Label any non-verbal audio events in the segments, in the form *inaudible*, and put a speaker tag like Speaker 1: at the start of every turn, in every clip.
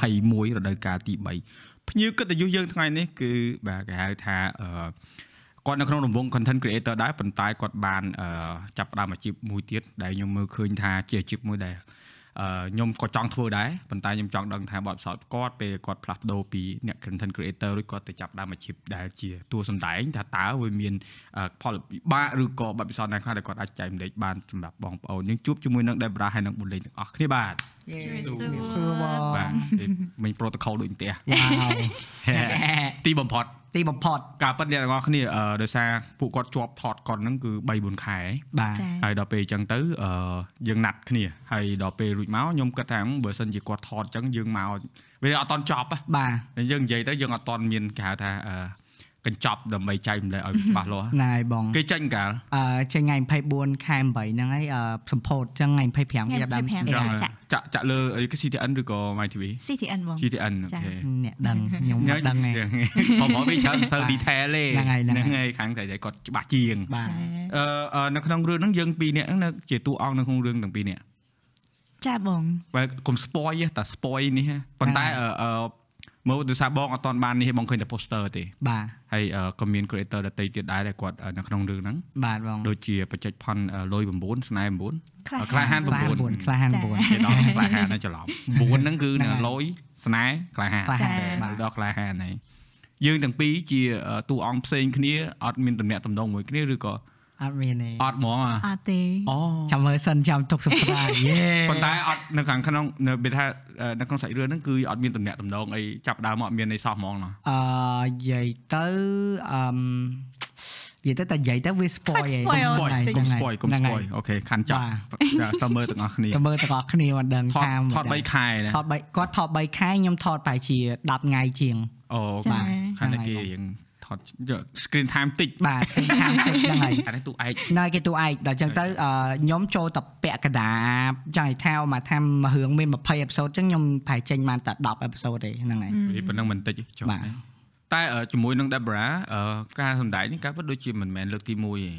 Speaker 1: រដូវកាលទី3ភ្ញៀវកិត្តិយសយើងថ្ងៃនេះគឺបាទគេហៅថាអឺគាត់នៅក្នុងរង្វង់ content creator ដែរប៉ុន្តែគាត់បានអឺចាប់ផ្ដើមអាជីពមួយទៀតដែលខ្ញុំមើលឃើញថាជាអាជីពមួយដែលអឺខ្ញុំក៏ចង់ធ្វើដែរប៉ុន្តែខ្ញុំចង់ដឹងថាបទពិសោធន៍គាត់ពេលគាត់ផ្លាស់ប្ដូរពីអ្នក content creator រួចគាត់ទៅចាប់ផ្ដើមអាជីពដែលជាតួសម្ដែងថាតើវាមានអឺផលវិបាកឬក៏បទពិសោធន៍ណាខ្លះដែលគាត់អាចចែករំលែកបានសម្រាប់បងប្អូនយើងជួបជាមួយនឹង Debra ហើយនឹងបុលេងទាំងអស់គ្នាបាទ
Speaker 2: ជួយសួរ
Speaker 3: សួរបងវ៉ា
Speaker 1: បាទទេមិញ protocol ដូចផ្ទះ *laughs*
Speaker 3: វ
Speaker 1: ទីបំផុត
Speaker 3: ទីបំផុត
Speaker 1: ការប៉ັດអ្នកទាំងអស់គ្នាអឺដោយសារពួកគាត់ជាប់ថតគាត់ហ្នឹងគឺ3 4ខែ
Speaker 3: បាទ
Speaker 2: ចា
Speaker 1: ហើយដល់ពេលអញ្ចឹងទៅអឺយើងណាត់គ្នាហើយដល់ពេលរួចមកខ្ញុំគិតថាបើសិនជាគាត់ថតអញ្ចឹងយើងមកវាអត់តន់ចប់ហ៎
Speaker 3: បាទ
Speaker 1: តែយើងនិយាយទៅយើងអត់តន់មានគេហៅថាអឺកញ្ចប់ដើម្បីចែកម្លែកឲ្យច្បាស់លាស់
Speaker 3: ណែបង
Speaker 1: គេចាញ់កាល
Speaker 3: អឺចេញថ្ងៃ24ខែ8ហ្នឹងហើយអឺសម្ពោធចឹងថ្ងៃ25វាដើម
Speaker 2: ថ្ងៃ
Speaker 3: អេ
Speaker 1: ចា
Speaker 2: ចាក់
Speaker 1: ក់
Speaker 2: ចា
Speaker 1: ចា
Speaker 2: ក់
Speaker 1: ក់ចាក់លើអីគេ CTN ឬក៏ MyTV
Speaker 2: CTN បង
Speaker 1: CTN
Speaker 2: ចា
Speaker 1: អូខេ
Speaker 3: អ្នកដឹងខ្ញុំមិនដឹង
Speaker 1: *laughs*
Speaker 3: ឯង
Speaker 1: បងប្អូនវាច្រើនមិនសូវ
Speaker 3: បាទ
Speaker 1: detail ទេ
Speaker 3: ហ្នឹងហើយហ្នឹងហើ
Speaker 1: ហ្នឹងហើ
Speaker 3: យ
Speaker 1: យខាងតែគាត់ច្បាស់ជាង
Speaker 3: បាទ
Speaker 1: អឺអឺនៅក្នុងរឿងហ្នឹងយើងពីរនាក់ហ្នឹងនៅជាតួអង្គនៅក្នុងរឿងទាំងពីរនាក់
Speaker 2: ចាបង
Speaker 1: បើកុំ spoil ទេតែ spoil នេះហ៎ប៉ុន្តែ
Speaker 3: បាទ
Speaker 1: អឺអឺមើលដោយសារបងអត់តាន់បាននេះទេបងឃើញតែ poster ទេ
Speaker 3: បាទ
Speaker 1: ហើយអឺក៏មាន creator ដទៃទៀតដែរដែលគាត់អឺនៅក្នុងរឿងហ្នឹង
Speaker 3: បាទបង
Speaker 1: ដូចជាបច្ចេកផាន់លុយ9ស្នែ9
Speaker 2: ខ្លះ
Speaker 1: ខ្លាហាន
Speaker 3: ខ្លា
Speaker 1: បួន
Speaker 3: 9ខ្លាហាន
Speaker 2: ចា
Speaker 1: *laughs*
Speaker 3: 9
Speaker 1: គេដល់ក្លាហានហ្នឹងច្រឡំ9ហ្នឹង
Speaker 3: *laughs*
Speaker 1: គឺ
Speaker 3: ហ្នឹងហើយ
Speaker 1: លុយស្នែក្លាហាន
Speaker 3: ក្លាហាន
Speaker 1: តែ
Speaker 3: បាទ
Speaker 1: ដល់ក្លាហានហ្នឹងយើងទាំងពីរជាអឺតួអង្គផ្សេងគ្នាអត់មានតំណែងតំណងមួយគ្នាឬក៏
Speaker 3: អត់មានទេ
Speaker 1: អត់ហ្មងអ្ហ៎
Speaker 2: អត់ទេ
Speaker 1: អូ
Speaker 3: ចាំមើលសិនចាំទុកសម្រាប់យេ
Speaker 1: ប៉ុន្តែអត់នៅខាងក្នុងនៅពេលថាអឺនៅក្នុងសាច់រឿងហ្នឹងគឺអត់មានតំណែងតំណងអីចាប់ផ្ដើមមកអត់មានអីសោះហ្មងណោះ
Speaker 3: អឺនិយាយទៅអឹមនិយាយទៅតែនិយាយទៅវា spoil ឯង
Speaker 2: spoil
Speaker 1: ស្ពយ
Speaker 2: ហ្នឹងហើ
Speaker 1: កុំ
Speaker 2: យ
Speaker 1: ស្ពយកុំស្ពយអូខេខាន់ចាប់តើមើលទាំងអស់គ្នា
Speaker 3: ចាំមើលទាំងអស់គ្នាមិនដឹង
Speaker 1: ថត
Speaker 3: ថាមិន
Speaker 1: ថត
Speaker 3: ដឹង
Speaker 1: 3ខែណា
Speaker 3: ថត3គាត់ថត3ខែខ្ញុំថតប្រហែលជា10ថ្ងៃជាង
Speaker 1: អូ
Speaker 2: ចា៎
Speaker 1: បាទខាងនេះគេ
Speaker 3: ហ្នឹ
Speaker 1: រៀ
Speaker 3: ងហើយ
Speaker 1: ងថតយក screen time តិច
Speaker 3: បាទស្គីនខាងទឹកហ្នឹងហើយ
Speaker 1: ខាងនេះទូឯក
Speaker 3: ណែគេតួឯកដល់អញ្ចឹងទៅអឺខ្ញុំចូលតែពាក់កណ្ដាលចង់ឲ្យថាមកថារឿងមាន20អេផ isode អញ្ចឹងខ្ញុំប្រហែលចេញបានតែ10អេផ isode ទេហ្នឹងហើយ
Speaker 1: នេះប៉ុណ្ណឹងមិនតិចទេចុះ
Speaker 3: បាទ
Speaker 1: តែអឺជាមួយនឹង Debra អឺការសម្ដែងនេះការពិតដូចជាមិនមែនលើកទី1ទេ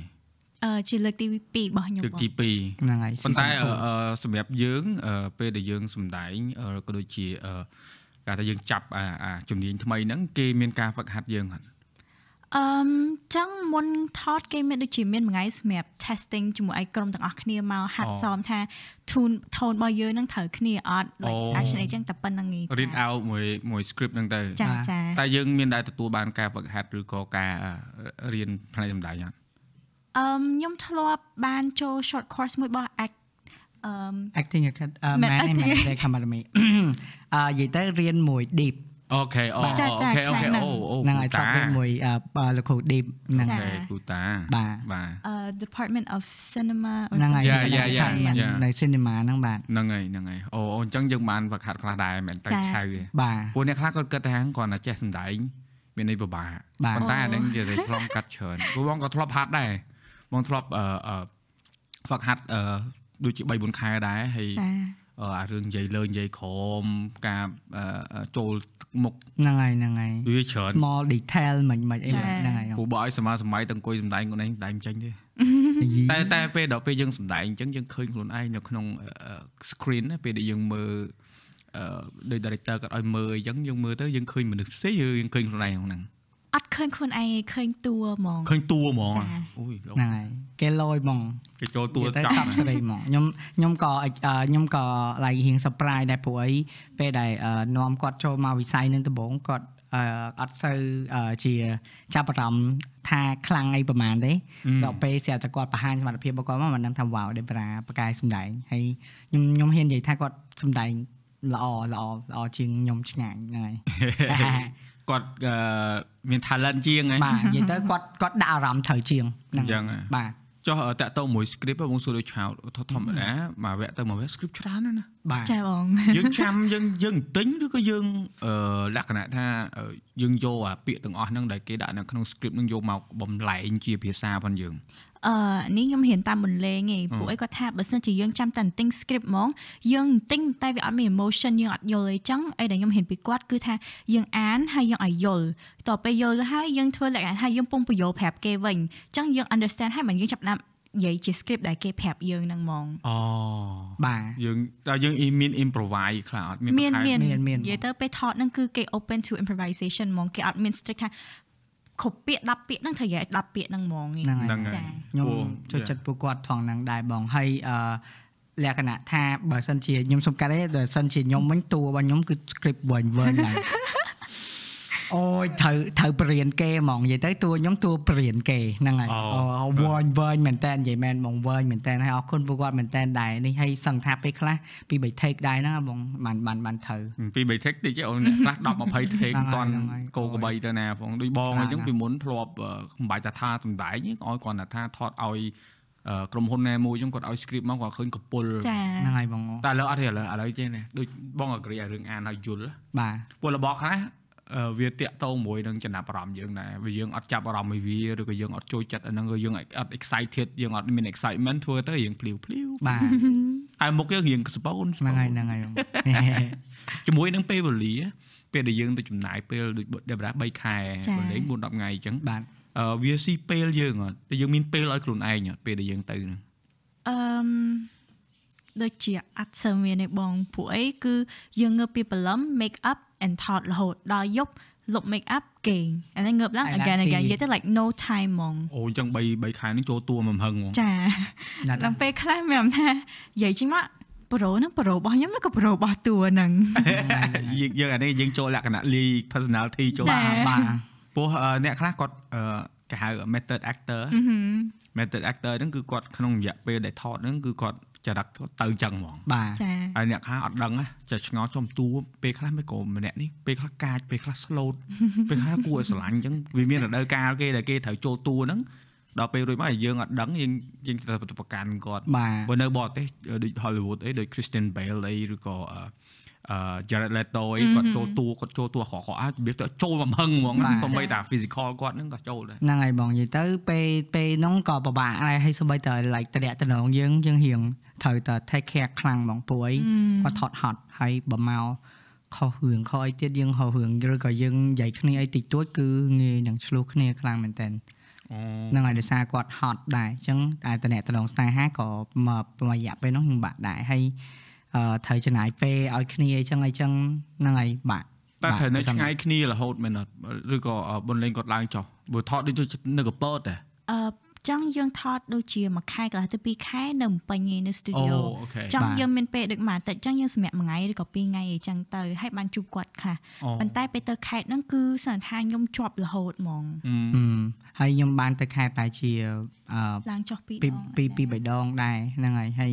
Speaker 2: អឺជាលើកទី2របស់ខ្ញុំ
Speaker 1: លើក
Speaker 2: បង
Speaker 1: ទី2
Speaker 3: ហ្នឹងហើយ
Speaker 1: ប៉ុន្តែអឺ
Speaker 3: season
Speaker 1: អឺសម្រាប់យើងអឺពេលដែលយើងសម្ដែងអឺក៏ដូចជាអឺគេថាយើងចាប់អាអាជំនាញថ្មីហ្នឹងគេមានការហ្វឹកហាត់យើងអត់
Speaker 2: អឺមចឹងមុនថតគេមានដូចជាមានមួយថ្ងៃសម្រាប់ testing ជាមួយឯក្រុមទាំងអស់គ្នាមកហាត់សមថា tune tone របស់យើងនឹងត្រូវគ្នាអត់ like action អីចឹងតែប៉ុណ្្នឹងឯង
Speaker 1: រៀន out មួយមួយ script ហ្នឹងទៅ
Speaker 2: ចា
Speaker 3: បាទ
Speaker 2: ចា
Speaker 1: តែយើងមានដែរទទួលបានការហ្វឹកហាត់ឬក៏ការអឺរៀនផ្នែកសម្ដែងអត់
Speaker 2: អឺមខ្ញុំធ្លាប់បានចូល short course មួយរបស់ act អឺម
Speaker 3: acting academy អឺ
Speaker 2: Man
Speaker 3: man and
Speaker 2: Acting
Speaker 3: man academy អឺនិយាយទៅរៀនមួយ deep
Speaker 1: អូខេអូ
Speaker 2: ចា
Speaker 1: អូ
Speaker 2: ចា
Speaker 1: ខេអូ
Speaker 2: ខ្លាំង
Speaker 1: ខេ
Speaker 2: ណាស់
Speaker 1: អូអូ
Speaker 3: ហ្នឹងហើយតរៀនមួយអឺអឺលោកគ្រូ deep ហ្នឹង
Speaker 2: ចា
Speaker 3: ហើយ
Speaker 1: អូខេគូតា
Speaker 3: បាទ
Speaker 1: បាទ
Speaker 2: អឺ Department of Cinema
Speaker 3: ហ្នឹងហើយ
Speaker 1: Yeah,
Speaker 3: នៅ
Speaker 1: yeah, yeah,
Speaker 3: department
Speaker 1: yeah.
Speaker 3: នៅ cinema ហ្នឹងបាទ
Speaker 1: ហ្នឹងហើយហ្នឹងហើយអូអូអញ្ចឹងយើងបានហ្វឹកហាត់ខ្លះដែរមិនតែ
Speaker 2: ចា
Speaker 1: ឆៅទេ
Speaker 3: បាទ
Speaker 1: ពួកអ្នកខ្លះគាត់គិតថាគាត់តែចេះសំដែងមានន័យពិបាក
Speaker 3: បាទ
Speaker 1: ប៉ុន្តែអាហ្នឹងនិយាយតែឆ្លងកាត់ច្រើនពួកបងក៏ធ្លាប់ហាត់ដែរបងធ្លាប់អឺអឺហ្វឹកហាត់អឺដូចជា3 4ខែដែរហើយ
Speaker 2: ចា
Speaker 1: អឺអារឿងនិយាយលើនិយាយក្រមការអឺអឺចូលទឹកមុខ
Speaker 3: ហ្នឹងហើយហ្នឹងហើយ
Speaker 1: វាច្រើន
Speaker 3: small detail មិនមិនអី
Speaker 2: ចា
Speaker 3: ហ្នឹងហើយ
Speaker 1: ពួកបើឲ្យសមាសម័យទាំងអង្គុយសំដែងខ្លួនឯងសំដែងមិនចេញទេតែតែពេលដល់ពេលយើងសំដែងអញ្ចឹងយើងឃើញខ្លួនឯងនៅក្នុងអឺអឺ screen ណាពេលដែលយើងមើលអឺដោយ director គាត់ឲ្យមើលអញ្ចឹងយើងមើលទៅយើងឃើញមនុស្សផ្សេងយើងឃើញខ្លួនឯងក្នុងហ្នឹង
Speaker 2: អត់ឃើញខ្លួនឯងឃើញតួហ្មង
Speaker 1: ឃើញតួហ្មង
Speaker 2: ចា
Speaker 1: អូយលោក
Speaker 3: ហ្នឹងហើយគេលយហ្មង
Speaker 1: គេចូលតួ
Speaker 3: និយាយ
Speaker 1: ចាប់
Speaker 3: ទៅតាប់ស្រីហ្មងខ្ញុំខ្ញុំក៏អិចអឺខ្ញុំក៏ like រៀង surprise ដែរព្រោះអីពេលដែលអឺនាំគាត់ចូលមកវិស័យនឹងដំបូងគាត់អឺអត់សូវអឺជាចាប់អារម្មណ៍ថាខ្លាំងអីប្រហែលទេដល់ពេលស្រាប់តែគាត់បង្ហាញសមត្ថភាពរបស់គាត់មកមិនដឹងថា wow ដេប្រាប្រកាយសំដែងហើយខ្ញុំខ្ញុំហ៊ាននិយាយថាគាត់សំដែងល្អល្អល្អជាងខ្ញុំឆ្ងាញ់ហ្នឹងហើយ *laughs*
Speaker 1: គាត់អឺមាន talent ជាង *laughs* ហ៎
Speaker 3: បាទនិយាយទៅគាត់គាត់ដាក់អារម្មណ៍ត្រូវជាង
Speaker 1: អញ្ចឹងហ៎
Speaker 3: បាទ
Speaker 1: ចុះអឺតាក់ទងមួយ script ហ៎បងសួរដូចឆោតធម្មតាមកវគ្គទៅមកវគ្គ script ច្រើនណាស់ណា *laughs*
Speaker 3: បាទ
Speaker 2: ចាបង
Speaker 1: យើងចាំយើងយើងទិញឬក៏យើងអឺលក្ខណៈថាអឺយើងយកអាពាក្យទាំងអស់ហ្នឹងដែលគេដាក់នៅក្នុង script ហ្នឹងយកមកបំលែងជាភាសាផងយើង
Speaker 2: អឺនេះខ្ញុំហ៊ានតាមបន្លេងឯងពួកអីគាត់ថាបើសិនជាយើងចាំតែ thing script ហ្មងយើង thing តែវាអត់មាន emotion យើងអត់យល់អីចឹងអីដែលខ្ញុំហ៊ានពីគាត់គឺថាយើងអានហើយយើងឲ្យយល់តទៅពេលយល់ទៅហើយយើងធ្វើលក្ខណៈថាយើងពងពយល់ប្រាប់គេវិញចឹងយើង understand ហើយមិនយើងចាប់ផ្ដើម និយាយជា script ដែលគេប្រាប់យើងហ្នឹងហ្មង
Speaker 1: អូ
Speaker 3: បាទ
Speaker 1: យើងតែយើងមាន improvise ខ្លះអត់មាន
Speaker 2: មាន
Speaker 1: បន្ថែ
Speaker 2: មាន
Speaker 3: មានមាន
Speaker 2: និយាយទៅពេលថតហ្នឹងគឺគេ open to improvisation ហ្មងគេអត់មាន strict ថាគ្រប់ពាក្យ10ពាក្យហ្នឹងត្រូវនិយាយ10ពាក្យហ្នឹងហ្មងឯង
Speaker 3: ហ្នឹងហើយ
Speaker 1: ហ្នឹងហើយ
Speaker 2: ចា៎
Speaker 1: អូ
Speaker 3: ខ្ញុំចូល
Speaker 1: ចា
Speaker 3: ចិត្តពួកគាត់ផងហ្នឹងដែរបងហើយអឺលក្ខណៈថាបើសិនជាខ្ញុំសុំកាត់ទេបើសិនជាខ្ញុំវិញតួរបស់ខ្ញុំគឺ script វែងវែ
Speaker 1: *laughs*
Speaker 3: ងហ្នឹង អូយត្រូវត្រូវបរៀនគេហ្មងនិយាយទៅតួខ្ញុំតួបរៀនគេហ្នឹងហើយ
Speaker 1: អូ
Speaker 3: អូវែងវែងមែនតើនិយាយមែនហ្មងវែងមែនតើហើយអរគុណពួកគាត់មែនតើដែរនេះហើយសង្ឃថាពេលខ្លះពីរបី take ដែរហ្នឹងបងបានបានបានត្រូវ
Speaker 1: ពី3 take តិចទេអូនអ្នក
Speaker 3: *laughs*
Speaker 1: ខ្លះ10 20 take
Speaker 3: ហ្នឹងហើយ
Speaker 1: មិនតាន់
Speaker 3: ហ្នឹងហើយក
Speaker 1: ោកបីទៅណាផងដូចបងអញ្ចឹង
Speaker 3: ឆ្លាតណាស់
Speaker 1: ពីមុនធ្លាប់អឺមិនបាច់ថាថាសំដែងទេឲ្យគាត់ថាថាថតឲ្យអឺក្រុមហ៊ុនណាមួយអញ្ចឹងគាត់ឲ្យ script មកគាត់ឃើញកពុល
Speaker 2: ចា
Speaker 3: ហ្នឹងហើយបងអូ
Speaker 1: តែឥឡូវអត់ទេឥឡូវឥឡូវចេះណាដូចបង agree ឲ្យរឿងអានឲ្យយល់ណា
Speaker 3: បាទ
Speaker 1: ពលរបស់ខ្លះអឺវាតាក់ទងមួយនឹងចំណាប់អារម្មណ៍យើងដែរវាយើងអត់ចាប់អារម្មណ៍ពីវាឬក៏យើងអត់ចូលចិត្តអាហ្នឹងឬយើងអត់ excited យើងអត់មាន excitement ធ្វើទៅរៀងភ្លាវភ្លាវ
Speaker 3: បាទ
Speaker 1: ហើយមុខយើងរៀងស្បូនស្បូ
Speaker 3: ហ្នឹងហើយ
Speaker 1: ន
Speaker 3: ហ្នឹងហើយបង
Speaker 1: ជាមួយនឹងពេលវេលាពេលដែលយើងទៅចំណាយពេលដូចដេបរ៉ា3ខែ
Speaker 2: ចា៎
Speaker 1: ប្រហែល4 10ថ្ងៃអញ្ចឹង
Speaker 3: បាទ
Speaker 1: អឺវាស៊ីពេលយើងអត់តែយើងមានពេលឲ្យខ្លួនឯងអត់ពេលដែលយើងទៅហ្នឹង
Speaker 2: អឺមដូចជាអត់សូវមានទេបងពួកអីគឺយើងងើបពីព្រលឹម make up and ថតរហូតដល់យប់លុប make up គេងអាហ្នឹងងើបឡើង
Speaker 3: ហើយឡើង
Speaker 2: again
Speaker 3: ពី
Speaker 2: again និយាយទៅ like no time ហ្មង
Speaker 1: អូអញ្ចឹង3 3ខែហ្នឹងចូលតួមិនហឹងហ្មង
Speaker 2: ចា
Speaker 3: *laughs* ណាត់
Speaker 2: ដល់ពេលខ្លះមានថានិយាយជាងមកប្រូហ្នឹងប្រូរបស់ខ្ញុំឬក៏ប្រូរបស់តួហ្នឹង
Speaker 3: *laughs*
Speaker 1: យើងយើងអានេះយើងចូលលក្ខណៈលី personality ចូល
Speaker 2: ចា៎
Speaker 3: បាទ
Speaker 1: ព្រោះអឺអ្នកខ្លះគាត់អឺគេហៅ method actor
Speaker 2: អឺហឹម
Speaker 1: method actor ហ្នឹងគឺគាត់ក្នុងរយៈពេលដែលថតហ្នឹងគឺគាត់ចរិតគាត់ទៅចឹងហ្មង
Speaker 3: បាទ
Speaker 2: ចា
Speaker 1: ហើយអ្នកខ្លះអត់ដឹងណាចេះឆ្ងល់ចំទួពេលខ្លះមិនក៏ម្នាក់នេះពេលខ្លះកាចពេលខ្លះ slot ពេលខ្លះគួរឲ្យស្រឡាញ់ចឹងវាមានរដូវកាលគេដែលគេត្រូវចូលទួហ្នឹងដល់ពេលរួចមកយើងអត់ដឹងយើងយើងត្រូវទៅប្រកាន់គាត់
Speaker 3: បាទ
Speaker 1: បើនៅបរទេសអឺដូច Hollywood អីដូច Christian Bale អីឬក៏អឺអឺ Jared Leto អីគាត់ចូលទួគាត់ចូលទួខកៗអាចរបៀបទៅចូលបំហឹងហ្មង
Speaker 3: បាទ
Speaker 1: ក៏មិនតែ physical គាត់ហ្នឹងក៏ចូលដែរ
Speaker 3: ហ្នឹងហើយបងនិយាយទៅពេលពេលហ្នឹងក៏ពិបាកដែរហើយសូម្បីតែ like តរៈតំណងយើងយើងរៀងត្រូវតែ take care ខ្លាំងបងពួកអីគាត់ថត់ហត់ហើយបើមកខុសរឿងខុសអីទៀតយើងហៅរឿងឬក៏យើងនិយាយគ្នាអីតិចតួចគឺងាយនឹងឆ្លោះគ្នាខ្លាំងមែនតើហ្នឹងហើយដោយសារគាត់ហត់ដែរអញ្ចឹងតែតរៈតំណងស្នេហាក៏មករយៈពេលហ្នឹងខ្ញុំបាក់ដែរហើយអឺត្រូវចំណាយពេលឲ្យគ្នាអីចឹងអីចឹងហ្នឹងហើយបាក់
Speaker 1: តែត្រូវនៅ
Speaker 3: បាក់
Speaker 1: ឆ្ងាយគ្នារហូតមែនអត់ឬក៏អឺបុនលេងគាត់ឡើងចុះបើថតដូចនៅកពតដែរ
Speaker 2: អឺចឹងយើងថតដូចជាមួយខែកន្លះទៅ2ខែនៅម្ពិញឯងនៅ
Speaker 1: អូ
Speaker 2: studio
Speaker 1: អូខេ
Speaker 2: ចឹង
Speaker 3: បាទ
Speaker 2: យើងមានពេលដូចមួយអាទិត្យចឹងយើងសម្រាប់មួយថ្ងៃឬក៏ពីរថ្ងៃអីចឹងទៅហើយបានជួបគាត់ខ្លះ
Speaker 1: អូ
Speaker 2: ប៉ុន្តែពេលទៅខេត្តហ្នឹងគឺសន្និដ្ឋានខ្ញុំជាប់រហូតហ្មង
Speaker 1: អឺ
Speaker 3: ហឹមហើយខ្ញុំបានទៅខែប្រហែលជាអឺ
Speaker 2: ឡើងចុះពីរដ
Speaker 3: ពី
Speaker 2: ង
Speaker 3: ពីពី
Speaker 2: អី
Speaker 3: បីដងដែរហ្នឹងហើយហើយ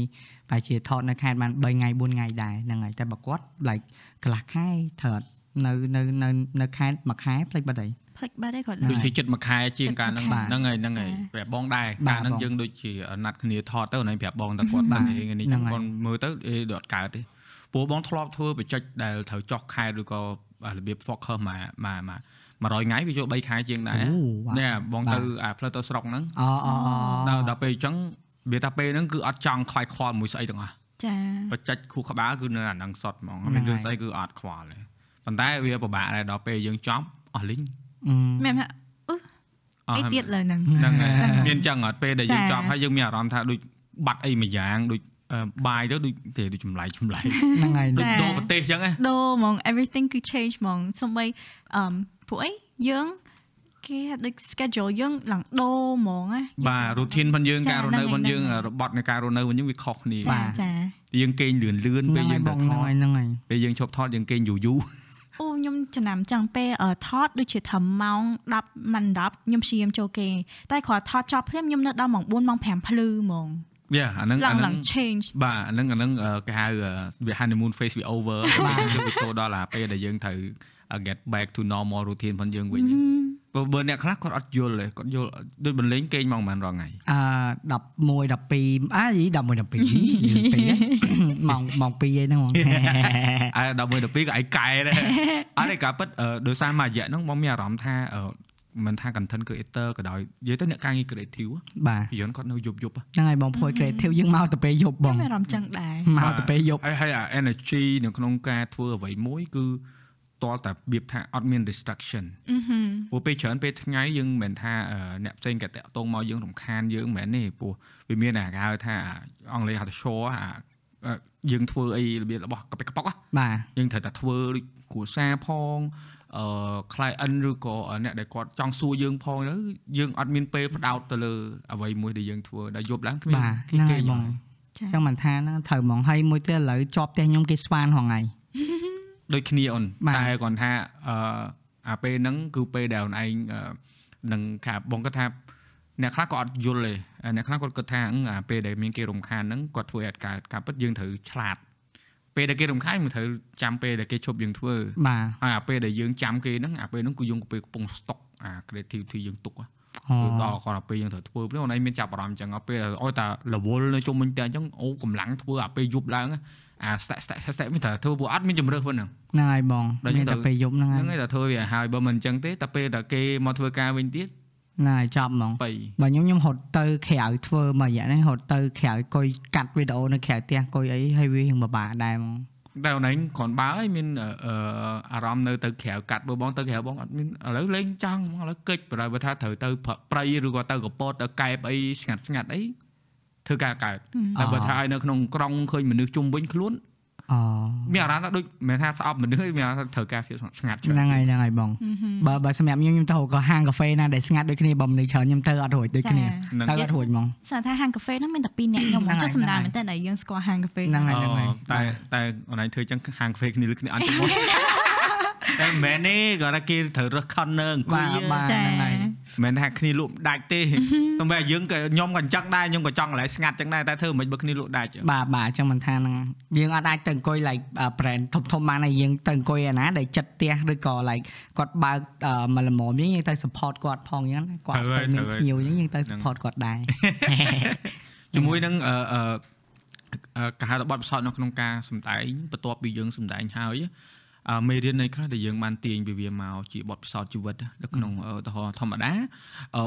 Speaker 3: ប្រហែលជាថតនៅខេត្តបាន3ថ្ងៃ4ថ្ងៃដែរហ្នឹងហើយតែបើគាត់ like កន្លះខែថតនៅនៅនៅនៅខេត្តមួយខែផ្លេចបាត់អី
Speaker 2: ផ្លេចបាត់ឯងគាត់
Speaker 1: ដូច
Speaker 2: ណា
Speaker 1: ជាចិត្តមួយខែជាងការហ្នឹង
Speaker 3: ចិត្ត
Speaker 1: ហ្នឹងហើយហ្នឹងហើយ
Speaker 2: ចា៎
Speaker 1: ប្រាប់បងដែរ
Speaker 3: បា
Speaker 1: កា
Speaker 3: ទ
Speaker 1: លហ្នឹង
Speaker 3: បង
Speaker 1: យើងដូចជាណាត់គ្នាថតទៅណៃប្រាប់បងតែគាត់
Speaker 3: បា
Speaker 1: បា
Speaker 3: ទ
Speaker 1: ត់ឯងនេះ
Speaker 3: ហ្នឹង
Speaker 1: ចឹង
Speaker 3: ហើយ
Speaker 1: គាត់មើលទៅអេដូចអត់កើតទេព្រោះបងធ្លាប់ធ្វើបច្ចេកដែលត្រូវចុះខែឬក៏របៀប focus មួយមួយមួយ100ថ្ងៃវាចូល3ខែជាងដែរ
Speaker 3: អូវ៉ា
Speaker 1: នេះបងទៅអាផ្លូវទៅស្រុកហ្នឹង
Speaker 3: អូអូអូ
Speaker 1: ដល់ដល់ពេលអញ្ចឹងវាថាពេលហ្នឹងគឺអត់ចង់ខ្លាយខ្វល់មួយស្អីទាំងអស់
Speaker 2: ចា
Speaker 1: បច្ចេកខួរក្បាលគឺនៅអាហ្នឹងសុតហ្មងមានរឿងស្អីគឺអត់ខ្វល់ទេប៉ុន្តែវាពិបាកដែរដល់ពេលយើងចប់អស់លីង
Speaker 3: អឺ
Speaker 2: មែនថា
Speaker 1: អស់
Speaker 2: អីទៀតលើហ្នឹង
Speaker 1: ហ្នឹងហើយមានចឹងអត់ពេលដែលយើងច
Speaker 2: ចា៎
Speaker 1: ប់ហើយយើងមានអារម្មណ៍ថាដូចបាត់អីមួយយ៉ាងដូចអឺបាយទៅដូចទេដូចចម្លែកចម្លែក
Speaker 3: ហ្នឹងហើយ
Speaker 1: ដូច
Speaker 3: ហ្នឹង
Speaker 1: ដូរប្រទេសចឹងហ៎
Speaker 2: ដូរហ្មង everything គឺ change ហ្មងសំបីអឺមពួកអីយើងគេហៅដូច schedule យើងឡើងដូរហ្មងណា
Speaker 1: បាទ routine របស់យើង
Speaker 2: ចា៎
Speaker 1: ការរស់នៅ
Speaker 2: ហ្នឹងហើយ
Speaker 1: របស់យើងរបត់នៃ
Speaker 2: ហ្នឹងហើយ
Speaker 1: ការរស់នៅរបស់យើងវាខុសគ្នា
Speaker 3: បាទ
Speaker 2: ចាចា
Speaker 1: យើងគេងលឿនលឿនពេល
Speaker 3: ហ្នឹង
Speaker 1: យើ
Speaker 3: ហើយ
Speaker 1: ង
Speaker 3: ប
Speaker 1: ទៅថ
Speaker 3: ងហ្ន
Speaker 1: ត
Speaker 3: ឹងហើយហ្នឹងហើយ
Speaker 1: ពេលយើងឈប់ថតយើងគេងយូរយូរ
Speaker 2: អូខ្ញុំចំណាំចឹងពេលអឺថតដូចជាត្រឹមម៉ោង10ម៉ោង10ខ្ញុំព្យាយាមចូលគេងតែគ្រាន់ថតចប់ភ្លាមខ្ញុំនៅដល់ម៉ោង4ម៉ោង5ភ្លឺហ្មង
Speaker 1: វាអាហ្នឹង
Speaker 2: ឡើង
Speaker 1: អា
Speaker 2: ឡា
Speaker 1: ហ្នឹង
Speaker 2: ង change
Speaker 1: បាទអាហ្នឹងអាហ្នឹងអឺគេហៅអឺវា honeymoon phase we over បាទវាចូលដល់អាពេលដែលយើងត្រូវ uh, get back to normal routine របស់យើងវិញ បើបើអ្នកខ្លះគាត់អត់យល់ទេគាត់យល់ដូចបន្លេងគេងមកប្រហែលរាល់ថ្ងៃ
Speaker 3: អឺ11 12អី11 12យឺតពេកម៉ោងម៉ោង2អីហ្នឹងហ្មង *laughs*
Speaker 1: អាដល់មើលទៅពីរក៏ឯងកែដែរ អត់ឯងការពិតអឺដោយសារមួយរយៈហ្នឹងបងមានអារម្មណ៍ថាអឺមិនថា content creator ក៏ដោយនិយាយទៅអ្នកការងារ creative
Speaker 3: បាទ
Speaker 1: ពីយន់គាត់នៅយប់យប់ហ៎
Speaker 3: ហ្នឹងហើយបងភួយ creative យើងមកទៅពេលយប់បង
Speaker 2: ខ្ញុំមានអារម្មណ៍ចឹងដែរ
Speaker 3: មក
Speaker 1: បាទ
Speaker 3: ទៅពេលយប់
Speaker 1: ហើយហើយអា energy នៅក្នុងការធ្វើអ្វីមួយគឺ តលតែរបៀបថាអត់មាន restriction
Speaker 2: អឺហឹម
Speaker 1: ព្រោះពេលច្រើនពេលថ្ងៃយើងមិនមែនថាអឺអ្នកផ្សេងក៏តាក់ទងមកយើងរំខានយើងមិនមែនទេព្រោះវាមានអាគេហៅថាអង់គ្លេសហៅថា shore អាអឺយើងធ្វើអីរបៀបរបស់កប៉ិកប៉ុកហ្នឹង
Speaker 3: បាទ
Speaker 1: យើងត្រូវតែធ្វើដូចគ្រួសារផងអឺ client ឬក៏អ្នកដែលគាត់ចង់សួរយើងផងទៅយើងអត់មានពេលផ្ដោតទៅលើអ្វីមួយដែលយើងធ្វើដល់យប់ឡើងគ្មាន
Speaker 3: បាទ
Speaker 1: គេ
Speaker 3: ហ្នឹ
Speaker 1: គេយ
Speaker 3: ងហើយបង
Speaker 1: ល់
Speaker 2: ចា
Speaker 3: ចឹងមិនថាហ្នឹងត្រូវហ្មងហើយមួយទៀតឥឡូវជាប់ផ្ទះខ្ញុំគេស្វានហងៃ
Speaker 1: ដូចគ្នាអូន
Speaker 3: បាទ
Speaker 1: តែគ្រាន់ថាអឺអាពេលហ្នឹងគឺពេលដែលអូនឯងអឺនឹងថាបងគាត់ថាអ្នកខ្លះក៏អត់យល់ទេអ្នកខ្លះគាត់គិតថាអឺអាពេលដែលមានគេរំខានហ្នឹងគាត់ធ្វើឲ្យអត់កើតការពិតយើងត្រូវឆ្លាតពេលដែលគេរំខានមិនត្រូវចាំពេលដែលគេឈប់យើងធ្វើ
Speaker 3: បាទ
Speaker 1: ហើយអាពេលដែលយើងចាំគេហ្នឹងអាពេលហ្នឹងគឺយើងពេលកំពុងស្តុកអា creativity យើងទុកហ្នឹង
Speaker 3: អូ
Speaker 1: គឺដល់គាត់អាពេលយើងត្រូវធ្វើព្រោះអូនឯងមានចាប់អារម្មណ៍អញ្ចឹងអាពេលអោយតារវល់នៅជុំវិញតែអញ្ចឹងអូកម្លាំងធ្វើអាពេលយប់ឡើងអា stack stack stack stack មានតែធ្វើព្រោះអត់មានជំរឿសប៉ុណ្ណឹង
Speaker 3: ហ្នឹងហើយបង
Speaker 1: ដល់ចឹ
Speaker 3: មាន
Speaker 1: ងទៅ
Speaker 3: តែពេលយប់ហ្នឹងហើយ
Speaker 1: ហ្នឹងឯងតែធ្វើវាឲ្យហើយបើមិនអញ្ចឹងទេតែពេលតែគេមកធ្វើការវិញទៀត
Speaker 3: ហ្នឹងហើយចប់ហ្មង
Speaker 1: បៃ
Speaker 3: បើខ្ញុំខ្ញុំហត់ទៅក្រៅធ្វើមួយរយៈហ្នឹងហត់ទៅក្រៅកុយកាត់វីដេអូនៅក្រៅផ្ទះកុយអីហើយវារឿងពិបាកដែរហ្មង
Speaker 1: តែអូនឯងគ្រាន់បើឲ្យមានអឺអារម្មណ៍នៅទៅក្រៅកាត់បើបងទៅក្រៅបងអត់មានឥឡូវលេងចង់ហ្មងឥឡូវកិច្ចបើដល់បើថាត្រូវទៅប្រៃឬក៏ទៅកពតទៅកែបអីស្ងាត់ស្ងាត់អីធ្វើការកើត តែបើថាឲ្យនៅក្នុងក្រុងឃើញមនុស្សជុំវិញខ្លួន
Speaker 3: អូ
Speaker 1: មានអារម្មណ៍ថាដូចមិនមែនថាស្អប់មនុស្សទេមានអារម្មណ៍ថាត្រូវការភាពស្ងាត់
Speaker 3: ហ្នឹងហើយហ្នឹងហើយបងបើបើសម្រាប់ខ្ញុំខ្ញុំទៅក៏ហាងកាហ្វេណាដែលស្ងាត់ដូចគ្នាបើមនុស្សច្រើនខ្ញុំទៅអត់រួចដូចគ្នា
Speaker 2: ចា
Speaker 1: ហ្នឹង
Speaker 3: ទៅអត់រួចហ្មង
Speaker 2: សារថាហាងកាហ្វេហ្នឹងមានតែ2អ្នកខ្ញុំ
Speaker 3: *laughs* ហ្នឹងហើយ
Speaker 2: ចុះសំដៅ
Speaker 3: ហ្នឹងហើយ
Speaker 2: មែនតើដែលយើងស្គាល់ហាងកាហ្វេ
Speaker 3: ហ្នឹងហើយហ្នឹង
Speaker 1: អូ
Speaker 3: ហើយ
Speaker 1: តែតែអនឡាញធ្វើអញ្ចឹងហាងកាហ្វេគ្នាលើគ្នាអត់ចាំមុន *laughs* តែមិនមែនទេគាត់ថាគេត្រូវរឹសខំនៅអង្គុ
Speaker 3: បាទ
Speaker 1: យ
Speaker 3: បាទ
Speaker 2: ចា
Speaker 3: ហ្នឹងហើយ
Speaker 1: មិនមែនថាគ្នាលក់ដាច់
Speaker 3: *laughs*
Speaker 1: ទេតែបែរយើងក៏ខ្ញុំក៏អញ្ចឹងដែរខ្ញុំក៏ចង់កន្លែងស្ងាត់អញ្ចឹងដែរតែធ្វើមិនបើគ្នាលក់ដាច់
Speaker 3: បាទបាទអញ្ចឹងមិនថាហ្នឹងយើងអត់អាចទៅអង្គុយ like អ่า brand ធំធំៗបានហើយយើងទៅអង្គុយអាណាដែលចិត្តផ្ទះឬក៏ like គាត់បើកអ่าមួយលំមយើងយើងទៅ support គាត់ផងអញ្ចឹងណាគាត់ទៅមានភ្ញៀវអញ្ចឹងយើងទៅ support គាត់ដែរ
Speaker 1: ជាមួយនឹងអឺអឺអឺការហៅថាបទពិសោធន៍នៅក្នុងការសម្ដែងបន្ទាប់ពីយើងសម្ដែងហើយអឺមេរៀននៃខ្លះដែលយើងបានទាញពីវាមកជាបទពិសោធន៍ជីវិតនៅក្នុងអឺឧទាហរណ៍ធម្មតា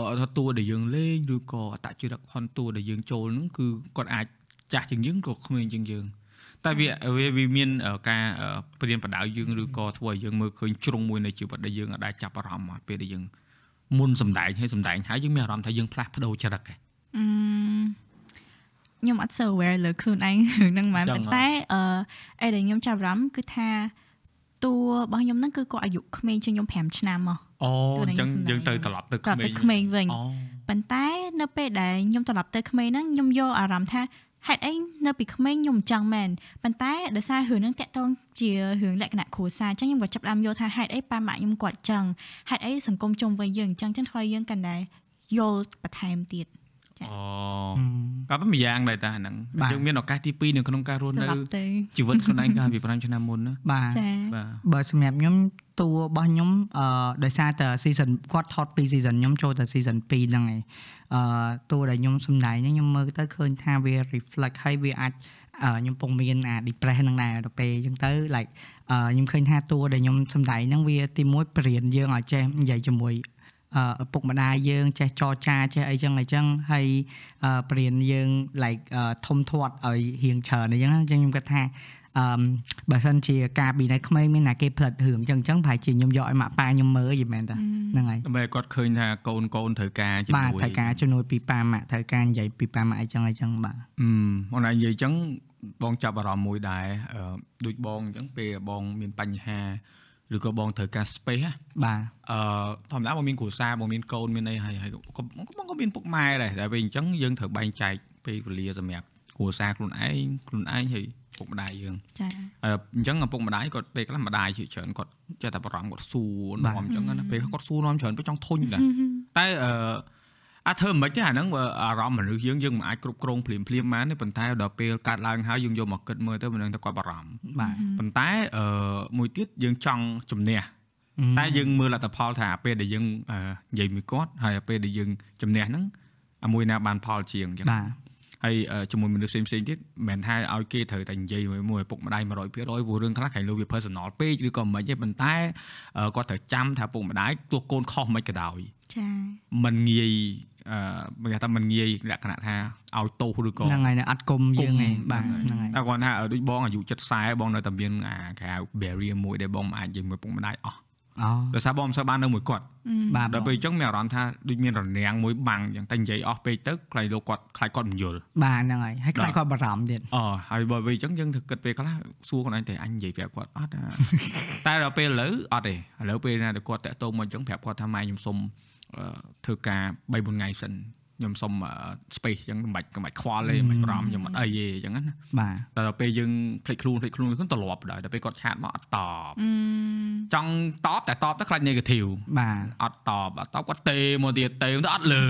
Speaker 1: អឺថាតួដែលយើងលេងឬក៏អត្តចរិតខនតួដែលយើងចូលហ្នឹងគឺគាត់អាចចាស់ជាងយើងក៏ក្មេងជាងយើង តែវាវាវាមានអឺការអឺព្រៀនបដៅយើងឬក៏ធ្វើឲ្យយើងមើលឃើញជ្រុងមួយនៃជីវិតដែលយើងអាចចាប់អារម្មណ៍មកពេលដែលយើងមុនសម្ដែងហើយសម្ដែងហើយយើងមានអារម្មណ៍ថាយើងផ្លាស់ប្ដូរចរិតឯង
Speaker 2: អឺខ្ញុំអត់សូវ aware លើខ្លួនឯង *laughs* រឿងហ្នឹងមែន
Speaker 1: ចឹ
Speaker 2: ប៉ុ
Speaker 1: ងហ៎
Speaker 2: ន្តែអឺអីដែលខ្ញុំចាប់អារម្មណ៍គឺថាតួរបស់ខ្ញុំហ្នឹងគឺគាត់អាយុក្មេងជាងខ្ញុំ5ឆ្នាំមក
Speaker 1: អូ
Speaker 2: តួ
Speaker 1: អ
Speaker 2: ដែល
Speaker 1: ញ្ចឹង
Speaker 2: យើង
Speaker 1: យើង
Speaker 2: សម្ដែង
Speaker 1: ទៅត្រឡប់ទៅ
Speaker 2: គាត់
Speaker 1: ក្មេ
Speaker 2: ទៅ
Speaker 1: ង
Speaker 2: ក្មេងវិញ
Speaker 1: អូ
Speaker 2: ប៉ុន្តែនៅពេលដែលខ្ញុំត្រឡប់ទៅក្មេងហ្នឹងខ្ញុំយកអារម្មណ៍ថាហេតុអីនៅពីក្មេងខ្ញុំអញ្ចឹងមែនប៉ុន្តែដោយសាររឿងហ្នឹងតាក់ទងជារឿងលក្ខណៈគ្រួសារអញ្ចឹងខ្ញុំក៏ចាប់ផ្ដើមយល់ថាហេតុអីប៉ាម៉ាក់ខ្ញុំគាត់អញ្ចឹងហេតុអីសង្គមជុំវិញយើងអញ្ចឹងចឹងធ្វើឲ្យយើងកាន់តែយល់បន្ថែមទៀត ចា៎
Speaker 1: អូក៏ប៉ុន្មានយ៉ាងដែរតាអាហ្នឹង
Speaker 3: បាទ
Speaker 1: យើងមានឱកាសទី2នៅក្នុងការរស់
Speaker 2: ត្រ
Speaker 1: នៅ
Speaker 2: ឡប់ទៅ
Speaker 1: ជីវិតខ្លួនឯងកាលពី5ឆ្នាំ *laughs* មុនណា
Speaker 3: បាទ
Speaker 2: ចា
Speaker 1: បាទ
Speaker 3: បើសម្រាប់ខ្ញុំតួរបស់ខ្ញុំអឺដោយសារតែ season គាត់ថតពី season ខ្ញុំចូលទៅ season 2ហ្នឹងឯងអឺតួដែលខ្ញុំសម្ដែងហ្នឹងខ្ញុំមើលទៅឃើញថាវា reflect ហើយវាអាចអឺខ្ញុំពងមានអា depress ហ្នឹងដែរដល់ពេលអញ្ចឹងទៅ like អឺខ្ញុំឃើញថាតួដែលខ្ញុំសម្ដែងហ្នឹងវាទីមួយបរៀនយើងឲ្យចេះនិយាយជាមួយអឺឪពុកម្ដាយយើងចេះចរចាចេះអីចឹងអីចឹងហើយអឺបរៀនយើង like អឺធំធាត់ឲ្យរៀងច្រើនអីចឹងណាអញ្ចឹងខ្ញុំគិតថាអឺម បើសិនជាការពីនៅក្មេងមានតែគេផ្លិតរឿងអញ្ចឹងអញ្ចឹងប្រហែលជាខ្ញុំយកឲ្យម៉ាក់ប៉ាខ្ញុំមើលយីមែនតាហ្នឹងហើយ
Speaker 1: ដើម្បីឲ្យគាត់ឃើញថាកូនកូនត្រូវការជំ
Speaker 3: បាទ
Speaker 1: នួយ
Speaker 3: ត្រូវការជំនួយពីប៉ាម៉ាក់ត្រូវការនិយាយពីប៉ាម៉ាក់អីចឹងអីចឹងបាទ
Speaker 1: អឺអូនឯងនិយាយអញ្ចឹងបងចាប់អារម្មណ៍មួយដែរអឺដូចបងអញ្ចឹងពេលបងមានបញ្ហាឬក៏បងត្រូវការ space ណា
Speaker 3: បាទ
Speaker 1: អឺធម្មតាបងមានគ្រួសារបងមានកូនមានអីហើយហើយក៏ក៏បងក៏មានពុកម៉ែដែរតែពេលអញ្ចឹងយើងត្រូវបែងចែកពេលវេលាសម្រាប់គ្រួសារខ្លួនឯងខ្លួនឯងហើយពុកម្ដាយយើង
Speaker 2: ចា
Speaker 1: ហើយអញ្ចឹងឪពុកម្ដាយគាត់ពេលខ្លះម្ដាយជាច្រើនគាត់ចេះតែបារម្ភគាត់សួរនាំអញ្ចឹងណាពេលគាត់សួរនាំច្រើនពេលចង់ធុញដែរតែអឺអាចធ្វើមិនទេអាហ្នឹងបើអារម្មណ៍មនុស្សយើងយើងមិនអាចគ្រប់គ្រងភ្លាមភ្លាមៗបានទេប៉ុន្តែដល់ពេលកាត់ឡើងហើយយើងយកមកគិតមើលទៅមិនដឹងថាគាត់បារម្ភ
Speaker 3: បាទ
Speaker 1: ប៉ុន្តែអឺមួយទៀតយើងចង់ជំនះ តែយើងមើលលទ្ធផលថាពេលដែលយើងអឺនិយាយមួយគាត់ហើយពេលដែលយើងជំនះហ្នឹងអាមួយណាបានផលជាងអញ្ចឹង
Speaker 3: បាទ
Speaker 1: ហើយអឺជាមួយមនុស្សផ្សេងផ្សេងៗទៀតមិនមែនថាឲ្យគេត្រូវតែនិយាយមួយមួយឪពុកម្ដាយ100%ព្រោះរឿងខ្លះគេលើវា personal ពេកឬក៏មិនទេប៉ុន្តែអឺគាត់ត្រូវចាំថាឪពុកម្ដាយទោះកូនខុសមិនក៏ដោយ
Speaker 2: ចា
Speaker 1: มันងាយអ អឺគេថាមិនងាយលក្ខណៈថាឲ្យទោសឬក៏
Speaker 3: ហ្នឹងហើយនៅអត់គុំយើងឯងបាទ
Speaker 1: ហ្នឹ
Speaker 3: ហ្នឹង ង
Speaker 1: ហើតែ
Speaker 3: ហើយ យ
Speaker 1: គាត់ថាអឺដូចបងអាយុ70 40បងនៅតែមានអាក្រៅ barrier មួយដែលបងមិនអាចនិយាយមួយពុកម្ដាយអស់
Speaker 3: អូ
Speaker 1: ដោយសារបងមិនសូវបាននៅមួយគាត់
Speaker 3: បាទ
Speaker 1: ដល់ពេលអញ្ចឹងមានអារម្មណ៍ថាដូចមានរនាំងមួយបាំងអញ្ចឹងតែនិយាយអស់ពេកទៅខ្លាចលោកគាត់ខ្លាចគាត់មិនយល់
Speaker 3: បាទហ្នឹងហើយហើយខ្លាចគាត់បារម្ភទៀត
Speaker 1: អឺហើយបើវាអញ្ចឹងយើងធ្វើគិតពេលខ្លះសួរខ្លួនឯងតែអញនិយាយប្រាប់គាត់អត់ *laughs* អា តែដល់ពេលឥឡូវអត់ទេឥឡូវពេលណាតែគាត់តាក់ទងមកអញ្ចឹងប្រាប់គាត់ថាម៉ែខ្ញុំសុំអឺធ្វើការ3 4ថ្ងៃសិនខ្ញុំសុំអឺ space អញ្ចឹងមិនបាច់មិនបាច់ខ្វល់ទេមិនបាច់បារម្ភខ្ញុំអត់អីទេអញ្ចឹងណា
Speaker 3: បាទ
Speaker 1: តែដល់ពេលយើងភ្លេចខ្លួនភ្លេចខ្លួនខ្លួនត្រឡប់ដែរដល់ពេលគាត់ឆាតមកអត់តបចង់តបតែតបទៅខ្លាច negative
Speaker 3: បាទ
Speaker 1: អត់តបអត់តបគាត់ទេមកទៀតទេទៅអត់លើ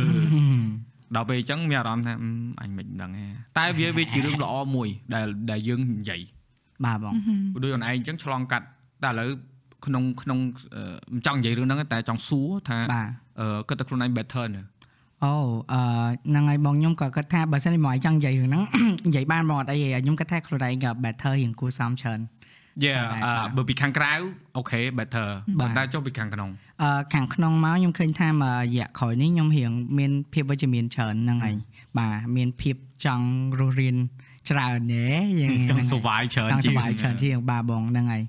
Speaker 1: ដល់ពេលអញ្ចឹងមានអារម្មណ៍ថាអឺអញមិនដឹងទេតែវាវាជារឿងល្អមួយដែលដែលយើងនិយាយ
Speaker 3: បាទបង
Speaker 1: ដូចខ្លួនឯងអញ្ចឹងឆ្លងកាត់តែឥឡូវក្នុងក្នុងអឺមិនចង់និយាយរឿងហ្នឹងទេតែចង់សួរថា
Speaker 3: បាទ
Speaker 1: អឺគិតតែខ្លួនឯង better នៅ
Speaker 3: អូអឺហ្នឹងហើយបងខ្ញុំក៏គិតថាបើសិនជាមកឲ្យចង់និយាយរឿងហ្នឹង *coughs* និយាយបានមកអត់អីទេខ្ញុំគិតថាខ្លួនឯងក៏ better រៀងគួរសមច្រើន
Speaker 1: យេបើពីខាងក្រៅអូខេ better
Speaker 3: បាទ
Speaker 1: ប៉ុន្តែចុះពីខាងក្នុង
Speaker 3: អឺខាងក្នុងមកខ្ញុំឃើញថាមករយៈក្រោយនេះខ្ញុំរៀងមានភាពវិជ្ជមានច្រើនហ្នឹងហើយបាទមានភាពចង់រស់រៀនច្រើនណែយ៉ាង
Speaker 1: *laughs* ចង់ survive ច្រើន
Speaker 3: ចង់
Speaker 1: ជា
Speaker 3: ស
Speaker 1: ង
Speaker 3: ប្បាយច្រើនជាងបាទបងហ្នឹងហើយ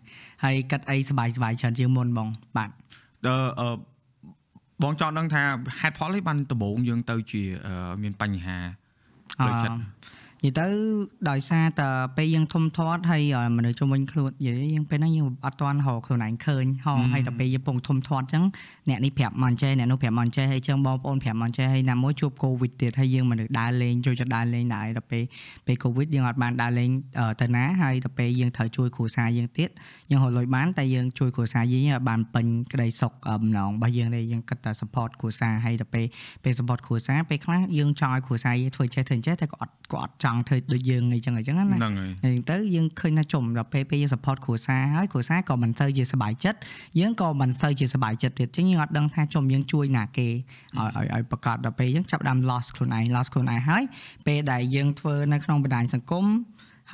Speaker 3: ហើយគិតអីសប្បាយសប្បាយច្រើនជាងមុនបងបាទ
Speaker 1: អឺអឺបងចង់ដឹងថាហេតុផលនេះបានដំបូងយើងទៅជាអឺមានបញ្ហា
Speaker 3: អឺ
Speaker 1: ដោយ
Speaker 3: និ
Speaker 1: ចិត្ត
Speaker 3: យាយទៅដោយសារតែពេលយើងធំធាត់ហើយអឺមនុស្សជុំវិញខ្លួននិយាយយើងពេលហ្នឹងយើងអត់ទាន់រកខ្លួនឯងឃើញហងហើយតែពេលយើងពងធំធាត់អញ្ចឹងអ្នកនេះប្រាប់មកអញ្ចេះអ្នកនោះប្រាប់មកអញ្ចេះហើយអញ្ចឹងបងប្អូនប្រាប់មកអញ្ចេះហើយណាមួយជួបកូវីដទៀតហើយយើងមនុស្សដើរលេងចូលចិត្តដើរលេងដែរដល់ពេលពេលកូវីដយើងអត់បានដើរលេងអឺទៅណាហើយដល់ពេលយើងត្រូវជួយគ្រួសារយើងទៀតយើងរកលុយបានតែយើងជួយគ្រួសារយើងឲ្យបានពេញក្តីសុខអឺបំណងរបស់យើងដែរយើងគិតតែ support គ្រួសារហើយដល់ពេល ពេល support គ្រួសារពេលខ្លះយើងចង់ឲ្យគ្រួសារយើងធ្វើចេះធ្វើចេះតែក៏អត់ក៏អត់ចង់ធ្វើដូចយើងអីចឹងអីចឹងណាអញ្
Speaker 1: ហ្នឹងហើយ
Speaker 3: ចឹងទៅយើងឃើញថាចំដល់ពេលពេលយើង support គ្រួសារហើយគ្រួសារក៏មិនសូវជាសប្បាយចិត្តយើងក៏មិនសូវជាសប្បាយចិត្តទៀតចឹងយើងអត់ដឹងថាចំយើងជួយណាគេឲ្យឲ្យឲ្យប្រកាសដល់ពេលយើងចាប់ផ្ដើម loss ខ្លួនឯង loss ខ្លួនឯងហើយពេលដែលយើងធ្វើនៅក្នុងបណ្ដាញសង្គម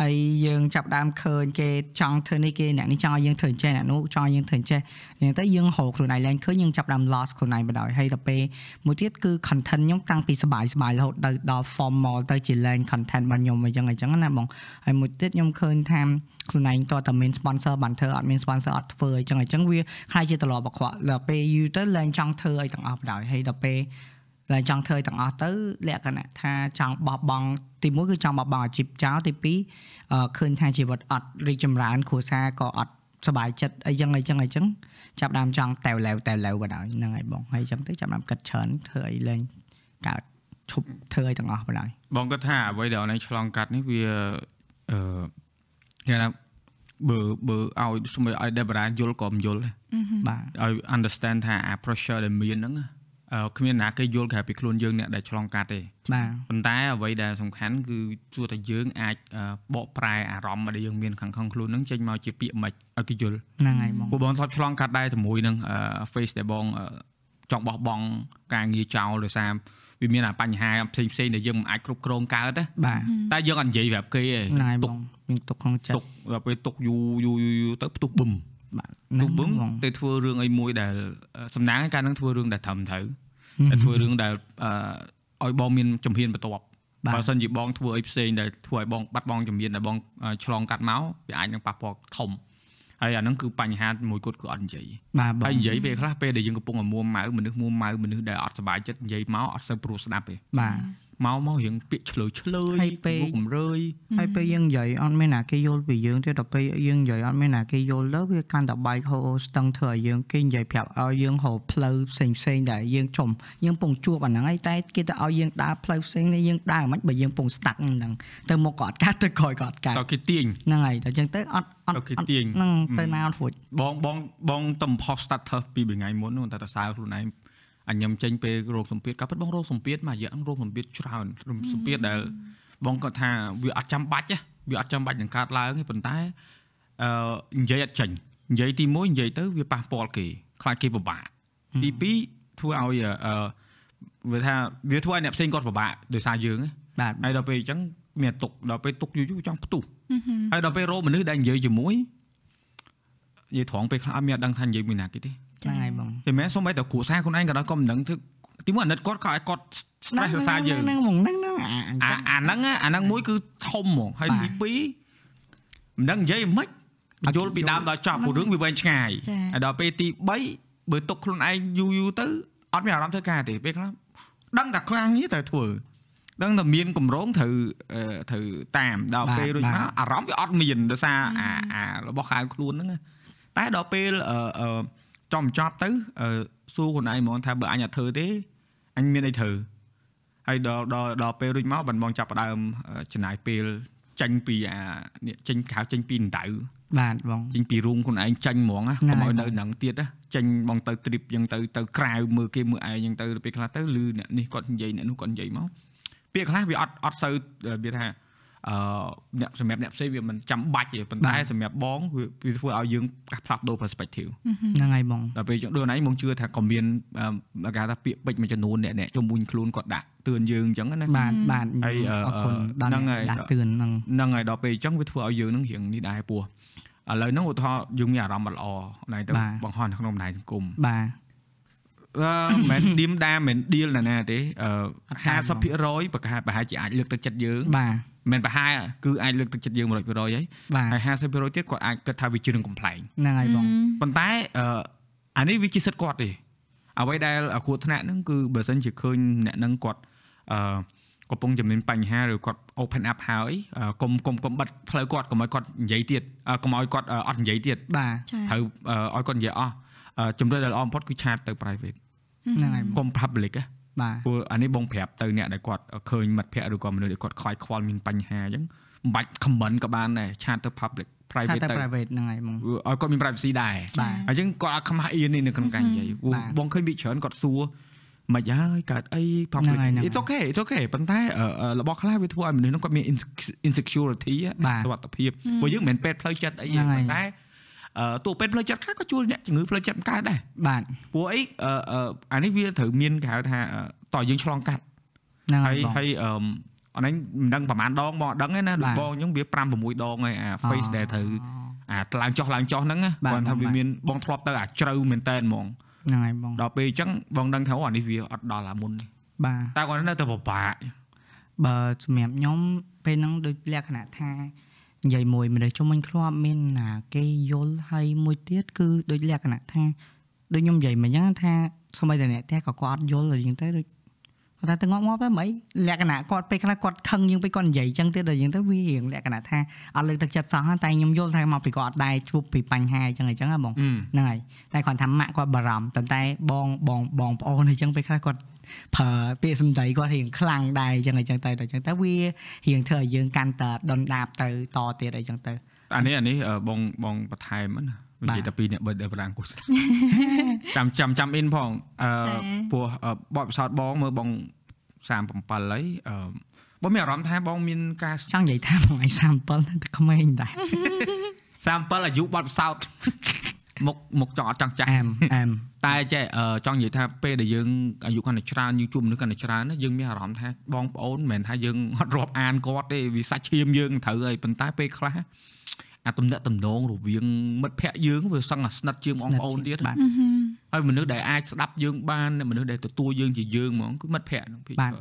Speaker 3: ហើយយើងចាប់ផ្ដើមឃើញគេចង់ធ្វើនេះគេអ្នកនេះចង់ឲ្យយើងធ្វើអញ្ចេះអ្នកនោះចង់ឲ្យយើងធ្វើអញ្ចេះ អញ្ចឹងទៅយើងហៅខ្លួនឯងឡើងឃើញយើងចាប់ផ្ដើម loss ខ្លួនឯងបណ្ដោយហើយដល់ពេលមួយទៀតគឺ content ខ្ញុំតាំងពីសបាយសបាយរហូតដល់ដល់ formal ទៅជា land content របស់ខ្ញុំអញ្ចឹងអញ្ចឹងណាបងហើយមួយទៀតខ្ញុំឃើញថាខ្លួនឯងតើតើមាន sponsor បានធ្វើអត់មាន sponsor អត់ធ្វើអញ្ចឹងអញ្ចឹងវាខ្លាចជាទម្លាប់អាក្រក់ដល់ពេលយូរទៅឡើងចង់ធ្វើអីទាំងអស់បណ្ដោយហើយដល់ពេលឡើងចង់ធ្វើអីទាំងអស់ទៅលក្ខណៈថាចង់បោះបង់ទីមួយគឺចង់បោះបង់អាជីពចោលទីពីរអឺឃើញថាជីវិតអត់រីកចម្រើនគ្រួសារក៏អត់សុបាយចិត្តអីចឹងអីចឹងអីចឹង ចាប់ដើមចង់តែវឡែវតែវឡែវបណ្ដោយហ្នឹងហើយបងហើយអញ្ចឹងទៅចាប់ដើមគិតច្រើនធ្វើអីលេងកើតឈប់ធ្វើអីទាំងអស់បណ្ដោយ
Speaker 1: បងគាត់ថាអ្វីដែលអនឡាញឆ្លងកាត់នេះវាអឺយ៉ាងណាបើបើឲ្យស្មើឲ្យ Debra យល់ក៏មិនយល់ដែរ
Speaker 3: បាទ
Speaker 1: ឲ្យ understand ថាអា pressure ដែលមានហ្នឹងអឺគ្មានអ្នកគេយល់ក្រៅពីខ្លួនយើងអ្នកដែលឆ្លងកាត់ទេ
Speaker 3: បាទ
Speaker 1: ប៉ុន្តែអ្វីដែលសំខាន់គឺជួរតែយើងអាចអឺបកប្រែអារម្មណ៍ដែលយើងមានខាងក្នុងខ្លួនហ្នឹងចេញមកជាពាក្យមិនឲ្យគេយល់
Speaker 3: ហ្នឹងហើយបង
Speaker 1: ពួកបងធ្លាប់ឆ្លងកាត់ដែរជាមួយនឹងអឺ face ដែលបងអឺចង់បោះបង់ការងារចោលដោយសារវាមានអាបញ្ហាផ្សេងផ្សេងៗដែលយើងមិនអាចគ្រប់គ្រងកើតណា
Speaker 3: បាទ
Speaker 1: តែយើងអត់និយាយប្រាប់គេ
Speaker 3: ហ្នឹងហើយ
Speaker 1: ទេ
Speaker 3: បងមានទុកក្នុងចិត្ត
Speaker 1: ទុកដល់ពេលទុកយូរយូរយូរយូរទៅផ្ទុះបឹម
Speaker 3: បាទ
Speaker 1: ផ្ទុះបឹម
Speaker 3: បង
Speaker 1: ទៅធ្វើរឿងអីមួយដែលអឺសំណាងឯងកាលនឹងធ្វើរឿងដែលត្រឹមត្រូវតែលធ្វើរឿងដែលអឺឲ្យបងមានជំហានបន្ទាប់
Speaker 3: បាទ
Speaker 1: បើសិនជាបងធ្វើអីផ្សេងដែលធ្វើឲ្យបងបាត់បង់ជំហានដែលបងអឺឆ្លងកាត់មកវាអាចនឹងប៉ះពាល់ធំហើយអាហ្នឹងគឺបញ្ហាមួយគត់គឺអត់និយាយ
Speaker 3: បាទបង
Speaker 1: ហើយនិយាយពេលខ្លះពេលដែលយើងកំពុងតែមួម៉ៅមនុស្សមួម៉ៅមនុស្សដែលអត់សប្បាយចិត្តនិយាយមកអត់សូវព្រោះស្ដាប់ទេ
Speaker 3: បាទ
Speaker 1: មកមករៀងពាក្យឆ្លើយឆ្លើយ
Speaker 3: ហើយពេល
Speaker 1: គំរគំរើយ
Speaker 3: ហើយពេលយើងនិយាយអត់មានណាគេយល់ពីយើងទេដល់ពេលយើងនិយាយអត់មានណាគេយល់ទៅវាកាន់តែបែកហូរស្ទឹងធ្វើឲ្យយើងគេនិយាយប្រាប់ឲ្យយើងហៅផ្លូវផ្សេងផ្សេងៗដែលយើងចំយើងពងជួបអាហ្នឹងហើយតែគេទៅឲ្យយើងដើរផ្លូវផ្សេងនេះយើងដើរមិនបើយើងពងស្តាក់ហ្នឹងទៅមុខក៏អត់កើតទៅក្រោយក៏អត់កើត
Speaker 1: តើគេទាញ
Speaker 3: ហ្នឹងហើយតែអញ្ចឹងទៅអត់អត់
Speaker 1: ដល់គេ
Speaker 3: អត់
Speaker 1: ទាញ
Speaker 3: ហ្នឹងទៅណាអត់រួច
Speaker 1: បងបងបងតំផុស status ពីថ្ងៃមុនហ្នឹងតែតសើខ្លួនឯងអញញឹមចេញពេលរោគសម្ពាធក៏ពិតបងរោគសម្ពាធមួយរយៈហ្នឹងរោគសម្ពាធច្រើនរោគសម្ពាធដែលបងគាត់ថាវាអត់ចាំបាច់ទេវាអត់ចាំបាច់នឹងកើតឡើងទេប៉ុន្តែអឺនិយាយអត់ចេញនិយាយទី1និយាយទៅវាប៉ះពាល់គេខ្លាចគេពិបាកទី2ធ្វើឲ្យអឺអឺវាថាវាធ្វើឲ្យអ្នកផ្សេងគាត់ពិបាកដោយសារយើងឯង
Speaker 3: បាទ
Speaker 1: ហើយដល់ពេលអញ្ចឹងមានទុកដល់ពេលទុកយូរយូរចង់ផ្ទុះហើយដល់ពេលរោមនុស្សដែលនិយាយជាមួយនិយាយត្រង់ពេលខ្លះអត់មានអត់ដឹងថានិយាយមួយណាគេទេ
Speaker 3: ហ្នឹងហើយបង
Speaker 1: តែមិនមែនសូម្បីតែគ្រួសារខ្លួនឯងក៏ដល់ក៏មិនដឹងធ្វើ ទីមួយអាណិតគាត់ក៏ឲ្យគាត់ stress រ
Speaker 3: ហ្នឹ
Speaker 1: សារយើង
Speaker 3: ហ្នឹងហ្នឹងហ្នឹងហ្នឹងអា
Speaker 1: អា
Speaker 3: អា
Speaker 1: អាហ្នឹងណាអាហ្នឹងមួយគឺធំហ្មងហើយ
Speaker 3: បា
Speaker 1: ទី
Speaker 3: ទ
Speaker 1: ពីរមិនដឹងនិយាយមិន
Speaker 3: ឲ្យ
Speaker 1: យល់ពី
Speaker 3: យល់
Speaker 1: ដើមដល់ចប់ព្រោះរឿងវាវែងឆ្ងាយ
Speaker 2: ចា៎
Speaker 1: ហើយដល់ពេលទី3បើទុកខ្លួនឯងយូរយូរទៅអត់មានអារម្មណ៍ធ្វើការទេពេលខ្លះដឹងតែខ្លាំងនេះត្រូវធ្វើដឹងតែមានកម្រងត្រូវអឺត្រូវតាមដល់
Speaker 3: បាទ
Speaker 1: ពេលរួច
Speaker 3: បា
Speaker 1: មក
Speaker 3: ទ
Speaker 1: អារម្មណ៍វាអត់មានដោយសារអាអារបស់ខាងខ្លួនហ្នឹងណាតែដល់ពេលអឺអឺ ចំចប់ទៅអឺសួរខ្លួនឯងហ្មងថាបើអញអត់ធ្វើទេអញមានអីធ្វើហើយដល់ដល់ដល់ពេលរួចមកបានបងចាប់ផ្ដើមអឺចំណាយពេលចាញ់ពីអានេះចាញ់ខៅចាញ់ពីដៅ
Speaker 3: បាទបង
Speaker 1: ចាញ់ពីរូមខ្លួនឯងចាញ់ហ្មងណា
Speaker 3: ហ្នឹង
Speaker 1: កុំ
Speaker 3: ហើ
Speaker 1: ឲ្យ
Speaker 3: យ
Speaker 1: នៅនឹងទៀតណាចាញ់បងទៅទ្រីបយ៉ាងទៅទៅក្រៅមើលគេមើលឯងយ៉ាងទៅពេលខ្លះទៅលឺអ្នកនេះគាត់និយាយអ្នកនោះគាត់និយាយមកពេលខ្លះវាអត់អត់សូវអឺវាថាអឺអ្នកសម្រាប់អ្នកផ្សេងវាមិនចាំបាច់ទេប៉ុន្តែសម្រាប់បងវាវាធ្វើឲ្យយើងកាសផ្លាស់ប្ដូរ perspective
Speaker 3: ហ្នឹងហើយបង
Speaker 1: ដល់ពេលយើងដូចណៃមកជឿថាក៏មានអឺគេហៅថាពាក្យពេចន៍មួយចំនួនអ្នកអ្នកជំនួញខ្លួនគាត់ដាក់ទឿនយើងអញ្ចឹងណា
Speaker 3: បាទបាទ
Speaker 1: ហើយអឺ
Speaker 3: អរគុណដល់
Speaker 1: ហ្នឹងហើយ
Speaker 3: អ្នកដាក់ទឿនហ្នឹង
Speaker 1: ហ្នឹងហើយដល់ពេលអញ្ចឹងវាធ្វើឲ្យយើងនឹងរៀងនេះដែរពោះឥឡូវហ្នឹងឧទាហរណ៍យើងមានអារម្មណ៍មិនល្អណៃទៅ
Speaker 3: បាទ
Speaker 1: បង្ហោះនៅក្នុងបណ្ដាញសង្គម
Speaker 3: បាទ
Speaker 1: អឺ
Speaker 3: *coughs*
Speaker 1: មិនមែនឌីមដាមមិនឌីលណាណាទេអ
Speaker 3: អត់
Speaker 1: ឺ
Speaker 3: ដែរ
Speaker 1: 50%ប្រហែលប្រហែលជាអាចលើកទឹកចិត្តយើង
Speaker 3: បាទ
Speaker 1: មិនប្រហែលគឺអាចលើកទឹកចិត្តយើង100%ហើយ
Speaker 3: បាទ
Speaker 1: ហើយ50%ទៀតគាត់អាចគិតថាវាជារឿងកំ pl ែង
Speaker 3: ហ្នឹងហើយបង
Speaker 1: ប៉ុន្តែអឺអានេះវាជាសិទ្ធិគាត់ទេអ្វីដែលគ្រូថ្នាក់ហ្នឹងគឺបើសិនជាឃើញអ្នកហ្នឹងគាត់អឺកំពុងជំនាញបញ្ហាឬគាត់ open up ហើយកុំកុំកុំបិទផ្លូវគាត់កុំឲ្យគាត់និយាយទៀតអឺកុំឲ្យគាត់អឺអត់និយាយទៀត
Speaker 3: បាទ
Speaker 2: ចា
Speaker 1: ត្រូវអឺឲ្យគាត់និយាយអស់អឺជំរឿនដែលល្អបំផុតគឺឆាតទៅ private
Speaker 3: ហ្នឹងហើយក
Speaker 1: ុំ public ណា
Speaker 3: បាទ
Speaker 1: ព្រោះអានេះបងប្រាប់ទៅអ្នកដែលគាត់ឃើញមិត្តភ័ក្តិឬក៏មនុស្សដែលគាត់ខ្វាយខ្វល់មានបញ្ហាអញ្ចឹងមិនបាច់ comment ក៏បានដែរឆាតទៅ public
Speaker 3: ថា
Speaker 1: private
Speaker 3: តែ
Speaker 1: ទៅឲ្យ
Speaker 3: private ហ្នឹងហើយបង
Speaker 1: គាត់មាន privacy ដែរ
Speaker 3: បាទ
Speaker 1: អញ្ចឹងគាត់អាចខ្មាស់អៀននេះនៅក្នុងការនិយាយព្រោះ
Speaker 3: បាទ
Speaker 1: បងឃើញវាច្រើនគាត់សួរមិនហើយកើតអី
Speaker 3: ហ្នឹង
Speaker 1: public
Speaker 3: ហើយហ្នឹងហើយ
Speaker 1: it's okay it's okay ប៉ុន្តែអឺអឺរបស់ខ្លះវាធ្វើឲ្យមនុស្សហ្នឹងគាត់មាន inse- insecurity
Speaker 3: បា
Speaker 1: អា
Speaker 3: ទ
Speaker 1: សុវត្ថិភាពព្រោះយើងមិនមែនពេទ្យផ្លូវចិត្តអីទេ
Speaker 3: ហ្នឹងហើយ
Speaker 1: ប៉ុន្តែអឺតួពេទ្យផ្លូវចិត្តខ្លះក៏ជួយអ្នកជំងឺផ្លូវចិត្តបង្កើតដែរ
Speaker 3: បាទ
Speaker 1: ព្រោះអីអឺអឺអានេះវាត្រូវមានគេហៅថាអឺតើយើងឆ្លងកាត់
Speaker 3: ហ្នឹងហើ
Speaker 1: ហើយ យ
Speaker 3: បង
Speaker 1: ហើយអឺមអនឯងមិនដឹងប្រហែលដងមកអត់ដឹងទេណាដូច
Speaker 3: បាទ
Speaker 1: បងខ្ញុំវា5 6ដងហើយអា face ដែលត្រូវ អាឡើងចុះឡើងចុះហ្នឹងណា
Speaker 3: បាទ
Speaker 1: គាត់ថា
Speaker 3: បាទ
Speaker 1: វា
Speaker 3: បាទ
Speaker 1: មានបងធ្លាប់ទៅអាជ្រៅមែនតែនហ្មង
Speaker 3: ហ្នឹងហើយបង
Speaker 1: ដល់ពេលអញ្ចឹងបងដឹងថាអូអានេះវាអត់ដល់អាមុនទេ
Speaker 3: បាទ
Speaker 1: តែគាត់នៅតែពិបាក
Speaker 3: បើសម្រាប់ខ្ញុំពេលហ្នឹងដូចលក្ខណៈថានិយាយមួយមនុស្សជុំវិញធ្លាប់មានណាគេយល់ហើយមួយទៀតគឺដូចលក្ខណៈថាដូចខ្ញុំនិយាយមកអញ្ចឹងថាសម្បីតែអ្នកតែក៏គាត់អត់យល់អីចឹងទៅដូចគាត់ថាទៅងាប់ងាប់ទៅមិនអីលក្ខណៈគាត់ពេលខ្លះគាត់ខឹងយើងពេលគាត់និយាយអញ្ចឹងទៀតដល់អញ្ចឹងទៅវារៀងលក្ខណៈថាអត់លើកទឹកចិត្តសោះហ្នឹងតែខ្ញុំយល់ថាមកពីគាត់ដែរជួបពីបញ្ហាអញ្ចឹងអញ្ចឹងហ៎បង
Speaker 1: អឺ
Speaker 3: ហ្នឹងហើយតែគ្រាន់ថាម៉ាក់គាត់បារម្ភប៉ុន្តែបងបងបងប្អូនអញ្ចឹងពេលខ្លះគាត់ប្រើពាក្យសម្ដីគាត់រៀងខ្លាំងដែរអញ្ចឹងអញ្ចឹងទៅដល់អញ្ចឹងទៅវារៀងធ្វើឲ្យយើងកាន់តែដុនដាបទៅតទៀតអីអញ្ចឹងទៅ
Speaker 1: អានេះអានេះអឺបងបងបន្ថែមហ្នឹងណានិយាយ
Speaker 3: បាទ
Speaker 1: តែពីអ្នកបើដែលប្រាំងគូស
Speaker 3: *laughs*
Speaker 1: ចាំចាំចាំអ៊ីនផងអឺព្រោះអឺបបផ្សោតបងមើលបង37ហើយអឺបងមានអារម្មណ៍ថាបងមានការ
Speaker 3: ចង់និយាយថាបងឯង37នៅតែក្មេងដែរ
Speaker 1: 37អាយុបបផ្សោត *laughs* មកមកចង់អត់ចង់ចាស់
Speaker 3: អែមអែម
Speaker 1: តែចេះអឺចង់និយាយថាពេលដែលយើងអាយុកាន់តែច្រើនយើងជួបមនុស្សកាន់តែច្រើនណាយើងមានអារម្មណ៍ថាបងប្អូនមិនមែនថាយើងអត់រាប់អានគាត់ទេវាសាច់ឈាមយើងត្រូវហើយប៉ុន្តែពេលខ្លះអាទំនាក់ទំនងរវាងមិត្តភ័ក្តិយើងវាសឹងអាស្និទ្ធជាងបងប្អូនទៀត
Speaker 3: បាទ
Speaker 1: ហើយមនុស្សដែលអាចស្ដាប់យើងបានមនុស្សដែលទទួលយើងជាយើងហ្មងគឺមិត្តភ័ក្តិហ្នឹង
Speaker 3: បាទ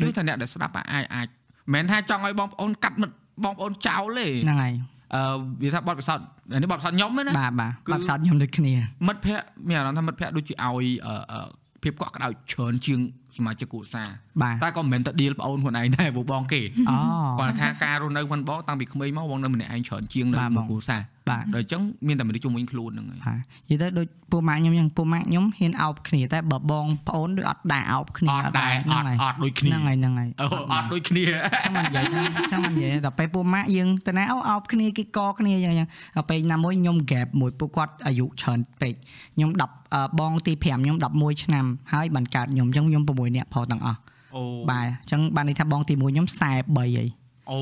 Speaker 1: គឺថាអ្នកដែលស្ដាប់អាចអាចមិនមែនថាចង់ឲ្យបងប្អូនកាត់មិត្តបងប្អូនចោលទេ
Speaker 3: ហ្នឹងហើយ
Speaker 1: អឺវាថាបទពិសោធន៍អានេះបទពិសោធន៍ខ្ញុំទេណា
Speaker 3: បាទបាទ
Speaker 1: គឺ
Speaker 3: បាត់ផ្សោតខ្ញុំដូចគ្នា
Speaker 1: មិត្តភ័ក្តិមានអារម្មណ៍ថាមិត្តភ័ក្តិដូចជាឲ្យអឺអឺភាពកក់ក្ដៅច្រើនជាងសមាជិកគ្រួសារ
Speaker 3: បាទ
Speaker 1: តែក៏មិនមែនទៅដៀលប្អូនខ្លួនឯងដែរព្រោះបងគេ
Speaker 3: អូ
Speaker 1: គាត់ថាការរស់នៅខ្លួនបងតាំងពីក្មេងមកបងនៅម្នាក់ឯងច្រើនជាងនៅ
Speaker 3: បាទ
Speaker 1: ក្នុង
Speaker 3: បង
Speaker 1: គ្រួសារដ
Speaker 3: បាទ
Speaker 1: ល់អញ្ចឹងមានតែមនុស្សជុំវិញខ្លួនហ្នឹងហើយ
Speaker 3: បាទនិយាយទៅដូចពូម៉ាក់ខ្ញុំអញ្ចឹងពូម៉ាក់ខ្ញុំហ៊ានអោបគ្នាតែបើបងប្អូនដូចអត់ដែរអោបគ្នា
Speaker 1: អត់ដែរអ
Speaker 3: ហ្នឹង
Speaker 1: ត់
Speaker 3: ហើយ
Speaker 1: អត់ដូចគ្នា
Speaker 3: ហ្នឹងហើយហ្នឹងហើយ
Speaker 1: អូអត់ដូចគ្នា *laughs*
Speaker 3: ចាំមិននិយាយណាចាំមិននិយាយដល់ពេលពួកម៉ាក់យើងទៅណាអូអោបគ្នាគេកគ្នាយ៉ាងយ៉ាងដល់ពេលណាមួយខ្ញុំ gap មួយពួកគាត់អាយុច្រើនពេកខ្ញុំ10អឺបងទី5ខ្ញុំ11ឆ្នាំហើយបានកើតខ្ញុំអញ្ចឹងខ្ញុំ6នាក់ផងទាំងអស់
Speaker 1: អូ
Speaker 3: បាទអញ្ចឹងបានន័យថាបងទី1ខ្ញុំ43ហើយ
Speaker 1: អូ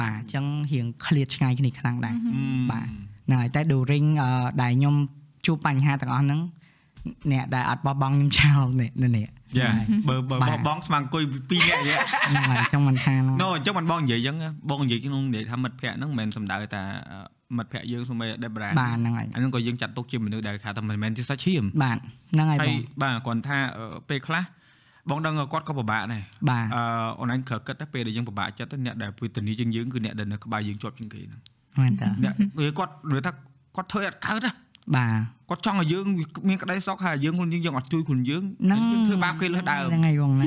Speaker 3: បាទអញ្ចឹងរៀងឃ្លាតឆ្ងាយគ្នាខ្លាំងដែរ
Speaker 1: ហឹម
Speaker 3: បាទ ហ្នឹងហើយតែ during អឺដែលខ្ញុំជួបបញ្ហាទាំងអស់ហ្នឹងអ្នកដែលអត់បោះបង់ខ្ញុំចោលនេះនេះ
Speaker 1: យ៉ា
Speaker 3: ហ្នឹងហើយ
Speaker 1: បើបើ
Speaker 3: បាទ
Speaker 1: បងបងស្មាអង្គុយពីរនាក់យ៉ា
Speaker 3: ហ្នឹងហើយអញ្ចឹងមិនថាហ្នឹង
Speaker 1: *laughs* ណូអញ្ចឹងមិនបងនិយាយអញ្ចឹងណាបងនិយាយក្នុងនិយាយថាមិត្តភ័ក្តិហ្នឹងមិនមែនសំដៅតែអឺមិត្តភ័ក្តិយើងសូម្បីតែដេបរ៉ា
Speaker 3: បាទហ្នឹងហើយ
Speaker 1: អាហ្នឹងក៏យើងចាត់ទុកជាមនុស្សដែលថាថាមិនមែនជាសាច់ឈាម
Speaker 3: បាទហ្នឹងហើយ
Speaker 1: ហើ
Speaker 3: ប
Speaker 1: យ
Speaker 3: ង
Speaker 1: បាទគាត់ថាអឺពេលខ្លះ
Speaker 4: បងដឹងគាត់ក៏ពិបាកដែរ
Speaker 3: បាទ
Speaker 4: អឺអូនឡាញក្រកឹតដែរពេលដែលយើងពិបាកចិត្តអ្នកដែលពេលធានាជាងយើងគឺអ្នកដែលនៅក្បែរយើងជាប់ជាងគេហ្នឹង
Speaker 3: មែនតើ
Speaker 4: អ្នកគេគាត់និយាយថាគាត់ធ្វើឲ្យអត់កើត
Speaker 3: បាទ
Speaker 4: ណាគាត់ចង់ឲ្យយើងមានក្តីសុខហើយយើងខ្លួនយើងយើងអត់ជួយខ្លួនយើង
Speaker 3: ហ្នឹ
Speaker 4: យើ
Speaker 3: ង
Speaker 4: ងធ្វើបាបគេលើសដើម
Speaker 3: ហ្នឹងហើយបងណា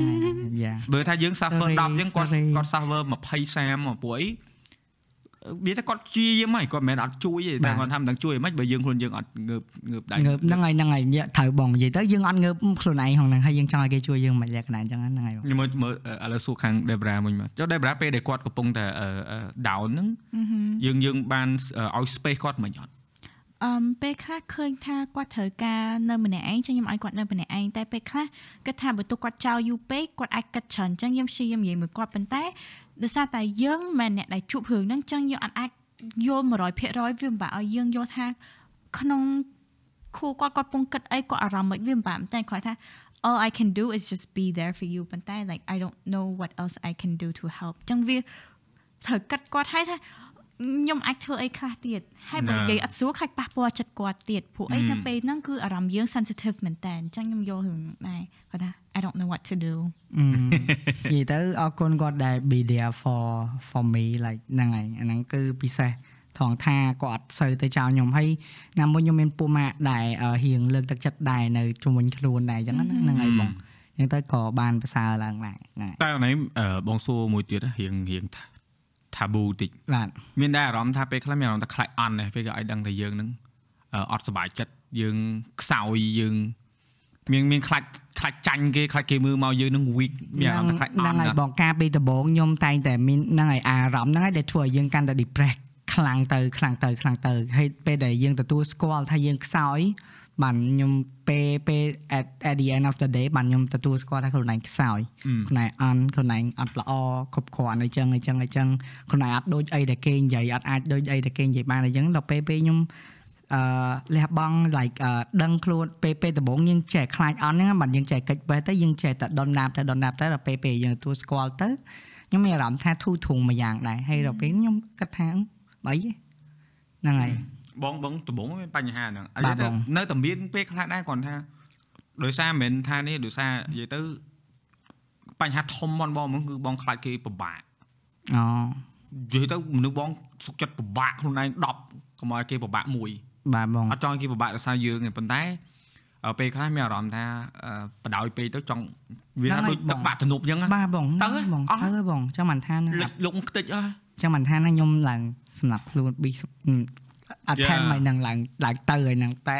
Speaker 3: យ៉ា
Speaker 4: បើថាយើង suffer
Speaker 3: Sorry,
Speaker 4: 10អញ្ចឹងគាត់
Speaker 3: sorry.
Speaker 4: គាត់ suffer 20 30មកពួកអីនិយាយថាគាត់ព្យាយាមហើយគាត់មិនមែនអត់ជួយទេ
Speaker 3: បាទ
Speaker 4: តែគាត់ថាមិនដឹងជួយហ្មងបើយើងខ្លួនយើងអត់ងើបងើបដៃ
Speaker 3: ងើបហ្នឹងហើយហ្នឹងហើយនិយាយត្រូវបងនិយាយទៅយើងអត់ងើបខ្លួនឯងហ្នឹងហើយយើងចង់ឲ្យគេជួយយើងមិនលក្ខណៈអញ្ចឹងហ្នឹងហើយបង
Speaker 4: ខ្ញុំមើលមើលឥឡូវសួរខាង Debra មួយមកចុះ Debra ពេលដែលគាត់កំពុងតែ down ហ្នឹងយើងយើងបានឲ្យ space គាត់មិនអត់
Speaker 2: អឺមពេលខ្លះឃើញថាគាត់ត្រូវការនៅម្នាក់ឯងចឹងខ្ញុំឲ្យគាត់នៅម្នាក់ឯងតែពេលខ្លះគាត់ថាបើទោះគាត់ចោលយូរពេកគាត់អាចគិតច្រើនចឹងខ្ញុំព្យាយាមនិយាយមួយគាត់ប៉ុន្តែដោយសារតែយើងមិនមែនអ្នកដែលជួបរឿងហ្នឹងចឹងយើងអត់អាចយល់100%វាមិនបាក់ឲ្យយើងយល់ថាក្នុងគូគាត់គាត់ពងគិតអីគាត់អារម្មណ៍មិនវាមិនបាក់តែគាត់ថា all I can do is just be there for you ប៉ុន្តែ like I don't know what else I can do to help ចឹងវាត្រូវគិតគាត់ឲ្យថាខ្ញុំអាចធ្វើអីខ្លះទៀតហើយបើនិយាយ អត់ស្រួលខាច់ប៉ះពាល់ចិត្តគាត់ទៀតពួកអីនៅពេលហ្នឹងគឺអារម្មណ៍យើង sensitive មែនតើអញ្ចឹងខ្ញុំយល់រឿងហ្នឹងដែរគាត់ថា I don't know what to do
Speaker 3: អឺ និយាយទៅអរគុណគាត់ដែល be there for for me like ហ្នឹងហើយអាហ្នឹងគឺពិសេសថងថាគាត់អត់សូវទៅចោលខ្ញុំហើយណាមួយខ្ញុំមានពូម៉ាក់ដែលអឺរៀងលើកទឹកចិត្តដែរនៅជំនួយខ្លួនដែរអញ្ចឹងណាហ្នឹងហើយបងអញ្ចឹងទៅក៏បានប្រសើរឡើងដែរហ្នឹងហើយ
Speaker 4: តែអូនឯងអឺបងសួរមួយទៀតណារៀងរៀង taboo តិច
Speaker 3: បាទ
Speaker 4: មានដែរអារម្មណ៍ថាពេលខ្លះមានអារម្មណ៍ថាខ្លាចអន់ដែរពេលគេឲ្យដឹងថាយើងហ្នឹងអឺអត់សុបាយចិត្តយើងខ្សោយយើងមានមានខ្លាចខ្លាចចាញ់គេខ្លាចគេមើលមកយើងហ្នឹង weak មានអារម្មណ៍ថាខ្លាចអ
Speaker 3: ហ្នឹង
Speaker 4: ន់ណា
Speaker 3: ហើយបងការពីដំបូងខ្ញុំតែងតែមានហ្នឹងហើយអារម្មណ៍ហ្នឹងហើយដែលធ្វើឲ្យយើងកាន់តែ depress ខ្លាំងទៅខ្លាំងទៅខ្លាំងទៅហើយពេលដែលយើងទទួលស្គាល់ថាយើងខ្សោយបានខ្ញុំពេលពេល at at the end of the day បានខ្ញុំទទួលស្គាល់ថាខ្លួនឯងខ្សោយ
Speaker 4: ឧម
Speaker 3: ខ្លួនឯងអន់ខ្លួនឯងអត់ល្អគ្រប់គ្រាន់អីចឹងអីចឹងអីចឹងខ្លួនឯងអត់ដូចអីដែលគេនិយាយអត់អាចដូចអីដែលគេនិយាយបានអីចឹងដល់ពេលពេលខ្ញុំអឺលះបង់ like អឺដឹងខ្លួនពេលពេលដំបូងយើងចេះខ្លាចអន់ហ្នឹងណាបាទយើងចេះកិច្ចបេះទៅយើងចេះតែដុនដាបតែដុនដាបតែដល់ពេលពេលយើងទទួលស្គាល់ទៅខ្ញុំមានអារម្មណ៍ថាធូរធុងមួយយ៉ាងដែរហើយដល់ពេលខ្ញុំគិតថាអឺបើអីហ្នឹងហើយ
Speaker 4: បងបងដំបងមានបញ្ហាហ្នឹង
Speaker 3: បាទ
Speaker 4: តែ
Speaker 3: បង
Speaker 4: នៅតែមានពេលខ្លះដែរគ្រាន់ថាដោយសារមិនមែនថានេះដោយសារនិយាយទៅបញ្ហាធំហ្មងបងហ្នឹងគឺបងខ្លាចគេពិបាក
Speaker 3: អូ
Speaker 4: និយាយទៅមនុស្សបងសុខចិត្តពិបាកខ្លួនឯង10កុំឲ្យគេពិបាកមួយ
Speaker 3: បាទបង
Speaker 4: អត់ចង់ឲ្យគេពិបាកដោយសារយើងទេប៉ុន្តែអើពេលខ្លះមានអារម្មណ៍ថាអឺបដ ாய் ពេកទៅចង់វាថាដូចទឹកបាក់ទំនប់អញ្ចឹងណា
Speaker 3: បាទបង
Speaker 4: ទៅ
Speaker 3: ហ្នឹងហើយបង
Speaker 4: អស់
Speaker 3: ទៅហើយបងចាំមិនថាហ្នឹង
Speaker 4: លិចលងខ្ទេចអស់
Speaker 3: ចឹងមិនថាណាខ្ញុំឡើងសម្រាប់ខ្លួន big អត់
Speaker 4: Yeah.
Speaker 3: ថែមឲ្យនឹងឡើងឡើងទៅឲ្យនឹងតែ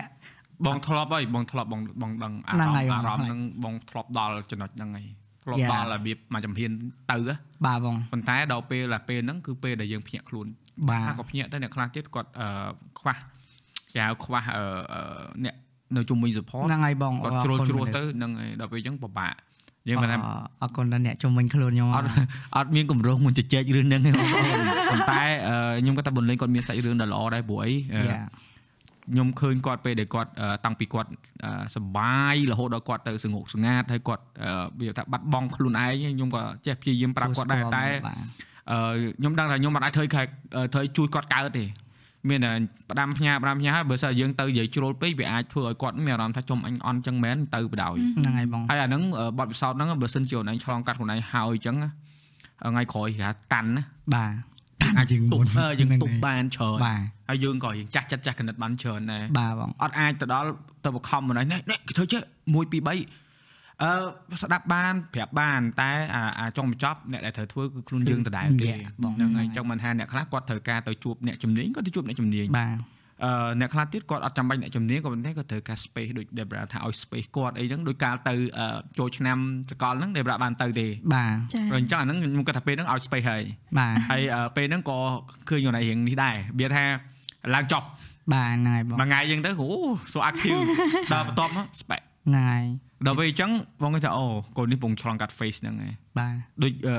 Speaker 4: បងធ្លាប់ហើយបងធ្លាប់បងបងដឹងអារ
Speaker 3: ហ្នឹង
Speaker 4: ម្ម
Speaker 3: ហើយ
Speaker 4: ណ៍
Speaker 3: បង
Speaker 4: អារម្មណ៍ហ្នឹងបងធ្លាប់ដល់ចំណុចហ្នឹងហើយធ្លាប់
Speaker 3: Yeah.
Speaker 4: ដល់របៀបមួយចំហៀនទៅហ៎
Speaker 3: បាទបង
Speaker 4: ប៉ុន្តែដល់ពេលដល់ពេលហ្នឹងគឺពេលដែលយើងភ្ញាក់ខ្លួន
Speaker 3: បាទ
Speaker 4: ខ្លះក៏ភ្ញាក់ទៅអ្នកខ្លះទៀតគាត់អឺខ្វះគេហៅខ្វះអឺអឺអ្នកនៅជុំវិញ support
Speaker 3: ហ្នឹងហើយបង
Speaker 4: គាត់ជ្រុលជ្រួសទៅហ្នឹងឯងដល់ពេលអញ្ចឹងពិបាកយើងមិន
Speaker 3: អ
Speaker 4: ថា
Speaker 3: រអរគុណដល់អ្នកជំនាញខ្លួនខ្ញុំ
Speaker 4: អត់អត់មានកម្រងមុនជជែករឿងហ្នឹងទេបងប្អូនប៉ុន្តែអឺខ្ញុំគាត់ថាបុនលេងគាត់មានសាច់រឿងដ៏ល្អដែរព្រោះអីអឺ
Speaker 3: យ៉ា
Speaker 4: ខ្ញុំឃើញគាត់ពេលដែលគាត់អឺតាំងពីគាត់អឺសប្បាយរហូតដល់គាត់ទៅសងោកស្ងាត់ហើយគាត់អឺវាថាបាត់បង់ខ្លួនឯងខ្ញុំក៏ចេះព្យាយាមប្រាប់គាត់ដែរតែ
Speaker 3: បាទ
Speaker 4: អឺខ្ញុំដឹងថាខ្ញុំមិនអាចធ្វើខែធ្វើជួយគាត់កើតទេមានតែផ្ដាំផ្ញើផ្ដាំផ្ញើហើយបើសិនយើងទៅនិយាយជ្រុលពេកវាអាចធ្វើឲ្យគាត់មានអារម្មណ៍ថាចំអញអន់ចឹងមែនទៅបដ ாய்
Speaker 3: ហ្នឹងហើយបង
Speaker 4: ហើយអាហ្នឹងអឺបទពិសោធន៍ហ្នឹងបើសិនជាខ្លួនឯងឆ្លងកាត់ខ្លួនឯងហើយចឹងណាថ្ងៃក្រោយគេថាតាន់ណា
Speaker 3: បាទ
Speaker 4: អាចយើងទុបអឺយើង
Speaker 3: ហ្នឹង
Speaker 4: ទុបបានច្រើន
Speaker 3: បាទ
Speaker 4: ហើយយើងក៏យើងចាស់ចិត្តចាស់កណិតបានច្រើនដែរ
Speaker 3: បាទបង
Speaker 4: អត់អាចទៅដល់ទៅបង្ខំមនុស្សនេះនេះគេធ្វើចេះ1 2 3អឺស្ដាប់បានប្រាប់បានតែអាអាចុងបញ្ចប់អ្នកដែលត្រូវធ្វើគឺខ្លួនយើងដដែលទេហ្នឹងហើយចឹងមិនថាអ្នកខ្លះគាត់ត្រូវការទៅជួបអ្នកជំនាញគាត់ទៅជួបអ្នកជំនាញ
Speaker 3: បាទ
Speaker 4: អឺអ្នកខ្លះទៀតគាត់អត់ចាំបាច់អ្នកជំនាញក៏ប៉ុន្តែគាត់ត្រូវការ space ដូច Debra ថាឲ្យ space គាត់អីហ្នឹងដោយការទៅចូលឆ្នាំសកលហ្នឹង Debra បានទៅទេ
Speaker 3: បាទ
Speaker 2: ចា
Speaker 4: ព្រោះអញ្ចឹងអាហ្នឹងខ្ញុំគាត់ថាពេលហ្នឹងឲ្យ space ហើយ
Speaker 3: បាទ
Speaker 4: ហើយពេលហ្នឹងក៏ឃើញខ្លួនឯងរៀងនេះដែរវាថាឡើងចុះ
Speaker 3: បាទហ្នឹងហើយបង
Speaker 4: មួយថ្ងៃអញ្ចឹងទៅអូសូ active ដល់បន្ទាប់មកស្បែក
Speaker 3: ហ្នឹងហើយ
Speaker 4: ដល់ពេលអញ្ចឹងបងគេថាអូកូននេះពងឆ្លងកាត់ face ហ្នឹងឯង
Speaker 3: បាទ
Speaker 4: ដូចអឺ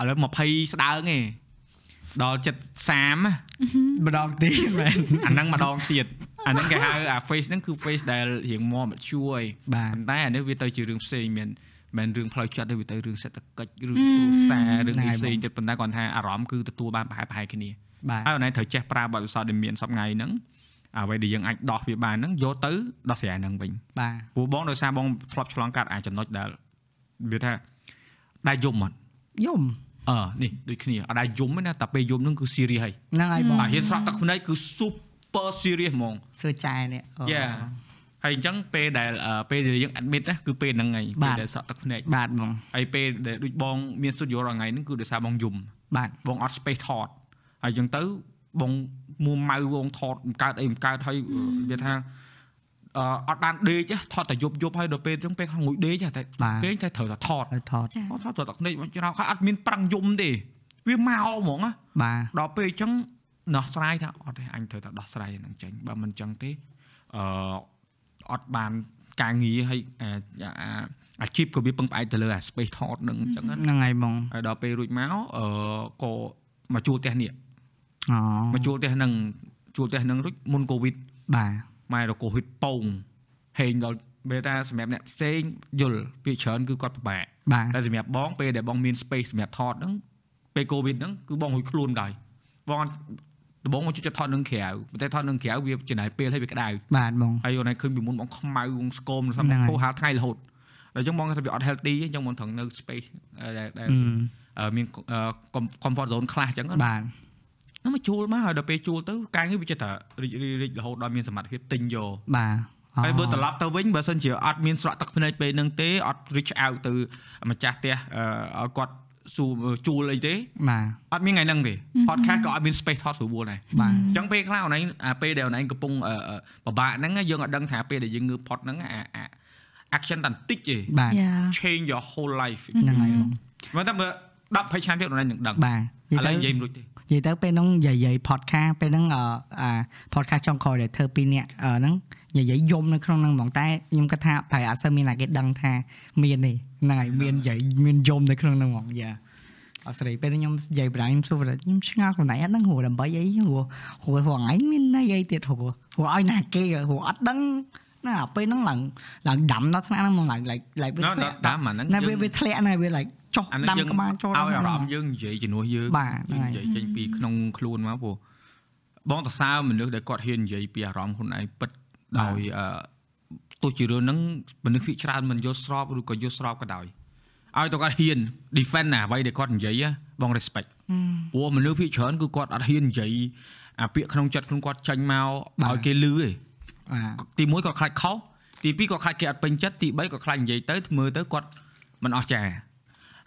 Speaker 4: អឺឥឡូវ20ស្ដើងឯងដល់ចិត្ត30ហ៎
Speaker 3: ម្ដងទៀតមែន
Speaker 4: *laughs* អាហ្នឹងម្ដងទៀតអាហ្នឹងគេហៅអា face ហ្នឹងគឺ face ដែលរៀងមកមកជួយ
Speaker 3: បាទ
Speaker 4: ប៉ុន្តែអានេះវាទៅជារឿងផ្សេងមានមិនមែនរឿងផ្លូវចិត្តទេវាទៅរឿងសេដ្ឋកិច្ចរឿងគ្រួសាររឿងអីផ្សេងទៀតប៉ុន្តែគាត់ថាអារម្មណ៍គឺទទួលបានប្រហែលប្រហែលគ្នា
Speaker 3: បាទ
Speaker 4: ហើយអូនឯងត្រូវចេះប្រើបទពិសោធន៍ដែលមានសប្ដងៃហ្នឹងអ្វីដែលយើងអាចដោះវាបានហ្នឹងយកទៅដោះស្រាយហ្នឹងវិញ
Speaker 3: បាទ
Speaker 4: ព្រោះបងដោយសារបងធ្លាប់ឆ្លងកាត់អាចចំណុចដែល វាថាដែរយំអត់
Speaker 3: យំ
Speaker 4: អឺនេះដូចគ្នាអត់ដែរយំទេណាតែពេលយំហ្នឹងគឺ serious ហើយ
Speaker 3: ហ្នឹងហើយបង
Speaker 4: តែហ៊ានស្រក់ទឹកភ្នែកគឺ super serious ហ្មង
Speaker 3: សួរចែនេះអូ
Speaker 4: យ៉ាហើយអញ្ចឹងពេលដែលអឺពេលដែលយើង admit ណាគឺពេលហ្នឹងហើយ
Speaker 3: បា
Speaker 4: ពេល
Speaker 3: ទ
Speaker 4: ដែលសក់ទឹកភ្នែក
Speaker 3: បាទបង
Speaker 4: ហើយពេលដែលដូចបងមានសុទ្ធយោរាល់ថ្ងៃហ្នឹងគឺដោយសារបងយំ
Speaker 3: បាទ
Speaker 4: បងអត់ space ថតហើយអញ្ចឹងទៅបងមួម៉ៅបងថតបង្កើតអីបង្កើតហើយវាថាអឺអត់បានដេកទេថតតែយប់យប់ហើយដល់ពេលអញ្ចឹងពេលខ្លះងុយដេកទេតែពេលតែត្រូវតែថត
Speaker 3: ហើយថត
Speaker 2: ចា
Speaker 4: អត់ថតត្រូវតែភ្នែកបងច្រោកហើយអត់មានប្រាំងយំទេវាមកហ្មងណា
Speaker 3: បាទ
Speaker 4: ដល់ពេលអញ្ចឹងដោះស្រាយថាអត់ទេអញត្រូវតែដោះស្រាយអាហ្នឹងចេញបើមិនអញ្ចឹងទេអឺអត់បានការងារហើយអាអាអាជីពក៏វាពឹងផ្អែកទៅលើអា space thought ហ្នឹងអញ្ចឹងណា
Speaker 3: ហ្នឹងហើយបង
Speaker 4: ហើយដល់ពេលរួចមកអឺក៏មកជួលផ្ទះនេះ
Speaker 3: អូ
Speaker 4: មកជួលផ្ទះហ្នឹងជួលផ្ទះហ្នឹងរួចមុន covid
Speaker 3: បាទ
Speaker 4: ម៉ែរកូវីដប៉ោងហេងដល់ពេលថាសម្រាប់អ្នកផ្សេងយល់ពាក្យច្រើនគឺគាត់ពិបាក
Speaker 3: បាទ
Speaker 4: តែសម្រាប់បងពេលដែលបងមាន space សម្រាប់ថតហ្នឹងពេល covid ហ្នឹងគឺបងរួចខ្លួនដែរបងអត់ដំបងមកជួយចិត្តថតនឹងក្រៅប៉ុន្តែថតនឹងក្រៅវាចំណាយពេលហើយវាក្តៅ
Speaker 3: បាទបង
Speaker 4: ហើយអូនឯងឃើញពីមុនបងខ្មៅបងស្គមស
Speaker 3: ហ្នឹងហើយ
Speaker 4: ម្រាប់ពោហាលថ្ងៃរហូតដល់អញ្ចឹងបងថាវាអត់ healthy ទេអញ្ចឹងបងត្រូវនៅ space ដែលដែល
Speaker 3: អឺ
Speaker 4: អឺមានអឺ com- comfort zone ខ្លះអញ្ចឹងណា
Speaker 3: បាទ
Speaker 4: ហ្នឹងមកជួលមកហើយដល់ពេលជួលទៅកាយនេះវាចិត្តថារីករាយរីករហូតដល់មានសមត្ថភាពទិញយក
Speaker 3: បាទអូ
Speaker 4: ហើយបើត្រឡប់ទៅវិញបើសិនជាអត់មានស្រក់ទឹកភ្នែកពេលហ្នឹងទេអត់ reach out ទៅម្ចាស់ផ្ទះអឺឲ្យគាត់សួរជួលអីទេ
Speaker 3: បាទ
Speaker 4: អត់មានថ្ងៃហ្នឹងទេ podcast ក៏អត់មាន space ថតស្រួលដែរ
Speaker 3: បាទ
Speaker 4: អញ្ចឹងពេលខ្លះអូនឯងអាពេលដែលអូនឯងកំពុងអឺអឺពិបាកហ្នឹងណាយើងអត់ដឹងថាពេលដែលយើងងើប pod ហ្នឹងអាអា action តាន់តិចទេ
Speaker 3: បាទ
Speaker 2: យ៉ា
Speaker 4: change your whole life
Speaker 3: ហ្នឹងហើយបង
Speaker 4: មិនថាបើ10 20ឆ្នាំទៀតអូនឯងនឹងដឹងឥ
Speaker 3: បាទ
Speaker 4: ឡូវនិយាយមិនរួចទេ
Speaker 3: និយាយទៅពេលហ្នឹងនិយាយ podcast ពេលហ្នឹងអឺអា podcast ចុងក្រោយដែលធ្វើពីរអ្នកអឺហ្នឹងនិយាយយំនៅក្នុងហ្នឹងហ្មងតែខ្ញុំគិតថាប្រហែលអត់សូវមានអ្នកគេដឹងថាមានទេហ្នឹងហើយមាននិយាយមានយំនៅក្នុងហ្នឹងហ្មងយ៉ាអស្ចារ្យពេលហ្នឹងខ្ញុំនិយាយប្រាំខ្ញុំសួរថាខ្ញុំឆ្ងល់ខ្លួនឯងអត់ដឹងហួរដើម្បីអីហួរហួរហួរថ្ងៃមានន័យអីទៀតហួរហួរឲ្យណាគេហួរអត់ដឹងណាពេលហ្នឹងឡើងឡើងដាំដល់ថ្នាក់ហ្នឹងហ្មងឡើងឡើងឡើងវា
Speaker 4: ណា
Speaker 3: ធ្លាក់
Speaker 4: ដាំអាហ្នឹង
Speaker 3: ណាវា
Speaker 4: យើង
Speaker 3: វាធ្លាក់ណាវាឡើងចុះ
Speaker 4: អានឹ
Speaker 3: ដាំ
Speaker 4: ងយើង
Speaker 3: ក្បាលចូល
Speaker 4: ឲ្យអារ
Speaker 3: ហ្ម
Speaker 4: ម្ម
Speaker 3: ង
Speaker 4: ណ៍យើងនិយាយជំនួសយើង
Speaker 3: បាទ
Speaker 4: យើ
Speaker 3: ហ្នឹង
Speaker 4: ង
Speaker 3: ហើយ
Speaker 4: និយាយចេញពីក្នុងខ្លួនមកព្រោះបងតសើមនុស្សដែលគាត់ហ៊ាននិយាយពីអារម្មណ៍ខ្លួនឯងពិតដោយអឺទោះជារឿងហ្នឹងមនុស្សភាគច្រើនមិនយល់ស្របឬក៏យល់ស្របក៏ដោយឲ្យតែគាត់ហ៊ាន defend ណាអ្វីដែលគាត់និយាយហ៎បង respect ព្រោះមនុស្សភាគច្រើនគឺគាត់អត់ហ៊ាននិយាយអាពាក្យក្នុងចិត្តខ្លួនគាត់ចេញមក
Speaker 3: បាទ
Speaker 4: ឲ្យគេលឺឯង
Speaker 3: បាទ
Speaker 4: ទី1គាត់ខ្លាចខុសទី2គាត់ខ្លាចគេអត់ពេញចិត្តទី3គាត់ខ្លាចនិយាយទៅធ្វើទៅគាត់មិនអស្ចារ្យ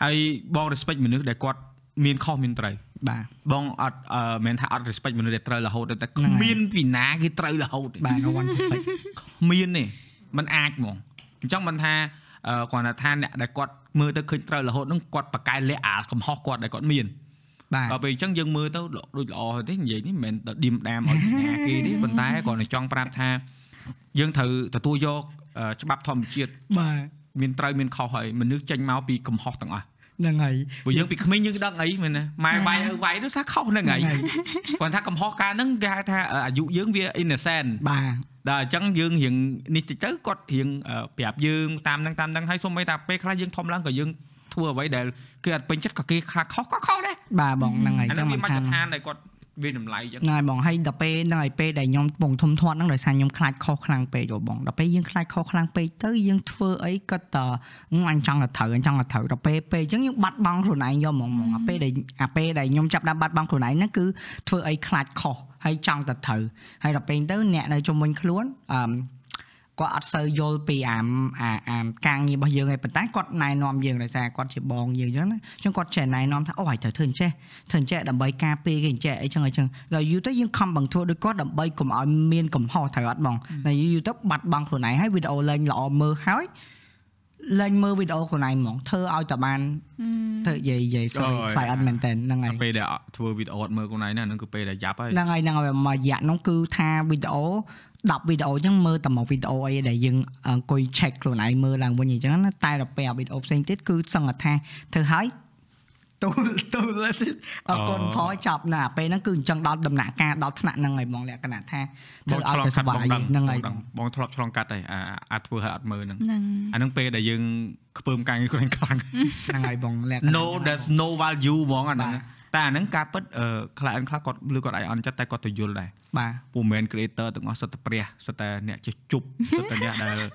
Speaker 4: ហើយបង respect មនុស្សដែលគាត់មានខុសមានត្រូវ
Speaker 3: បាទ
Speaker 4: បងអត់អឺមិនមែនថាអត់ respect មនុស្សដែលត្រូវរហូតទេតែ
Speaker 3: ហ្នឹងហើយ
Speaker 4: គ្មានពីណាគេត្រូវរហូតទេ
Speaker 3: បាទ one perfect
Speaker 4: គ្មានទេมันអាចហ្មងអញ្ចឹងមិនថាអឺគ្រាន់តែថាអ្នកដែលគាត់មើលទៅឃើញត្រូវរហូតហ្នឹងគាត់ប្រកែកលះអាកំហុសគាត់ដែលគាត់មាន
Speaker 3: បាទ
Speaker 4: ដល់ពេលអញ្ចឹងយើងមើលទៅដូចល្អហើយទេនិយាយនេះមិនមែនទៅឌីមដាមឲ្យពីណាគេទេប៉ុន្តែគ្រាន់តែចង់ប្រាប់ថា យើងត្រូវទទួលយកអឺច្បាប់ធម្មជាតិ
Speaker 3: បាទ
Speaker 4: មានត្រូវមានខុសហើយមនុស្សចេញមកពីកំហុសទាំងអស់
Speaker 3: ហ្នឹងហើយ
Speaker 4: ព្រោះយើងពីក្មេងយើងដឹងអីមែនណាម៉ែវាយឪវាយនោះថាខុសហ្នឹងហើយ
Speaker 3: ហ្នឹងហើយ
Speaker 4: គ្រាន់ថាកំហុសកាលហ្នឹងគេហៅថាអឺអាយុយើងវា innocent
Speaker 3: បាទ
Speaker 4: ដល់អញ្ចឹងយើងរៀងនេះតិចទៅគាត់រៀងអឺប្រាប់យើងតាមហ្នឹងតាមហ្នឹងហើយសូម្បីតែពេលខ្លះយើងធំឡើងក៏យើងធ្វើអ្វីដែលគេអត់ពេញចិត្តក៏គេខ្លាចខុសក៏ខុសដែរ
Speaker 3: បាទបងហ្នឹងហើយ
Speaker 4: អា
Speaker 3: ចឹ
Speaker 4: ហ្នឹង
Speaker 3: ង
Speaker 4: វា
Speaker 3: មិន
Speaker 4: មក
Speaker 3: ខាន
Speaker 4: ចដ្ឋានដែលគាត់វាតម្លៃអញ្ចឹង
Speaker 3: ណែបងហើយដល់ពេលហ្នឹងហើយពេលដែលខ្ញុំកំពងធំធាត់ហ្នឹងដោយសារខ្ញុំខ្លាចខុសខ្លាំងពេកយោបងដល់ពេលយើងខ្លាចខុសខ្លាំងពេកទៅយើងធ្វើអីក៏តអឺអញចង់ទៅត្រូវអញចង់ទៅត្រូវដល់ពេលពេកអញ្ចឹងយើងបាត់បង់ខ្លួនឯងយកហ្មងហ្មងអាពេលដែលអាពេលដែលខ្ញុំចាប់ដើមបាត់បង់ខ្លួនឯងហ្នឹងគឺធ្វើអីខ្លាចខុសហើយចង់ទៅត្រូវហើយដល់ពេលទៅអ្នកនៅជុំវិញខ្លួនអឺម គាត់អត់សូវយល់ពីអាមអាអាមការងាររបស់យើងឯងប៉ុន្តែគាត់ណែនាំយើងដោយសារគាត់ជាបងយើងអញ្ចឹងណាអញ្ចឹងគាត់ចេះណែនាំថាអូឲ្យត្រូវធ្វើអញ្ចេះធ្វើអញ្ចេះដើម្បីការពារគេអញ្ចេះអីចឹងអីចឹងដល់យូរទៅយើងខំបង្ធ្វើដូចគាត់ដើម្បីកុំឲ្យមានកំហុសត្រូវអត់បងដល់យូរទៅបាត់បង់ខ្លួនឯងហើយវីដេអូលេងល្អមើលហើយលេងមើលវីដេអូខ្លួនឯងហ្មងធ្វើឲ្យតបានធ្វើនិយាយនិយាយសុយ
Speaker 4: អូយ
Speaker 3: ខ្លាចអត់មែនតើហ្នឹងហើយ
Speaker 4: តែពេលដែលអត់ធ្វើវីដេអូអត់មើលខ្លួនឯងណាហ្នឹងគឺពេលដែលយ៉ាប់ហើយ
Speaker 3: ហ្នឹងហើយហ្នឹងហើយមួយរយៈហ្នឹងគឺថាវីដេអូ10វីដេអូអញ្ចឹងមើលតែមកវីដេអូអីដែលយើងអង្គុយ check ខ្លួនឯងមើលឡើងវិញអញ្ចឹងណាតែដល់ពេលអាវីដេអូផ្សេងទៀតគឺសង្កត់ថាធ្វើហើយទូលទូលអរគុណផងចប់ណាពេលហ្នឹងគឺអញ្ចឹងដល់ដំណាក់កាលដល់ថ្នាក់ហ្នឹងហើយហ្មងលក្ខណៈថា
Speaker 4: បង
Speaker 3: ធ្វើ
Speaker 4: ឆ្ល
Speaker 3: ឲ្យ
Speaker 4: ង
Speaker 3: ទៅសប្បាយហ្នឹងហើយ
Speaker 4: កាត់បងដឹងបងដឹងបងធ្លាប់ឆ្លងកាត់ហើយអាអាអាចធ្វើឲ្យអត់មើល *laughs* ហ្នឹង
Speaker 2: ហ្នឹង
Speaker 4: អាហ្នឹងពេលដែលយើង *laughs* ខ្ពើមការងារខ្លួនឯងខ្លាំង
Speaker 3: ហ្នឹងហើយបងលក្ខណៈ
Speaker 4: No there's no value ហ្មងអាហ្នឹង
Speaker 3: បាទ
Speaker 4: តែអាហ្នឹងការពិតអឺខ្លះអនខ្លះគាត់លឺគាត់អាចអន់ចិត្តតែគាត់ទៅយល់ដែរ
Speaker 3: បាទ *laughs*
Speaker 4: ពួកមិនមែន creator ទាំងអស់សិតតែព្រះសិតតែអ្នកចេះជប់សិតតែអ្នកដែល អឺ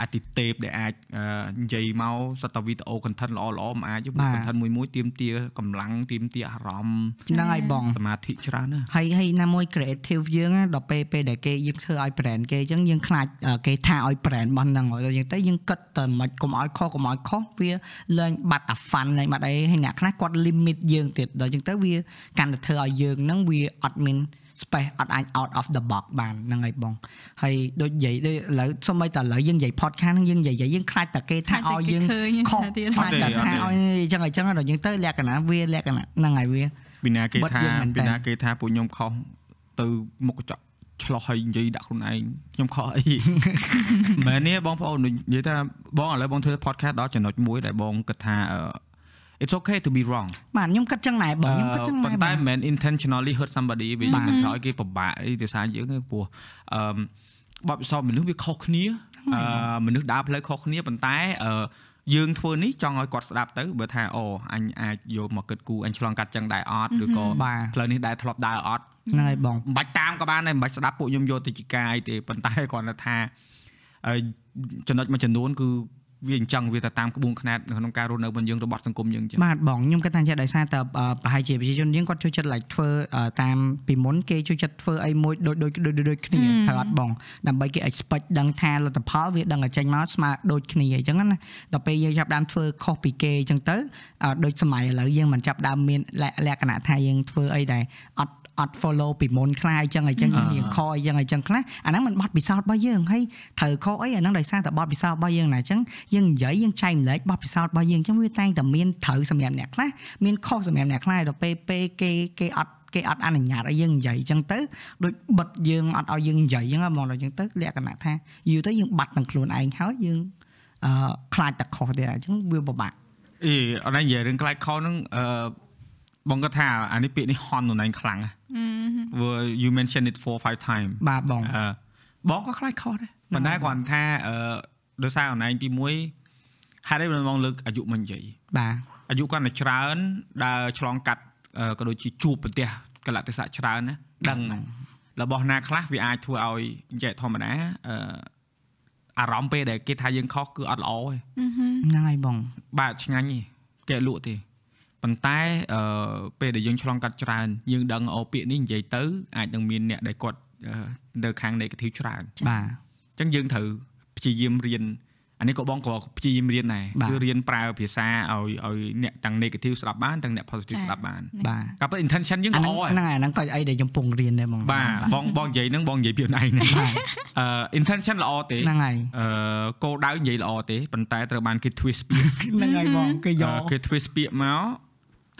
Speaker 4: អាទិទេពដែលអាចអឺនិយាយមកសត្វតែវីដេអូ content ល្អល្អៗមិនអាចទេ
Speaker 3: បាទ
Speaker 4: ព្រោះ content មួយមួយៗទៀមទាកម្លាំងទៀមទាអារម្មណ៍
Speaker 3: ហ្នឹងហើយបង
Speaker 4: សមាធិច្រើនណាស់
Speaker 3: ហើយហើយណាមួយ creative យើងណាដល់ពេលពេលដែលគេយើងធ្វើឲ្យ brand គេអញ្ចឹងយើងខ្លាចអឺគេថាឲ្យ brand របស់ហ្នឹងហើយដល់អញ្ចឹងទៅយើងគិតតែមិនកុំឲ្យខុសកុំឲ្យខុសវាលែងបាត់អា fun លែងបាត់អីហើយអ្នកខ្លះគាត់ limit យើងទៀតដល់អញ្ចឹងទៅវាកាន់តែធ្វើឲ្យយើងហ្នឹងវាអត់មាន space អត់អាច out of the box បានហ្នឹងហើយបងហើយដូចនិយាយដូចឥឡូវសូម្បីតែឥឡូវយើងនិយាយ podcast ហ្នឹងយើងនិយាយៗយើងខ្លាចតែគេថា
Speaker 2: ខ្លា
Speaker 3: ឲ្យ
Speaker 2: ច
Speaker 3: យើ
Speaker 2: តែគេ
Speaker 3: ង
Speaker 2: ឃើញ
Speaker 3: ខុស
Speaker 2: ថាទៀត
Speaker 3: ខ្លាចតែថាឲ្យអញ្ចឹងអញ្ចឹងដល់អញ្ចឹងទៅលក្ខណៈវាលក្ខណៈហ្នឹងហើយវា
Speaker 4: ពីណាគេ
Speaker 3: បិទ
Speaker 4: ថា
Speaker 3: យើងមែន
Speaker 4: ពី
Speaker 3: តើ
Speaker 4: ណាគេថាពួកខ្ញុំខុសទៅមុខកញ្ចក់ឆ្លោះហើយនិយាយដាក់ខ្លួនឯងខ្ញុំខុសអី មែនទេបងប្អូននិយាយថាបងឥឡូវបងធ្វើ podcast ដល់ចំណុចមួយដែលបងគិតថាអឺ it's okay to be wrong
Speaker 3: បាទខ្ញុំគិតចឹងដែរបងខ្ញុំគិតចឹង
Speaker 4: ប៉ុ
Speaker 3: ដែរប
Speaker 4: ន្តែ
Speaker 3: ង
Speaker 4: មិនមែន intentionally hurt somebody វា
Speaker 3: បាទ
Speaker 4: មិនឲ្យគេពិបាកអីដោយសារយើងទេព្រោះអឺមបបិសពមនុស្សវាខុសគ្នាអឺមនុស្សដើរផ្លូវខុសគ្នាប៉ុន្តែអឺយើងធ្វើនេះចង់ឲ្យគាត់ស្ដាប់ទៅបើថាអូអញអាចយកមកគិតគូរអញឆ្លងកាត់ចឹងដែរអត់ឬក៏
Speaker 3: បាទ
Speaker 4: ផ្លូវនេះដែរធ្លាប់ដើរអត់
Speaker 3: ហ្នឹងហើយបង
Speaker 4: មិនបាច់តាមក៏បានដែរមិនបាច់ស្ដាប់ពួកខ្ញុំយកទៅជាកាយទេប៉ុន្តែគ្រាន់តែថាអឺចំណុចមួយចំនួនគឺវាអញ្ចឹងវាទៅតាមក្បួនខ្នាតនៅក្នុងការរស់នៅរបស់យើងរបស់សង្គមយើងអញ្ចឹង
Speaker 3: បាទបងខ្ញុំគិតថាចេះដោយសារតែអឺប្រហែលជាប្រជាជនយើងគាត់ចូលចិត្ត like ធ្វើអឺតាមពីមុនគេចូលចិត្តធ្វើអីមួយដូចដូចដូចដូចគ្នាត្រូ
Speaker 2: ហ៊ឹម
Speaker 3: វអត់បងដើម្បីគេ expect ដឹងថាលទ្ធផលវាដឹងឲ្យចេញមកស្មើដូចគ្នាអញ្ចឹងណាដល់ពេលយើងចាប់ផ្ដើមធ្វើខុសពីគេអញ្ចឹងទៅអឺដូចសម័យឥឡូវយើងមិនចាប់ផ្ដើមមានលក្លក្ខណៈថាយើងធ្វើអីដែរអត់អត់ follow ពីមុនខ្លះអញ្ចឹងអញ្ចឹង
Speaker 4: អឺ
Speaker 3: យើងរៀងខអញ្ចឹងអញ្ចឹងខ្លះអាហ្នឹងมันបត់ពិសោធន៍របស់យើងហើយត្រូវខអីអាហ្នឹងដោយសារតែបត់ពិសោធន៍របស់យើងណាអញ្ចឹង យើងនិយាយយើងចែកម្លែកបទពិសោធន៍របស់យើងអញ្ចឹងវាតែងតែមានត្រូវសម្រាប់អ្នកខ្លះមានខុសសម្រាប់អ្នកខ្លះដល់ពេលពេលគេគេអត់គេអត់អនុញ្ញាតឲ្យយើងនិយាយអញ្ចឹងទៅដូចបិទយើងអត់ឲ្យយើងនិយាយអញ្ចឹងហ៎ហ្មងដល់អញ្ចឹងទៅលក្ខណៈថាយូរទៅយើងបាត់ទាំងខ្លួនឯងហើយយើងអឺខ្លាចតែខុសទៀតអញ្ចឹងវាពិបាក
Speaker 4: អីអត់ណែនិយាយរឿងខ្លាចខុសហ្នឹងអឺបងគាត់ថាអានេះពាក្យនេះហន់នរឯងខ្លាំងណាស់ Well, you mention it 4 5 time
Speaker 3: បាទបង
Speaker 4: អឺបងក៏ខ្លាចខុសដែរប៉ុន្តែគ្រាន់ថាអឺដោយសារអនឡាញទី1ហេតុអីបានបងលើកអាយុមិននិយាយ
Speaker 3: បាទ
Speaker 4: អាយុគាត់តែច្រើនដើរឆ្លងកាត់អឺក៏ដូចជាជួបប្រទេសកលៈទេសៈច្រើនណាដឹងណារបស់ណាខ្លះវាអាចធ្វើឲ្យនិយាយធម្មតាអឺអារម្មណ៍ពេលដែលគេថាយើងខុសគឺអត់ល្អទេ
Speaker 3: ហ្នឹងហើយបង
Speaker 4: បាទឆ្ងាញ់ទេគេលក់ទេប៉ុន្តែអឺពេលដែលយើងឆ្លងកាត់ច្រើនយើងដឹងអូពាក្យនេះនិយាយទៅអាចនឹងមានអ្នកដែលគាត់អឺនៅខាង negative ច្រើន
Speaker 3: បាទ
Speaker 4: អញ្ចឹងយើងត្រូវព្យាយាមរៀនអានេះក៏បងក៏ព្យាយាមរៀនដែ
Speaker 3: បាទ
Speaker 4: រគឺរៀនប្រើភាសាឲ្យឲ្យអ្នកទាំង negative ស្ដាប់បានទាំងអ្នក positive
Speaker 2: ចា៎
Speaker 4: ស្ដាប់បាន
Speaker 3: បាទ
Speaker 4: ការពិត intention យើង
Speaker 3: អា
Speaker 4: ល្អ
Speaker 3: ហ្នឹង
Speaker 4: ហើយ
Speaker 3: ហ្នឹងហើយអាហ្នឹងក៏អីដែលខ្ញុំពងរៀនដែរបង
Speaker 4: បាទបងបងនិយាយហ្នឹងបងនិយាយពីខ្លួនឯងហ្នឹង
Speaker 3: បាទ
Speaker 4: អឺ intention ល្អទេ
Speaker 3: ហ្នឹងហើយ
Speaker 4: អឺគោលដៅនិយាយល្អទេប៉ុន្តែត្រូវបានគេ twist ពាក្យ
Speaker 3: ហ្នឹងហើយបងគេ *laughs* យក
Speaker 4: គេ twist ពាក្យមក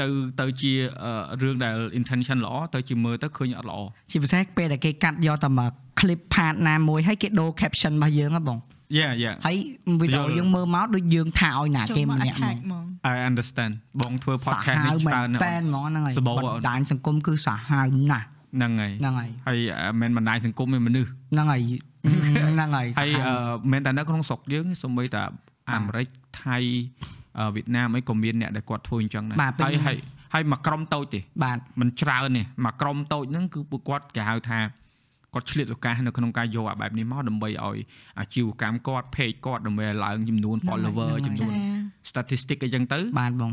Speaker 4: ទៅទៅជាអឺរឿងដែល intention ល្អទៅជាមើលទៅឃើញអត់ល្អ
Speaker 3: ជាពិសេសពេលដែលគេកាត់យកតែមក clip part ណាមួយហើយគេដូរ caption របស់យើងហ៎បង
Speaker 4: យ៉ាយ៉ា
Speaker 3: ហើយវីដេអូ
Speaker 4: យល់
Speaker 3: យើងមើលមកដូចយើងថាឲ្យណាគេម្នាក់ហ្មង
Speaker 4: I understand បងធ្វើ podcast នេះ
Speaker 3: មែ
Speaker 4: ច្រើន
Speaker 3: ន
Speaker 4: ណាស់
Speaker 3: តែនហ្មងហ្នឹងហើយ
Speaker 4: សបោ
Speaker 3: បណ្ដាញសង្គមគឺសាហាវណាស់
Speaker 4: ហ្នឹងហើយ
Speaker 3: ហ្នឹងហើយ
Speaker 4: ហើយអឺមិនបណ្ដាញសង្គមមានមនុស្ស
Speaker 3: ហ្នឹង
Speaker 4: *laughs*
Speaker 3: ហើយហ្នឹងហើយ
Speaker 4: ហើយអឺមិនតែនៅក្នុងស្រុកយើងទេសូម្បីតែអាមេរិកថៃអឺវៀតណាមអីក៏មានអ្នកដែលគាត់ធ្វើអញ្ចឹងដែរ
Speaker 3: បាទពេ
Speaker 4: ហើយ
Speaker 3: ញ
Speaker 4: ហើយហើយមួយក្រុមតូចទេ
Speaker 3: បាទ
Speaker 4: มันច្រើនទេមួយក្រុមតូចហ្នឹងគឺពួកគាត់គេហៅថាគាត់ឆ្លៀតឱកាសនៅក្នុងការយកអាបែបនេះមកដើម្បីឲ្យអាជីវកម្មគាត់ page គាត់ដើម្បីឲ្យឡើងចំនួន follower
Speaker 3: ហ្នឹងហើយ
Speaker 4: ចំនួន statistic អីចឹងទៅ
Speaker 3: បាទបង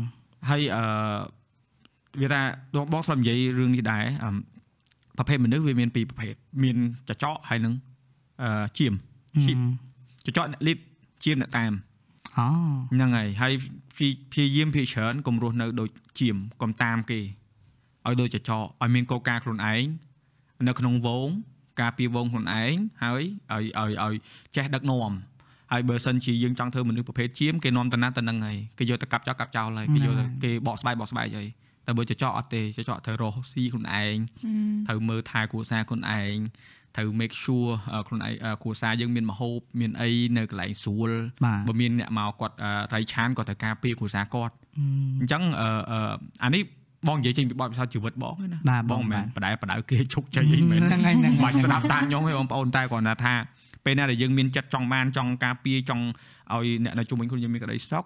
Speaker 4: ហើយអឺវាថាបងបងស្លាប់និយាយរឿងនេះដែរអឹមប្រភេទមនុស្សវាមានពីរប្រភេទមានចចកហើយនឹងអឺជាម ឈីប ចចកអ្នក lead ជាមអ្នកតាម
Speaker 3: អូ
Speaker 4: ហ្នឹងហើយហើយព្យាព្យាយាមព្យាច្រើនកុំរស់នៅដូចជាមកុំតាមគេឲ្យដូចចចកឲ្យមានកលការណ៍ខ្លួនឯងនៅក្នុងវងការពារវងខ្លួនឯងហើយឲ្យឲ្យឲ្យចេះដឹកនាំហើយបើសិនជាយើងចង់ធ្វើមនុស្សប្រភេទជាមគេនាំតាណាតានឹងហើយគេយកទៅកាប់ចោលកាប់ចោលហើយគេយកទៅគេបកស្បែកបកស្បែកហើយតែបើចចកអត់ទេចចកត្រូវរស់ស៊ីខ្លួនឯង ត្រូវមើលថែគ្រួសារខ្លួនឯងត្រូវ make sure អឺខ្លួនឯងអឺគ្រួសារយើងមានម្ហូបមានអីនៅកន្លែងស្រួល
Speaker 3: បាទ
Speaker 4: បើមានអ្នកមកគាត់អឺរៃឆានគាត់ត្រូវការពារគ្រួសារគាត់
Speaker 3: អឺ
Speaker 4: អញ្ចឹងអឺអឺអានេះបងនិយាយចេញពីបទពិសោធន៍ជីវិតបងឯណា
Speaker 3: បាទបង
Speaker 4: បងមិនមែន
Speaker 3: បាទ
Speaker 4: បដែបដៅគេជោគជ័យអី *laughs* មែន
Speaker 3: ហ្នឹងហើយហ្នឹងហើយ
Speaker 4: បាច់ស្ដាប់តាមខ្ញុំទេបងប្អូនតែគ្រាន់តែថាពេលណាដែលយើងមានចិត្តចង់បានចង់ការពារចង់ឲ្យអ្នកនៅជុំវិញខ្លួនយើងមានក្តីសុខ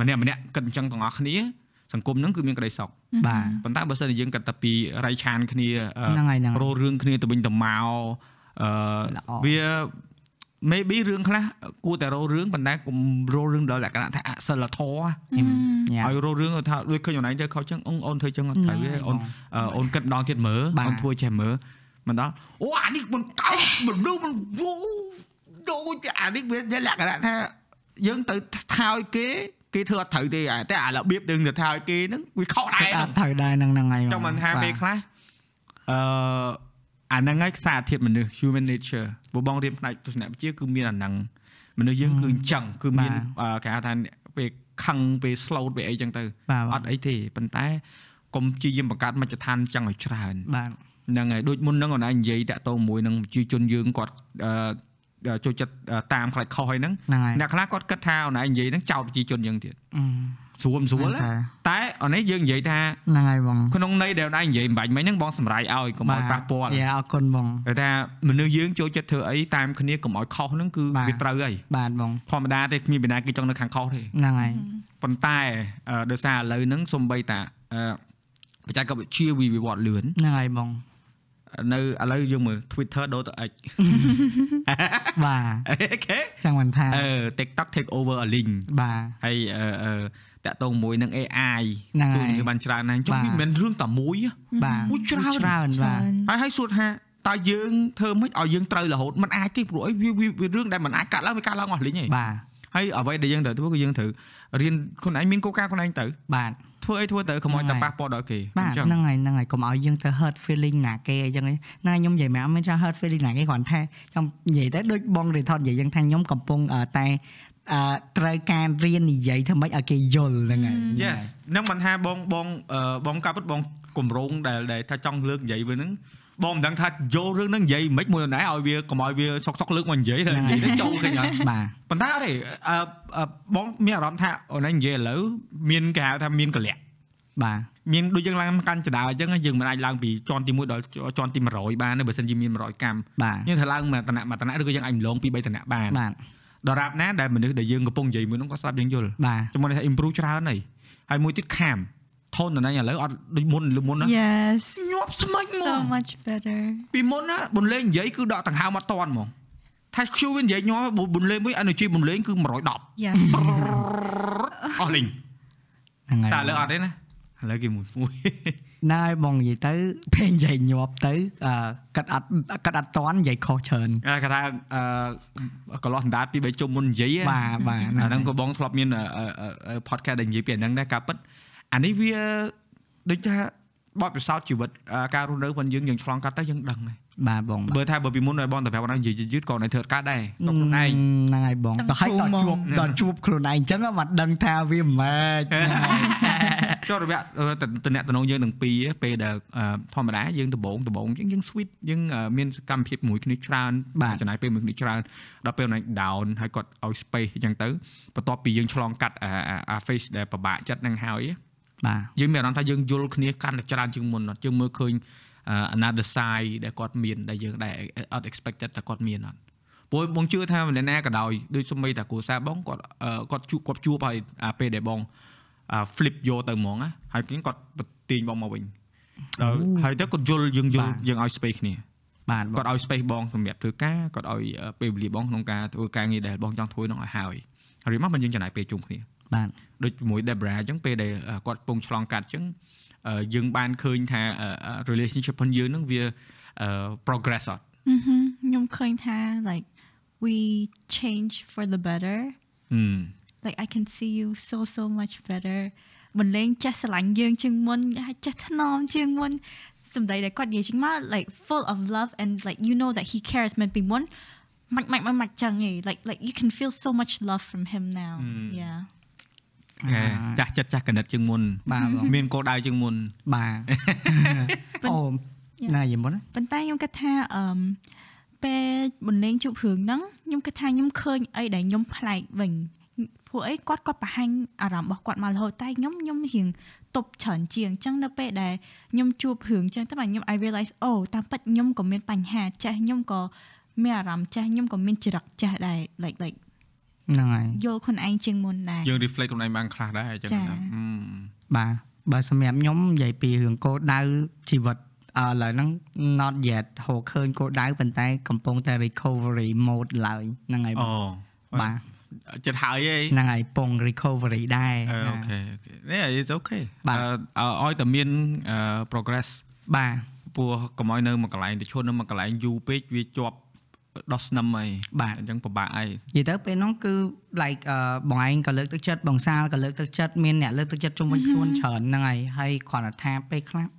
Speaker 4: ម្នាក់ម្នាក់គិតអញ្ចឹងទាំងអស់គ្នាសង្គមហ្នឹងគឺមានក្តីសុខ
Speaker 3: បាទ
Speaker 4: ប៉ុន្តែបើសិនជាយើងគិតតែពីរៃឆានគ្នាអឺ
Speaker 3: ហ្នឹងហើយហ្នឹងហើយ
Speaker 4: រោរឿងគ្នាទៅវិញទៅមកអ
Speaker 3: ល្អ
Speaker 4: ឺវា maybe រឿងខ្លះគួរតែរោរឿងប៉ុន្តែកុំរោរឿងដល់លក្ខណៈថាអសិលធម៌
Speaker 2: អឺ
Speaker 3: ញ៉ាំ
Speaker 4: ឲ្យរោរឿងថាដូចឃើញអនឡាញទៅខុសចឹងអ៊ុងអូនធ្វើចឹងអត់ត្រូវទេអូនអឺអូនគិតម្ដងទៀតមើល
Speaker 3: បាទ
Speaker 4: អូនធ្វើចេះមើលមិនដល់អូអានេះមិនកោតមនុស្សមិនវូដូចអានេះវាលក្ខណៈថាយើងទៅថោយគេគេធ្វើអត់ត្រូវទេអាតែអារបៀបយើងទៅថោយគេហ្នឹងវាខុសដែរ
Speaker 3: *laughs* អ
Speaker 4: ហ្នឹង
Speaker 3: ត់ត្រូវដែរហ្នឹងហ្នឹងហើយ
Speaker 4: ចង់បានថា
Speaker 3: បាទ
Speaker 4: ពេលខ្លះអឺអាហ្នឹងឯងខ្សែធាតមនុស្ស human nature បងបងរៀនផ្នែកទស្សនវិជ្ជាគឺមានអាហ្នឹងមនុស្សយើងគឺអញ្ចឹងគឺមានអឺគេហៅថាពេលខឹងពេល slow ពេលអីចឹងទៅ
Speaker 3: បាទ
Speaker 4: អត់អីទេប៉ុន្តែកុំព្យាយាមបង្កើតមជ្ឈដ្ឋានចឹងឲ្យច្រើន
Speaker 3: បាទ
Speaker 4: ហ្នឹងហើយដូចមុនហ្នឹងអូនឯងនិយាយតាក់ទងមួយនឹងប្រជាជនយើងគាត់អឺចូលចិត្តអឺតាមខ្លាចខុសហើយហ្នឹង
Speaker 3: ហ្នឹងហើយ
Speaker 4: អ្នកខ្លះគាត់គិតថាអូនឯងនិយាយហ្នឹងចោតប្រជាជនយើងទៀត
Speaker 3: អឺ
Speaker 4: ស្រួលមិនស្រួលទេតែអូនឯងយើងនិយាយថា
Speaker 3: ហ្នឹងហើយបង
Speaker 4: ក្នុងន័យដែលដៃនិយាយអំបញ្ញមិញហ្នឹងបងសម្រាយឲ្យកុំឲ្យ
Speaker 3: បាទ
Speaker 4: ប៉ះពាល់
Speaker 3: យ៉ាអរគុណបង
Speaker 4: តែថាមនុស្សយើងចូលចិត្តធ្វើអីតាមគ្នាកុំឲ្យខុសហ្នឹងគឺ
Speaker 3: បាទ
Speaker 4: វាត្រូវហើយ
Speaker 3: បាទបង
Speaker 4: ធម្មតាទេគ្មានពីណាគេចង់នៅខាងខុសទេ
Speaker 3: ហ្នឹងហើយ
Speaker 4: ប៉ុន្តែអឺដោយសារឥឡូវហ្នឹងសំបីតាអឺបច្ចេកវិទ្យាវាវិវត្តលឿន
Speaker 3: ហ្នឹងហើយបង
Speaker 4: នៅឥឡូវយើងមើល Twitter ដូរទៅ X *laughs*
Speaker 3: បាទ
Speaker 4: អូខេ
Speaker 3: ចង់បានថា
Speaker 4: អឺ TikTok take over a link
Speaker 3: បាទ
Speaker 4: ហើយអឺអឺតាក់ទងមួយនឹង AI
Speaker 3: ហ្នឹងហើយ
Speaker 4: គឺវាបានច្រើនណាស់ចុះ
Speaker 3: បាទ
Speaker 4: វាមិនមែនរឿងតែមួយទេ
Speaker 3: បាទ
Speaker 4: អូច្រើន
Speaker 3: ច្រើនបាទ
Speaker 4: ហើយហើយសួរថាតើយើងធ្វើម៉េចឲ្យយើងត្រូវរហូតมันអាចទេព្រោះអីវាវាវារឿងដែលมันអាចកាត់ឡើងវាកាត់ឡើងអស់លីងហី
Speaker 3: បាទ
Speaker 4: ហើយអ្វីដែលយើងត្រូវធ្វើគឺយើងត្រូវរៀនខ្លួនឯងមានកលការខ្លួនឯងទៅ
Speaker 3: បាទ
Speaker 4: ធ្វើអីធ្វើទៅកុំឲ្យតែប៉ះពាល់ដល់គេ
Speaker 3: បាទហ្នឹងហើយហ្នឹងហើយកុំឲ្យយើងទៅ hurt feeling ណាគេអីចឹងណាខ្ញុំនិយាយមិនអត់មានចង់ hurt feeling ណាគេគ្រាន់តែចង់និយាយតែដូចបងរិទ្ធនិយាយចឹងថាខ្ញុំកំពុងអឺតែអឺត្រូវការរៀននិយាយធ្វើម៉េចឲ្យគេយល់ហ្នឹងហើយ
Speaker 4: Yes ហ្នឹងមិនថាបងបងអឺបងកាប់ពិតបងគម្រោងដែលដែលថាចង់លើកនិយាយវាហ្នឹងបងមិនដឹងថាយករឿងហ្នឹងនិយាយមិនមួយណាឲ្យវាកុំឲ្យវាសុកសុកលើកមកនិយា
Speaker 3: *laughs*
Speaker 4: យទៅនិយាយទៅចូលគេអត់
Speaker 3: បាទ
Speaker 4: ប៉ុន្តែអត់ទេអឺអឺបងមានអារម្មណ៍ថាអូនឯងនិយាយឥឡូវមានគេហៅថាមានកលៈ
Speaker 3: បាទ
Speaker 4: មានដូចយើងឡើងកាន់ចដាលអញ្ចឹងយើងមិនអាចឡើងពីជាន់ទី1ដល់ជាន់ទី100បានទេបើសិនជាមាន100កម្ម
Speaker 3: បាទ
Speaker 4: យើងត្រូវឡើងមួយតណៈមួយតណៈឬក៏យើងអាចម្លងពី3តណៈបាន
Speaker 3: បាទ
Speaker 4: ដរាបណាដែលមនុស្សដែលយើងកំពុងនិយាយមួយហ្នឹងគាត់ស្ដាប់យើងយល់
Speaker 3: បាទ
Speaker 4: ចាំមកន័យថា improve ច្រើនហើយហើយមួយទៀតខាមថនតណៃឥឡូវអត់ដូចមុនលើមុនណា
Speaker 2: Yes
Speaker 4: ញាប់ស្មាច់ហ្ម
Speaker 2: so
Speaker 4: ង
Speaker 2: much better
Speaker 4: ពីមុនណាបន្លេងនិយាយគឺដកដង្ហើមអត់តាន់ហ្មងថាឈូវានិយាយញាប់បន្លេងមួយ energy បន្លេងគឺ110
Speaker 2: Yeah *laughs*
Speaker 4: អស់លេង
Speaker 3: ហ្នឹងហើយ
Speaker 4: តែឥឡូវអត់ទេណាឥឡូវគេមួយ *laughs* មួយ
Speaker 3: ណាយបងនិយាយទៅ *laughs* ពេលនិយាយញាប់ទៅអឺកាត់អត់កាត់អត់តន់និយាយខុសច្រើន
Speaker 4: គេថាអឺកន្លោះសណ្ដាតពីរបីជុំមុននិយាយហ៎
Speaker 3: បាទបាទ
Speaker 4: អាហ្នឹងក៏បងធ្លាប់មានអឺអឺអឺ podcast ដែលនិយាយពីអាហ្នឹងដែរការពិតអានេះវាដូចថាបទពិសោធន៍ជីវិតអឺការរស់នៅរបស់យើងយើងឆ្លងកាត់ទៅយើងដឹងហើយ
Speaker 3: បាទបងបាទ
Speaker 4: បើថាបើពីមុនឲ្យបងតែប្រាប់បងយឺតយឺតៗក៏នៅធ្វើកើតដែរក៏ខ្លួនឯង
Speaker 3: ហ្នឹងហើយបងដល់
Speaker 2: តាំ
Speaker 3: ហើយ
Speaker 2: ង
Speaker 3: ដល់ជួ
Speaker 2: គ្រូម
Speaker 3: ប
Speaker 2: ក
Speaker 3: ដល់ជួបខ្លួនឯងអ *laughs* ញ្ចឹងមកដឹងថាវាមិនម៉េចហ្នឹងហើយ
Speaker 4: ចុះរយៈតំណែងតំណងយើងទាំងពីរពេលដែលអឺធម្មតាយើងដំបងដំបងយើងយើង sweet យើងអឺមានសកម្មភាពមួយគ្នាច្រើន
Speaker 3: បាទ
Speaker 4: ចំណាយពេលមួយគ្នាច្រើនដល់ពេលណាច់ down ហើយគាត់ឲ្យ space អញ្ចឹងទៅបន្ទាប់ពីយើងឆ្លងកាត់អាអាអា face ដែលពិបាកចិត្តហ្នឹងហើយ
Speaker 3: បាទ
Speaker 4: យើងមានអារម្មណ៍ថាយើងយល់គ្នាកាន់តែច្រើនជាងមុនអត់យើងមើលឃើញអឺ another side ដែលគាត់មានដែលយើងដែលអត់ expected តែគាត់មានអត់ព្រោះបងជឿថាម្នាក់ណាក៏ដោយដូចសម្បីតាគ្រូសាបងគាត់អឺគាត់ជួបគាត់ជួបហើយអាពេលដែលបង អា flip យកទៅហ្មងណាហើយគេគាត់បន្ទាញបងមកវិញដល់ហើយទៅគាត់យល់យើងយល់យើងឲ្យ space គ្នា
Speaker 3: បាទបង
Speaker 4: *laughs* គាត់ឲ្យ space បងសម្រាប់ធ្វើការគាត់ឲ្យអឺពេលវេលាបងក្នុងការធ្វើការងារដែលបងចង់ធ្វើនោះឲ្យហើយហើយមកមិនយើងចំណាយពេលជុំគ្នា *laughs*
Speaker 3: បាទ
Speaker 4: ដូចជាមួយ Debra អញ្ចឹងពេលដែលអឺគាត់កំពងឆ្លងកាត់អញ្ចឹងអឺយើងបានឃើញថាអឺអឺ relationship របស់យើងហ្នឹងវាអឺ progress អត់
Speaker 2: Mhm. ខ្ញុំឃើញថា like we change for the better
Speaker 4: ហឹម
Speaker 2: like I can see you so so much better មិនលែងចេះស្រឡាញ់យើងជាងមុនហើយចេះថ្នមជាងមុនសម្ដីដែលគាត់និយាយជាងមក like full of love and like you know that he cares មិនពីមុនមិនមិនមិនមិនចឹងឯង like like you can feel so much love from him now yeah
Speaker 4: ហ៎ចាស់ចិត្តចាស់កណិតជាងមុន
Speaker 3: បាទបង
Speaker 4: មានគោលដៅជាងមុន
Speaker 3: បាទ
Speaker 4: *laughs*
Speaker 3: អូណាយីមុនណា
Speaker 2: ប៉ុន្តែខ្ញុំគិតថាអឺមពេលបន្លេងជួបរឿងហ្នឹងខ្ញុំគិតថាខ្ញុំឃើញអីដែលខ្ញុំប្លែកវិញពួកអីគាត់គាត់បង្ហាញអារម្មណ៍របស់គាត់មករហូតតែខ្ញុំខ្ញុំរៀងទប់ច្រើនជាងអញ្ចឹងនៅពេលដែលខ្ញុំជួបរឿងអញ្ចឹងតែបាទខ្ញុំ I realize អូតាមពិតខ្ញុំក៏មានបញ្ហាចេះខ្ញុំក៏មានអារម្មណ៍ចេះខ្ញុំក៏មានចរិតចេះដែរ like like
Speaker 3: ហ្នឹងហើយ
Speaker 2: យល់ខ្លួនឯងជាងមុនដែរ
Speaker 4: យើង reflect ខ្លួនឯងបានខ្លះដែរអញ្ចឹង
Speaker 2: ចា៎
Speaker 4: ណាហឹម
Speaker 3: បាទបើសម្រាប់ខ្ញុំនិយាយពីរឿងគោលដៅជីវិតអ ឥឡូវហ្នឹង not yet ហៅឃើញគោលដៅប៉ុន្តែកំពុងតែ recovery mode ឡើងហ្នឹងហើយ
Speaker 4: អូ
Speaker 3: បាទ
Speaker 4: ចិត្តហើយឯង
Speaker 3: ហ្នឹងហើយពង recovery ដែរ
Speaker 4: អឺ
Speaker 3: ណា
Speaker 4: អូខេអូខេនេះ it's okay
Speaker 3: បាទ
Speaker 4: អឺឲ្យតែមានអឺ progress
Speaker 3: បាទ
Speaker 4: ព្រោះកុំឲ្យនៅមួយកន្លែងទៅឈរនៅមួយកន្លែងយូរពេកវាជាប់ដោះស្នឹមអី
Speaker 3: បាទ
Speaker 4: អញ្ចឹងពិបាកអី
Speaker 3: និយាយទៅពេលហ្នឹងគឺ like អឺបងឯងក៏លើកទឹកចិត្តបងសាលក៏លើកទឹកចិត្តមានអ្នកលើកទឹកចិត្តជុំវិញខ្លួនច្រើនហ្នឹងហើយហើយគ្រាន់តែថាពេលខ្លះ *coughs*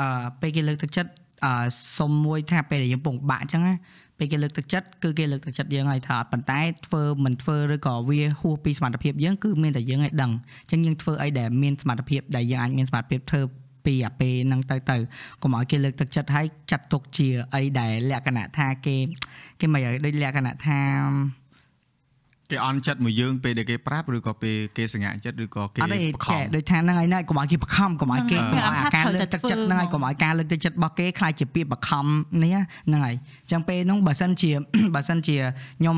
Speaker 3: អឺពេលគេលើកទឹកចិត្តអឺសុំមួយថាពេលដែលយើងពងបាក់អញ្ចឹងណាពេលគេលើកទឹកចិត្តគឺគេលើកទឹកចិត្តយើងហើយថាអត់ប៉ុន្តែធ្វើមិនធ្វើឬក៏វាហួសពីសមត្ថភាពយើងគឺមានតែយើងឲ្យដឹងអញ្ចឹងយើងធ្វើអីដែលមានសមត្ថភាពដែលយើងអាចមានសមត្ថភាពធ្វើពីអាពេលហ្នឹងទៅទៅកុំឲ្យគេលើកទឹកចិត្តហើយចាត់ទុកជាអីដែលលក្ខណៈថាគេ គេមិនឲ្យដូចលក្ខណៈថា
Speaker 4: គេអន់ចិត្តមួយយើងពេលដែលគេប្រាប់ឬក៏ពេលគេសង្ហាចិត្តឬក៏គេ
Speaker 3: អត់ទេ
Speaker 4: បខំ
Speaker 3: គេដូចថាហ្នឹងហើយណាកុំឲ្យគេបខំកុំឲ្យគេ
Speaker 2: ហ្នឹងហើ
Speaker 3: ឲ្យ
Speaker 2: យ
Speaker 3: ការលើកទឹកចិត្តហ្នឹងហើ
Speaker 2: ធ្វើហ្មង
Speaker 3: យកុំឲ្យការលើកទឹកចិត្តរបស់គេខ្លាចជាពាក្យបខំនេះណាហ្នឹងហើយអញ្ចឹងពេលហ្នឹងបើសិនជា *coughs* បើសិនជាខ្ញុំ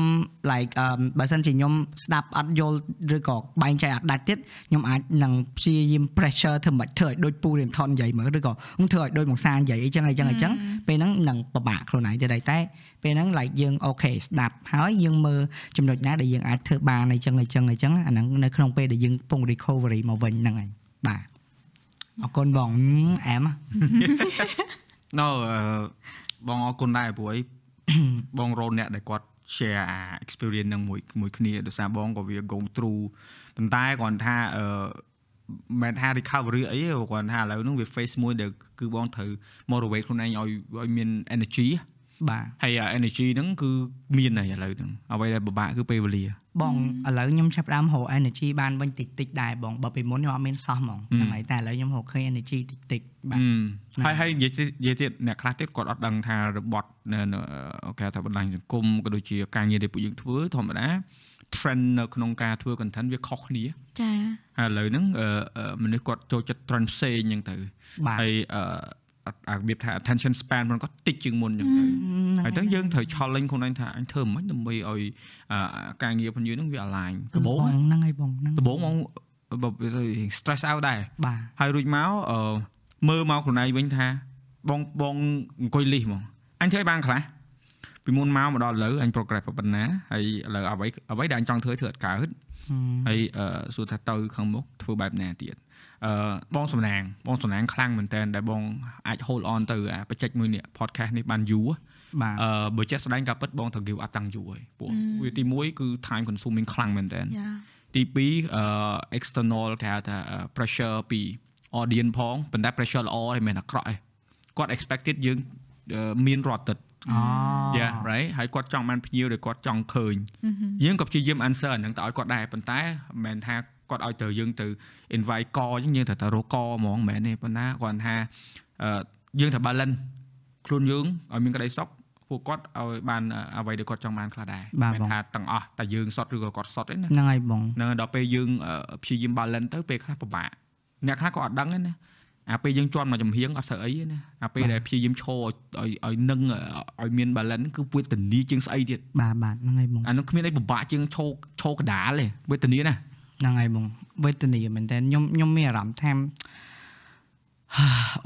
Speaker 3: like អឺមបើសិនជាខ្ញុំស្ដាប់អត់យល់ឬក៏បែងចែកអត់ដាច់ទៀតខ្ញុំអាចនឹងព្យាយាម pressure ធ្វើមិនធ្វើឲ្យដូចពូរៀនថននិយាយមើលឬក៏ខ្ញុំធ្វើឲ្យដូចមកសាននិយាយអីចឹងអីចឹងអីចឹង ពេលហ្នឹងនឹងពិបាកខ្លួនឯងទៅដែរតែពេលហ្នឹង like យើងអូខេស្ដាប់ហើយយើងមើលចំណុចណាដែលយើងអាចធ្វើបានអីចឹងអីចឹងអីចឹងអាហ្នឹងនៅក្នុងពេលដែលយើងកំពុង recovery មកវិញហ្នឹងហើយបាទអរគុណបងអែម
Speaker 4: នៅអឺបងអរគុណដែរព្រោះអី *clears throat* បងរនអ្នកដែលគាត់ share អា experience នឹងមួយមួយគ្នាដោយសារបងក៏វា going through ប៉ុន្តែគ្រាន់ថាអឺមិនមែនថា recovery អីទេគ្រាន់ថាឥឡូវហ្នឹងវា face មួយដែលគឺបងត្រូវ motivate ខ្លួនឯងឲ្យឲ្យមាន energy ហ៎
Speaker 3: បាទ
Speaker 4: ហើយ energy ហ្នឹងគឺមានហើយឥឡូវហ្នឹងអ្វីដែលពិបាកគឺពេលវេលា
Speaker 3: បងឥឡូវខ្ញុំចាប់ផ្ដើមរក energy បានវិញតិចតិចៗដែរបងបើពីមុនខ្ញុំអត់មានសោះហ្មង
Speaker 4: ហឹម
Speaker 3: ហ្នឹងហើយតែឥឡូវខ្ញុំរកឃើញ energy តិចតិចៗបាទ
Speaker 4: ហឹមហើយហើយនិយាយទៀតនិយាយទៀតអ្នកខ្លះទៀតគាត់អត់ដឹងថារបត់នៅនៅគេហៅថាបណ្ដាញសង្គមក៏ដូចជាការងារដែលពួកយើងធ្វើធម្មតា trend នៅក្នុងការធ្វើ content វាខុសគ្នា
Speaker 2: ចា
Speaker 4: ហើយឥឡូវហ្នឹងអឺអឺមនុស្សគាត់ចូលចិត្ត trend ផ្សេងអញ្ចឹងទៅ
Speaker 3: បាទ
Speaker 4: ហើយអឺអត់អារបៀបថា attention span របស់គាត់តិចជាងមុនអញ្ចឹងទៅ ហើយទៅយើងត្រូវ challenge ខ្លួនឯងថាអញធ្វើមិនដើម្បីឲ្យអឺការងាររបស់យើងហ្នឹងវា align ដ
Speaker 3: ដប
Speaker 4: បូង
Speaker 3: ងហ្នឹងហើយបងហ្នឹង
Speaker 4: ដបងមកបើវាទៅ stress out ដែរ
Speaker 3: បាទ
Speaker 4: ហើយរួចមកអឺមើលមកខ្លួនឯងវិញថាបងបងអង្គុយលីសហ្មងអញធ្វើឲ្យបានខ្លះពីមុនមកមកដល់ឥឡូវអញ progress ប៉ុណ្ណាហើយឥឡូវអ្វីអ្វីដែលអញចង់ធ្វើធ្វើអត់កើត
Speaker 3: ហឹម
Speaker 4: ហើយអឺសួរថាទៅខាងមុខធ្វើបែបណាទៀតអឺបងសំណាងបងសំណាងខ្លាំងមែនតើដែលបងអាច hold on ទៅអាបច្ចេកមួយនេះ podcast នេះបានយូរ
Speaker 3: បាទ
Speaker 4: អឺបើចេះស្ដែងការពិតបងត្រូវ give up តាំងយូរហើយពួកវាទី1គឺ time consuming ខ្លាំងមែនតើ
Speaker 2: យ៉ា
Speaker 4: ទី2អឺ external គេហៅថា pressure ពី audience ផងប៉ុន្តែ pressure ល្អហើយមិនមែនអាក្រក់ទេគាត់ expected យើងអឺមានរត់ទឹក yeah right ហើយគាត់ចង់បានភ្ញៀវដែលគាត់ចង់ឃើញយើងក៏ព្យាយាម answer អាហ្នឹងទៅឲ្យគាត់ដែរប៉ុន្តែមិនមែនថាគាត់ឲ្យទៅយើងទៅ invite កអញ្ចឹងយើងត្រូវតែរកកហ្មងមិនមែនទេប៉ុន្តែគាត់ថាអឺយើងត្រូវ balance ខ្លួនយើងឲ្យមានក្តីសុខពួកគាត់ឲ្យបានអឺអ្វីដែលគាត់ចង់បានខ្លះដែរ
Speaker 3: បាទ
Speaker 4: មិន
Speaker 3: បង
Speaker 4: ថាទាំងអស់តែយើងសតឬក៏គាត់សតទេណា
Speaker 3: ហ្នឹងហើយបង
Speaker 4: ហ្នឹងហើយដល់ពេលយើងអឺព្យាយាម balance ទៅពេលខ្លះពិបាកអ្នកខ្លះក៏អត់ដឹងដែរណាអាពេលយើងជន់មកចំហៀងអត់ស្រូវអីទេណាអាពេល
Speaker 3: បាទ
Speaker 4: ដែលព្យាយាមឈរឲ្យឲ្យឲ្យនឹងអឺឲ្យមាន balance គឺវេទនាជាងស្អីទៀត
Speaker 3: បាទបាទហ្នឹងហើយបង
Speaker 4: អានោះគ្មានអីពិបាកជាងឈរឈរកដាលទេវេទនាណា
Speaker 3: ហ្នឹងហើយបងវេទនាមែនតើខ្ញុំខ្ញុំមានអារម្មណ៍ថា *sighs*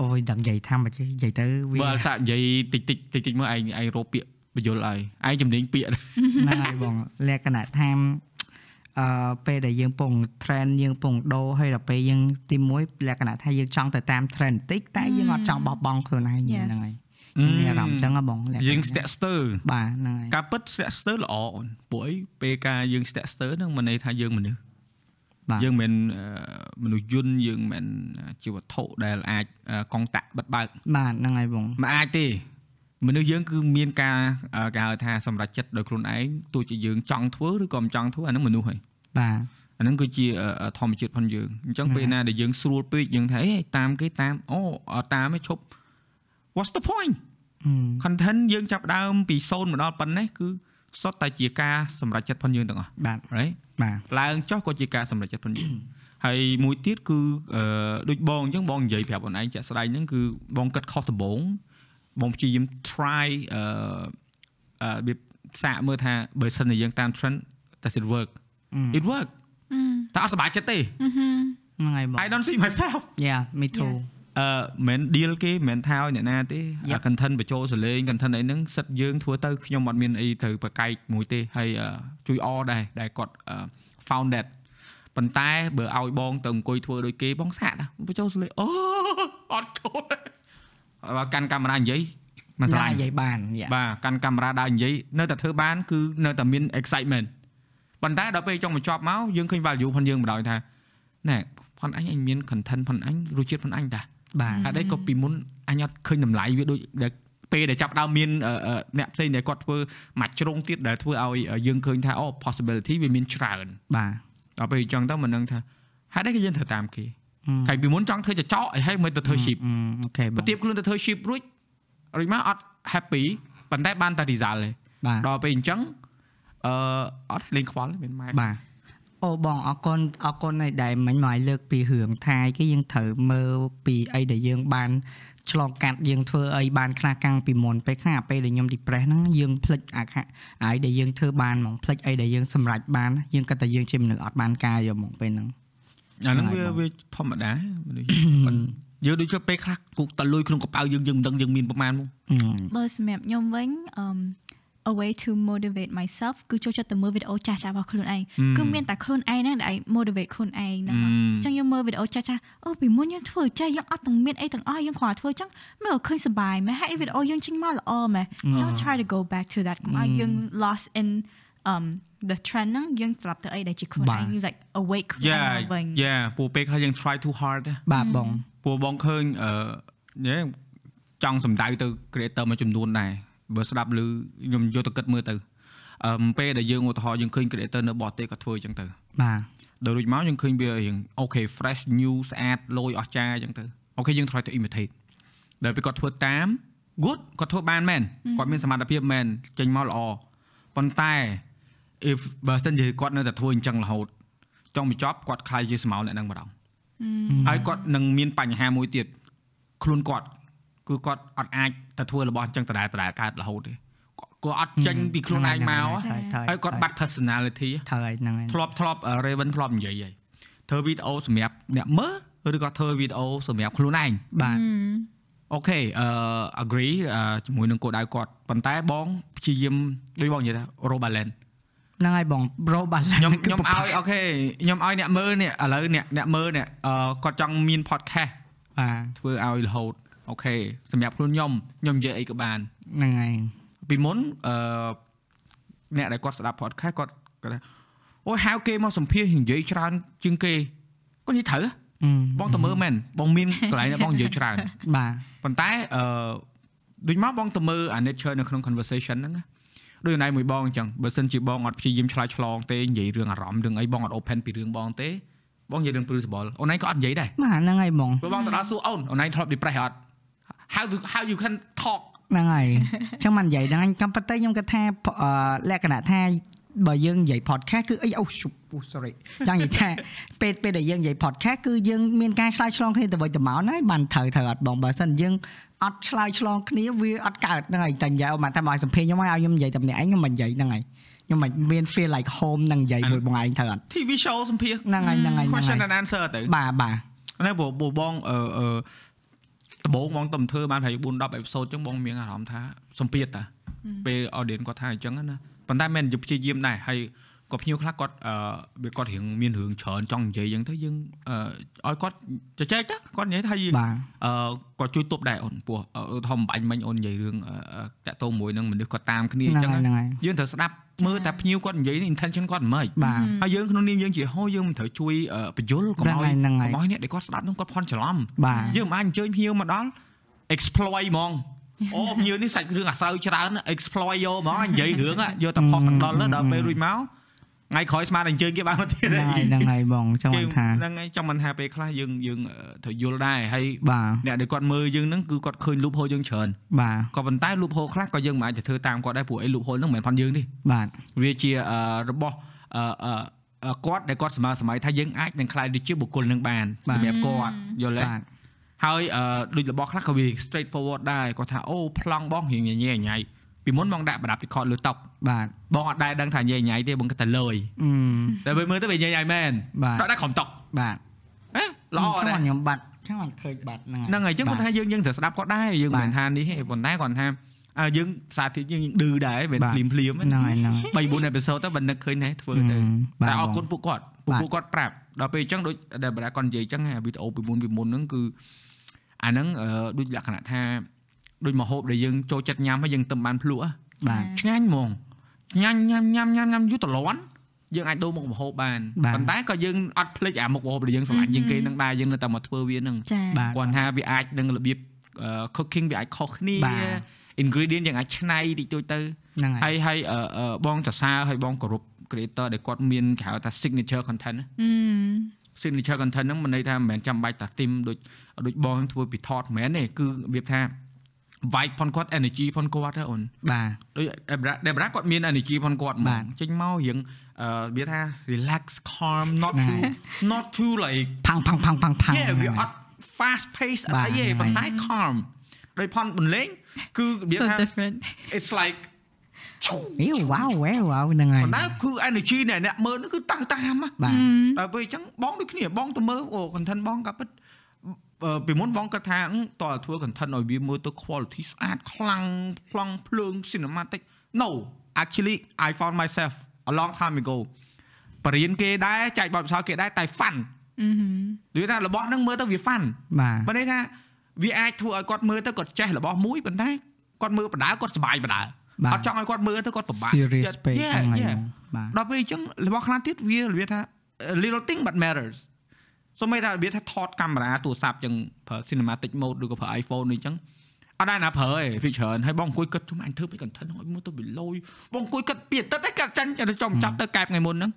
Speaker 3: អូយដឹងនិយាយថាមកចេះនិយាយទៅវា
Speaker 4: បើអត់សាក់និយាយតិចតិចតិចតិចមើលឯងឯងរកពាក្យបញ្យលឲ្យឯងចំនាញពាក្យ *laughs* ដែ
Speaker 3: *laughs* ហ្នឹង
Speaker 4: រ
Speaker 3: ហើយបងលក្ខណៈថាអឺពេលដែលយើងពង trend យើងពងដូរហើយដល់ពេលយើងទីមួយលក្ខណៈថាយើងចង់ទៅតាម trend បន្តិចតែយើងអត់ចង់បោះបង់ខ្លួនឯងហ្នឹងហើយខ្ញុំមានអារម្មណ៍អញ្ចឹងហ៎បងលក្ខណៈ
Speaker 4: យើងស្ទាក់ស្ទើរ
Speaker 3: បាទហ្នឹងហើយ
Speaker 4: ការពិតស្ទាក់ស្ទើរល្អអូនពួកអីពេលការយើងស្ទាក់ស្ទើរហ្នឹងមិនន័យថាយើងមនុស្ស
Speaker 3: បាទ
Speaker 4: យើងមិនមែនអឺមនុស្សយន្តយើងមិនមែនជាវត្ថុដែលអាចអឺកងតាក់បិទបើក
Speaker 3: បាទហ្នឹងហើយបង
Speaker 4: មិនអាចទេមនុស្សយើងគឺមានការអឺគេហៅថាសម្រេចចិត្តដោយខ្លួនឯងទោះជាយើងចង់ធ្វើឬក៏មិនចង់ធ្វើអាហ្នឹងមនុស្សហើយ
Speaker 3: បាទ
Speaker 4: អាហ្នឹងគឺជាអឺអឺធម្មជាតិផងយើងអញ្ចឹង
Speaker 3: ហ្នឹង
Speaker 4: ពេល
Speaker 3: ហើយ
Speaker 4: ណាដែលយើងស្រួលពេកយើងថាអេតាមគេតាមអូអត់តាមឯងឈប់ What's the point
Speaker 3: អឺ
Speaker 4: content យើងចាប់ផ្ដើមពី0មកដល់ប៉ុណ្ណេះគឺសុទ្ធតែជាការសម្រេចចិត្តផងយើងទាំងអស់
Speaker 3: បាទ
Speaker 4: right
Speaker 3: បាទ
Speaker 4: ឡើងចុះក៏ជាការសម្រេចចិត្តផងយើង ហើយមួយទៀតគឺអឺដូចបងអញ្ចឹងបងនិយាយប្រាប់ខ្លួនឯងជាក់ស្ដែងហ្នឹងគឺបងគិតខុសដំបូងបងព្យាយាម try អឺអឺរបៀបសាកមើលថាបើសិនជាយើងតាម trend does it work
Speaker 3: អឺ
Speaker 4: it work តែអត់សប្បាយចិត្តទេ
Speaker 2: អឺហឺ
Speaker 3: ហ្នឹងហើយបង
Speaker 4: I don't see myself
Speaker 3: Yeah me too
Speaker 2: Yes.
Speaker 4: អឺមិន deal គេមិនមែនថាឲ្យអ្នកណាទេអា
Speaker 3: Yep.
Speaker 4: content បញ្ចូលសលេង content អីហ្នឹងសិតយើងធ្វើទៅខ្ញុំអត់មានអីត្រូវប្រកែកមួយទេហើយអឺជួយអដែរដែលគាត់អឺ found that ប៉ុន្តែបើឲ្យបងទៅអង្គុយធ្វើដូចគេបងសាកតាបញ្ចូលសលេងអូអត់ចូលទេបើកាន់កាមេរ៉ានិយាយមិនស្រឡាញ់
Speaker 3: និយាយបាន yeah.
Speaker 4: បាទកាន់កាមេរ៉ាដើរនិយាយនៅតែធ្វើបានគឺនៅតែមាន excitement ប៉ុន្តែដល់ពេលចង់បញ្ចប់មកយើងឃើញ value ផងយើងបណ្ដោយថាណែផងអញអញមាន content ផងអញរសជាតិផងអញតា
Speaker 3: បាទ
Speaker 4: ហេតុអីក៏ពីមុនអញអត់ឃើញតម្លៃវាដូចដែលពេលដែលចាប់ផ្ដើមមានអឺអឺអ្នកផ្សេងដែលគាត់ធ្វើមួយជ្រុងទៀតដែលធ្វើឲ្យយើងឃើញថាអូ possibility វាមានច្រើន
Speaker 3: បាទ
Speaker 4: ដល់ពេលអញ្ចឹងទៅមិនដឹងថាហេតុអីក៏យើងត្រូវតាមគេ
Speaker 3: ហឹម
Speaker 4: ថ្ងៃពីមុនចង់ធ្វើចចកអីហើយមិនទៅធ្វើ ship
Speaker 3: ហឹមអូខេបង
Speaker 4: បន្ទាបខ្លួនទៅធ្វើ ship រួចរួចមកអត់ happy ប៉ុន្តែបានតែ result ទេ
Speaker 3: បាទ
Speaker 4: ដល់ពេលអញ្ចឹងអឺអត់លេងខ្វល់ទេមានម៉ែ
Speaker 3: បាទអូបងអរគុណអរគុណឯដែលមិញមកឲ្យលើកពីរឿងថាយគេយើងត្រូវមើលពីអីដែលយើងបានឆ្លងកាត់យើងធ្វើអីបានខ្លះកាំងពីមុនពេលខ្លះអាពេលដែលខ្ញុំ depress ហ្នឹងយើងភ្លេចអាខៈអាយដែលយើងធ្វើបានហ្មងភ្លេចអីដែលយើងសម្រេចបានយើងគិតតែយើងជាមនុស្សអត់បានការយកហ្មងពេលហ្នឹង
Speaker 4: អាហ្នឹង
Speaker 3: ហើយ
Speaker 4: វា
Speaker 3: បង
Speaker 4: វាធម្មតា *coughs* មនុស្សយើងយើងដូចជាពេលខ្លះគុកតលុយក្នុងកប៉ៅយើងយើងមិនដឹងយើងមានប្រមាណមក
Speaker 3: ហឹម
Speaker 2: បើសម្រាប់ខ្ញុំវិញ um a way to motivate myself គឺចូលចិត្តតែមើលវីដេអូចាស់ៗរបស់ខ្លួនឯងគឺមានតែខ្លួនឯងហ្នឹងដែលឯង motivate ខ្លួនឯងហ្នឹ
Speaker 4: អ
Speaker 2: ង
Speaker 4: ឺ
Speaker 2: ចឹងយើងមើលវីដេអូចាស់ចាស់ៗអូពីមុនយើងធ្វើចេះយើងអត់ទាំងមានអីទាំងអស់យើងគ្រាន់តែធ្វើចឹងមើលឃើញសប្បាយមែនហើយវីដេអូយើងចេញមកល្អមែន Don't try to go back to that កុំឲ្យយើង lost in um the trend ហ្នឹងយើងត្រឡប់ទៅអីដែលជាខ្លួន
Speaker 3: បាទ
Speaker 2: ឯង like awake ខ្លួនឯ
Speaker 4: Yeah
Speaker 2: ងវិញ
Speaker 4: yeah ពួកពេលខ្លះយើង try too hard ណា
Speaker 3: បាទបង
Speaker 4: ពួកបងឃើញអឺយេចង់សំដៅទៅ creator មួយចំនួនដែរបើស្ដាប់ឮខ្ញុំយកទៅគិតមើលទៅអឺពេលដែលយើងឧទាហរណ៍យើងឃើញ creator នៅបរទេសគាត់ធ្វើអញ្ចឹងទៅ
Speaker 3: បាទ
Speaker 4: ដល់រួចមកយើងឃើញវារៀងអូខេ fresh new ស្អាតលយអស្ចារ្យអញ្ចឹងទៅអូខេយើង try to imitate ដែលពេលគាត់ធ្វើតាម good គាត់ធ្វើបានមែនគាត់មានសមត្ថភាពមែនចេញមកល្អប៉ុន្តែ if បើសិនជាគាត់នៅតែធ្វើអញ្ចឹងរហូតចង់បញ្ចប់គាត់ខ្លាយជាស្មោលអ្នកហ្នឹងម្ដងហើយគាត់នឹងមានបញ្ហាមួយទៀតខ្លួនគាត់គឺគាត់អត់អាចទៅធ្វើរបស់អញ្ចឹងដដែលដដែលកើតរហូតទេគាត់គាត់អត់ចេញពីខ្លួនឯងមកហើយគាត់បាត់ personality ហ៎
Speaker 3: ត្រូវហើយហ្នឹងហើយ
Speaker 4: ធ្លាប់ធ្លាប់ Raven ធ្លាប់និយាយហើយធ្វើវីដេអូសម្រាប់អ្នកមើលឬក៏ធ្វើវីដេអូសម្រាប់ខ្លួនឯង
Speaker 3: បាទ
Speaker 4: អូខេអឺ agree អឺជាមួយនឹងគោលដៅគាត់ប៉ុន្តែបងព្យាយាមដូចបងនិយាយថា roll balance
Speaker 3: ហ្នឹងហើយបងប្រូបាឡា
Speaker 4: ខ្ញុំខ្ញុំឲ្យអូខេខ្ញុំឲ្យអ្នកមើលនេះឥឡូវអ្នកអ្នកមើលនេះអឺគាត់ចង់មាន podcast
Speaker 3: បាទ
Speaker 4: ធ្វើឲ្យរហូតអូខេសម្រាប់ខ្លួនខ្ញុំខ្ញុំនិយាយអីក៏បាន
Speaker 3: ហ្នឹងហើយ
Speaker 4: ពីមុនអឺអ្នកដែលគាត់ស្ដាប់ podcast គាត់គាត់ថាអូយហៅគេមកសម្ភាសន៍និយាយច្រើនជាងគេគាត់និយាយត្រូវហ៎
Speaker 3: អឺ
Speaker 4: បងទៅមើលមែនបងមានកន្លែងដែលបងនិយាយច្រើន
Speaker 3: បាទ
Speaker 4: ប៉ុន្តែអឺដូចមកបងទៅមើលអា nature នៅក្នុង conversation ហ្នឹងណាដូចណៃមួយបងអញ្ចឹងបើសិនជាបងអត់ព្យាយាមឆ្លើយឆ្លងទេនិយាយរឿងអារម្មណ៍រឿងអីបងអត់ open ពីរឿងបងទេបងនិយាយរឿង principle អូនឯងក៏អត់និយាយដែរ
Speaker 3: បាទហ្នឹងហើយបង
Speaker 4: ព្រោះបងទៅដល់សួរអូនអូនឯងធ្លាប់ depress អត់ how do how you can talk
Speaker 3: ហ្នឹងហើយអញ្ចឹងមិននិយាយហ្នឹងហើយកម្មប៉ុន្តែខ្ញុំគិតថាអឺលក្ខណៈថាបើយើងនិយាយ podcast គឺអីអូឈប់អូ sorry ចង់និយាយថា *laughs* ពេលពេលដែលយើងនិយាយ podcast គឺយើងមានការឆ្លើយឆ្លងគ្នាទៅវិញទៅមកហ្នឹងហើយបានត្រូវត្រូវអត់បងបើមិនយើងអត់ឆ្លើយឆ្លងគ្នាវាអត់កើតហ្នឹងហើយតែនិយាយអូមកតែមកឲ្យសម្ភារខ្ញុំឲ្យខ្ញុំនិយាយតែម្នាក់ឯងខ្ញុំមិននិយាយហ្នឹងហើយខ្ញុំមិនមាន feel like home នឹងនិយាយមួយបងឯងត្រូវអត់
Speaker 4: TV show សម្ភាសន៍
Speaker 3: ហ្នឹងហើយហ្នឹងហើយហ្នឹងហើ
Speaker 4: question
Speaker 3: យ
Speaker 4: and answer ទៅ
Speaker 3: បាទបាទ
Speaker 4: ហ្នឹងព្រោះព្រោះបងអឺអឺដំបូងបងទៅធ្វើបានប្រហែល4 10 episode អញ្ចឹងបងមានអារម្មណ៍ថាសម្ពាធតា ពេល audience គាត់ថាអញ្ចឹងណាប៉ុន្តែមិនយកព្យាយាមដែរហើយក៏ភ្ញៀវខ្លះគាត់អឺវាគាត់រៀងមានរឿងច្រើនចង់និយាយអញ្ចឹងទៅយើងអឺឲ្យគាត់ជជែកទៅគាត់និយាយថាយី
Speaker 3: *laughs* បាទ
Speaker 4: អឺគាត់ជួយទប់ដែរអូនពោះអឺធម្មបាញ់មិញអូននិយាយរឿងអឺតាក់ទងមួយនឹងមនុស្សគាត់តាមគ្នាអ
Speaker 3: ហ្នឹងហើយ
Speaker 4: ញ្ចឹង
Speaker 3: ហ្នឹ
Speaker 4: ណា
Speaker 3: ងហើយ
Speaker 4: យើងត្រូវស្ដាប់មើលតែភ្ញៀវគាត់និយាយនេះ intention គាត់មិនម៉េច
Speaker 3: បាទ
Speaker 4: ហើយយើងក្នុងនាមយើងជាហោយើងមិនត្រូវជួយអឺបញ្យលកុំឲ្យ
Speaker 3: ហ្នឹងហើយក
Speaker 4: ុំ
Speaker 3: ហ្នឹងហើយ
Speaker 4: ឲ្យអ្នកដែលគាត់ស្ដាប់នោះគាត់ផន់ច្រឡំ
Speaker 3: *laughs* បាទ
Speaker 4: យើងមិនអាចអញ្ជើញភ្ញៀវមកដល់ exploit ហ្ម
Speaker 3: *laughs*
Speaker 4: ងអូភ្ញៀវនេះសាច់រឿងអាសើច្រើន exploit យកហ្មងនិយាយរឿង
Speaker 3: *laughs*
Speaker 4: ហ่ะយកតែផុសទាំងដុលហ่ะដល់ពេលរួចមកថ្ងៃក្រោយស្មានតែអញ្ជើញគេបានមកទៀត
Speaker 3: ហ្នឹង
Speaker 4: *laughs*
Speaker 3: ហើយហ្នឹងហើយបងចង់បានថា
Speaker 4: ហ្នឹងហើយចង់មិនថាពេលខ្លះយើងយើងអឺត្រូវយល់ដែរហើយ
Speaker 3: បាទ
Speaker 4: អ្នកដែលគាត់មើលយើងហ្នឹងគឺគាត់ឃើញលូបហូលយើងច្រើន
Speaker 3: បាទ
Speaker 4: ក៏ប៉ុន្តែលូបហូលខ្លះក៏យើងមិនអាចទៅធ្វើតាមគាត់ដែរព្រោះអីលូបហូលហ្នឹងមិនមែនផាន់យើងទេ
Speaker 3: បាទ
Speaker 4: វាជាអឺរបស់អឺអឺអឺគាត់ដែលគាត់សម័យសម័យថាយើងអាចនឹងខ្លាយទៅជាបុគ្គលនឹងបានសម្រាប់គាត់យល់ទេ
Speaker 3: បាទ
Speaker 4: ហើយអឺដូចរបស់ខ្លះក៏វា straight forward ដែរគាត់ថាអូប្លង់បងរៀងញ៉ៃញ៉ៃពីមុនបងដាក់ប្រដាប់ record លើតុ
Speaker 3: បាទ
Speaker 4: បងអត់ដែរដឹងថាញ៉ៃញ៉ៃទេបងគាត់តែលយ
Speaker 3: អឺ
Speaker 4: តែពេលមើលទៅវាញ៉ៃញ៉ៃមែន
Speaker 3: បាទ
Speaker 4: ដាក់ដាក់ក្រុមតុ
Speaker 3: បាទ
Speaker 4: ហេល្អ
Speaker 3: ខ្ញុំ
Speaker 4: ដែរ
Speaker 3: ខ្ញុំបាត់ ខ្ញុំអត់ឃើញបាត់ហ្នឹង
Speaker 4: ហ្នឹងហើយអញ្ចឹងគាត់ថាយើងយើងត្រូវស្ដាប់គាត់ដែរយើងមិនមែនថានេះទេប៉ុន្តែគាត់ថាអើយើងសារធិតយើងឌឺដែរមិនភ្លាមភ្លាម *laughs*
Speaker 3: ហ្នឹងហើយហ្នឹងហើយ
Speaker 4: 3 4អេពីសូតទៅបើនឹកឃើញដែរធ្វើទៅ តែអរគុណពួកគាត់
Speaker 3: បាទ
Speaker 4: ពួកពួកគាត់ប្រាប់ដល់ពេលអញ្ចឹងដូចដែលបណ្ដាគាត់និយាយអញ្ចឹងអាវីដេអូពីមុនពីមុនហ្នឹងគឺអាហ្នឹងអឺដូចលក្ខណៈថាដូចមហូបដែលយើងចូលចិត្តញ៉ាំហើយយើងទៅបានភ្លក់ហ៎
Speaker 3: បាទ
Speaker 4: ឆ្ងាញ់ហ្មងញ៉ាំញ៉ាំញ៉ាំញ៉ាំញ៉ាំយូរតលន់យើងអាចដូរមុខម្ហូបបាន
Speaker 3: បាទ
Speaker 4: ប៉ុន្តែក៏យើងអត់ភ្លេចអាមុខម្ហូបដែលយើងស្រឡាញ់ជាងគេហ្នឹងដែរយើងនៅតែមកធ្វើវាហ្នឹង
Speaker 2: ចា
Speaker 3: បាទ
Speaker 4: គាត់ថាវាអាចនឹងរបៀបអឺ cooking វាអាចខុសគ្នា
Speaker 3: បាទ
Speaker 4: ingredient យើងអាចឆ្នៃតិចតួចទៅ
Speaker 3: ហ្នឹងហើ
Speaker 4: ហើយ យហើយអឺអឺបងចសារហើយបងគោរព creator ដែលគាត់មានគេហៅថា signature content ណា
Speaker 2: អឺ
Speaker 4: signature content ហ្នឹងមិនន័យថាមិនមែនចាំបាច់តាទីមដូចដូចបងធ្វើពីថតមិនមែនទេគឺរបៀបថា vibe ផនគាត់ energy ផនគាត់ហ៎អូន
Speaker 3: បាទ
Speaker 4: ដូច Debra Debra គាត់មាន energy ផនគាត់ហ្ម
Speaker 3: បាទ
Speaker 4: ងចេញមករៀងអឺវាថា relax calm
Speaker 3: *laughs*
Speaker 4: not
Speaker 3: ហ្នឹង
Speaker 4: too not too like
Speaker 3: ផាំងផាំងផាំងផាំងផាំង
Speaker 4: yeah
Speaker 3: *laughs*
Speaker 4: វាអត់ fast pace អត់
Speaker 3: បាទ
Speaker 4: អីទេ
Speaker 3: ហ្នឹងហើយ
Speaker 4: ប៉ុន្តែ calm ដោយផនបន្លេងគឺរបៀប
Speaker 2: so
Speaker 4: ថា
Speaker 2: different
Speaker 4: it's like ឈូ
Speaker 3: អីវ៉ាវវ៉ាវវ៉ាវហ្នឹងហើយ
Speaker 4: ប៉ុន្តែគឺ energy អ្នកអ្នកមើលហ្នឹងគឺតើតាមហ៎
Speaker 3: បាទ
Speaker 4: ដល់ពេលអញ្ចឹងបងដូចគ្នាបងទៅមើលអូ content បងក៏ពិតអឺពីមុនបងគាត់ថាអឺតើធ្វើ content ឲ្យវាមើលទៅ quality ស្អាតខ្លាំងប្លង់ភ្លើង cinematic no actually i found myself a long time ago បរៀនគេដែរចែកបទពិសោធន៍គេដែរតែ fun
Speaker 2: អឺ
Speaker 4: និយាយថារបស់ហ្នឹងមើលទៅវា fun
Speaker 3: បាទ
Speaker 4: បើន័យថាវាអាចធ្វើឲ្យគាត់មើលទៅគាត់ចេះរបស់មួយប៉ុន្តែគាត់មើលបណ្ដាលគាត់សប្បាយបណ្ដាល
Speaker 3: បាទ
Speaker 4: អត់ចង់ឲ្យគាត់មើលទៅគាត់ពិបាក
Speaker 3: serious ពេក
Speaker 4: Yeah,
Speaker 3: ហ្នឹងហើយ
Speaker 4: yeah.
Speaker 3: បាទ
Speaker 4: ដល់ពេលអញ្ចឹងរបស់ខ្លះទៀតវារបៀបថា little thing but matters សូម្បីតែរបៀបថាថតកាមេរ៉ាទូរស័ព្ទអញ្ចឹងប្រើ cinematic mode ឬក៏ប្រើ iPhone នេះអញ្ចឹងអត់ដែរណាប្រើទេពីច្រើនហើយបងអង្គុយគិតជុំអញធ្វើពី content ហ្នឹងឲ្យមើលទៅវាលយបងអង្គុយគិតពីអាទឹកតែកាត់ចាញ់ចង់ចាប់ទៅកែបថ្ងៃមុនហ្នឹង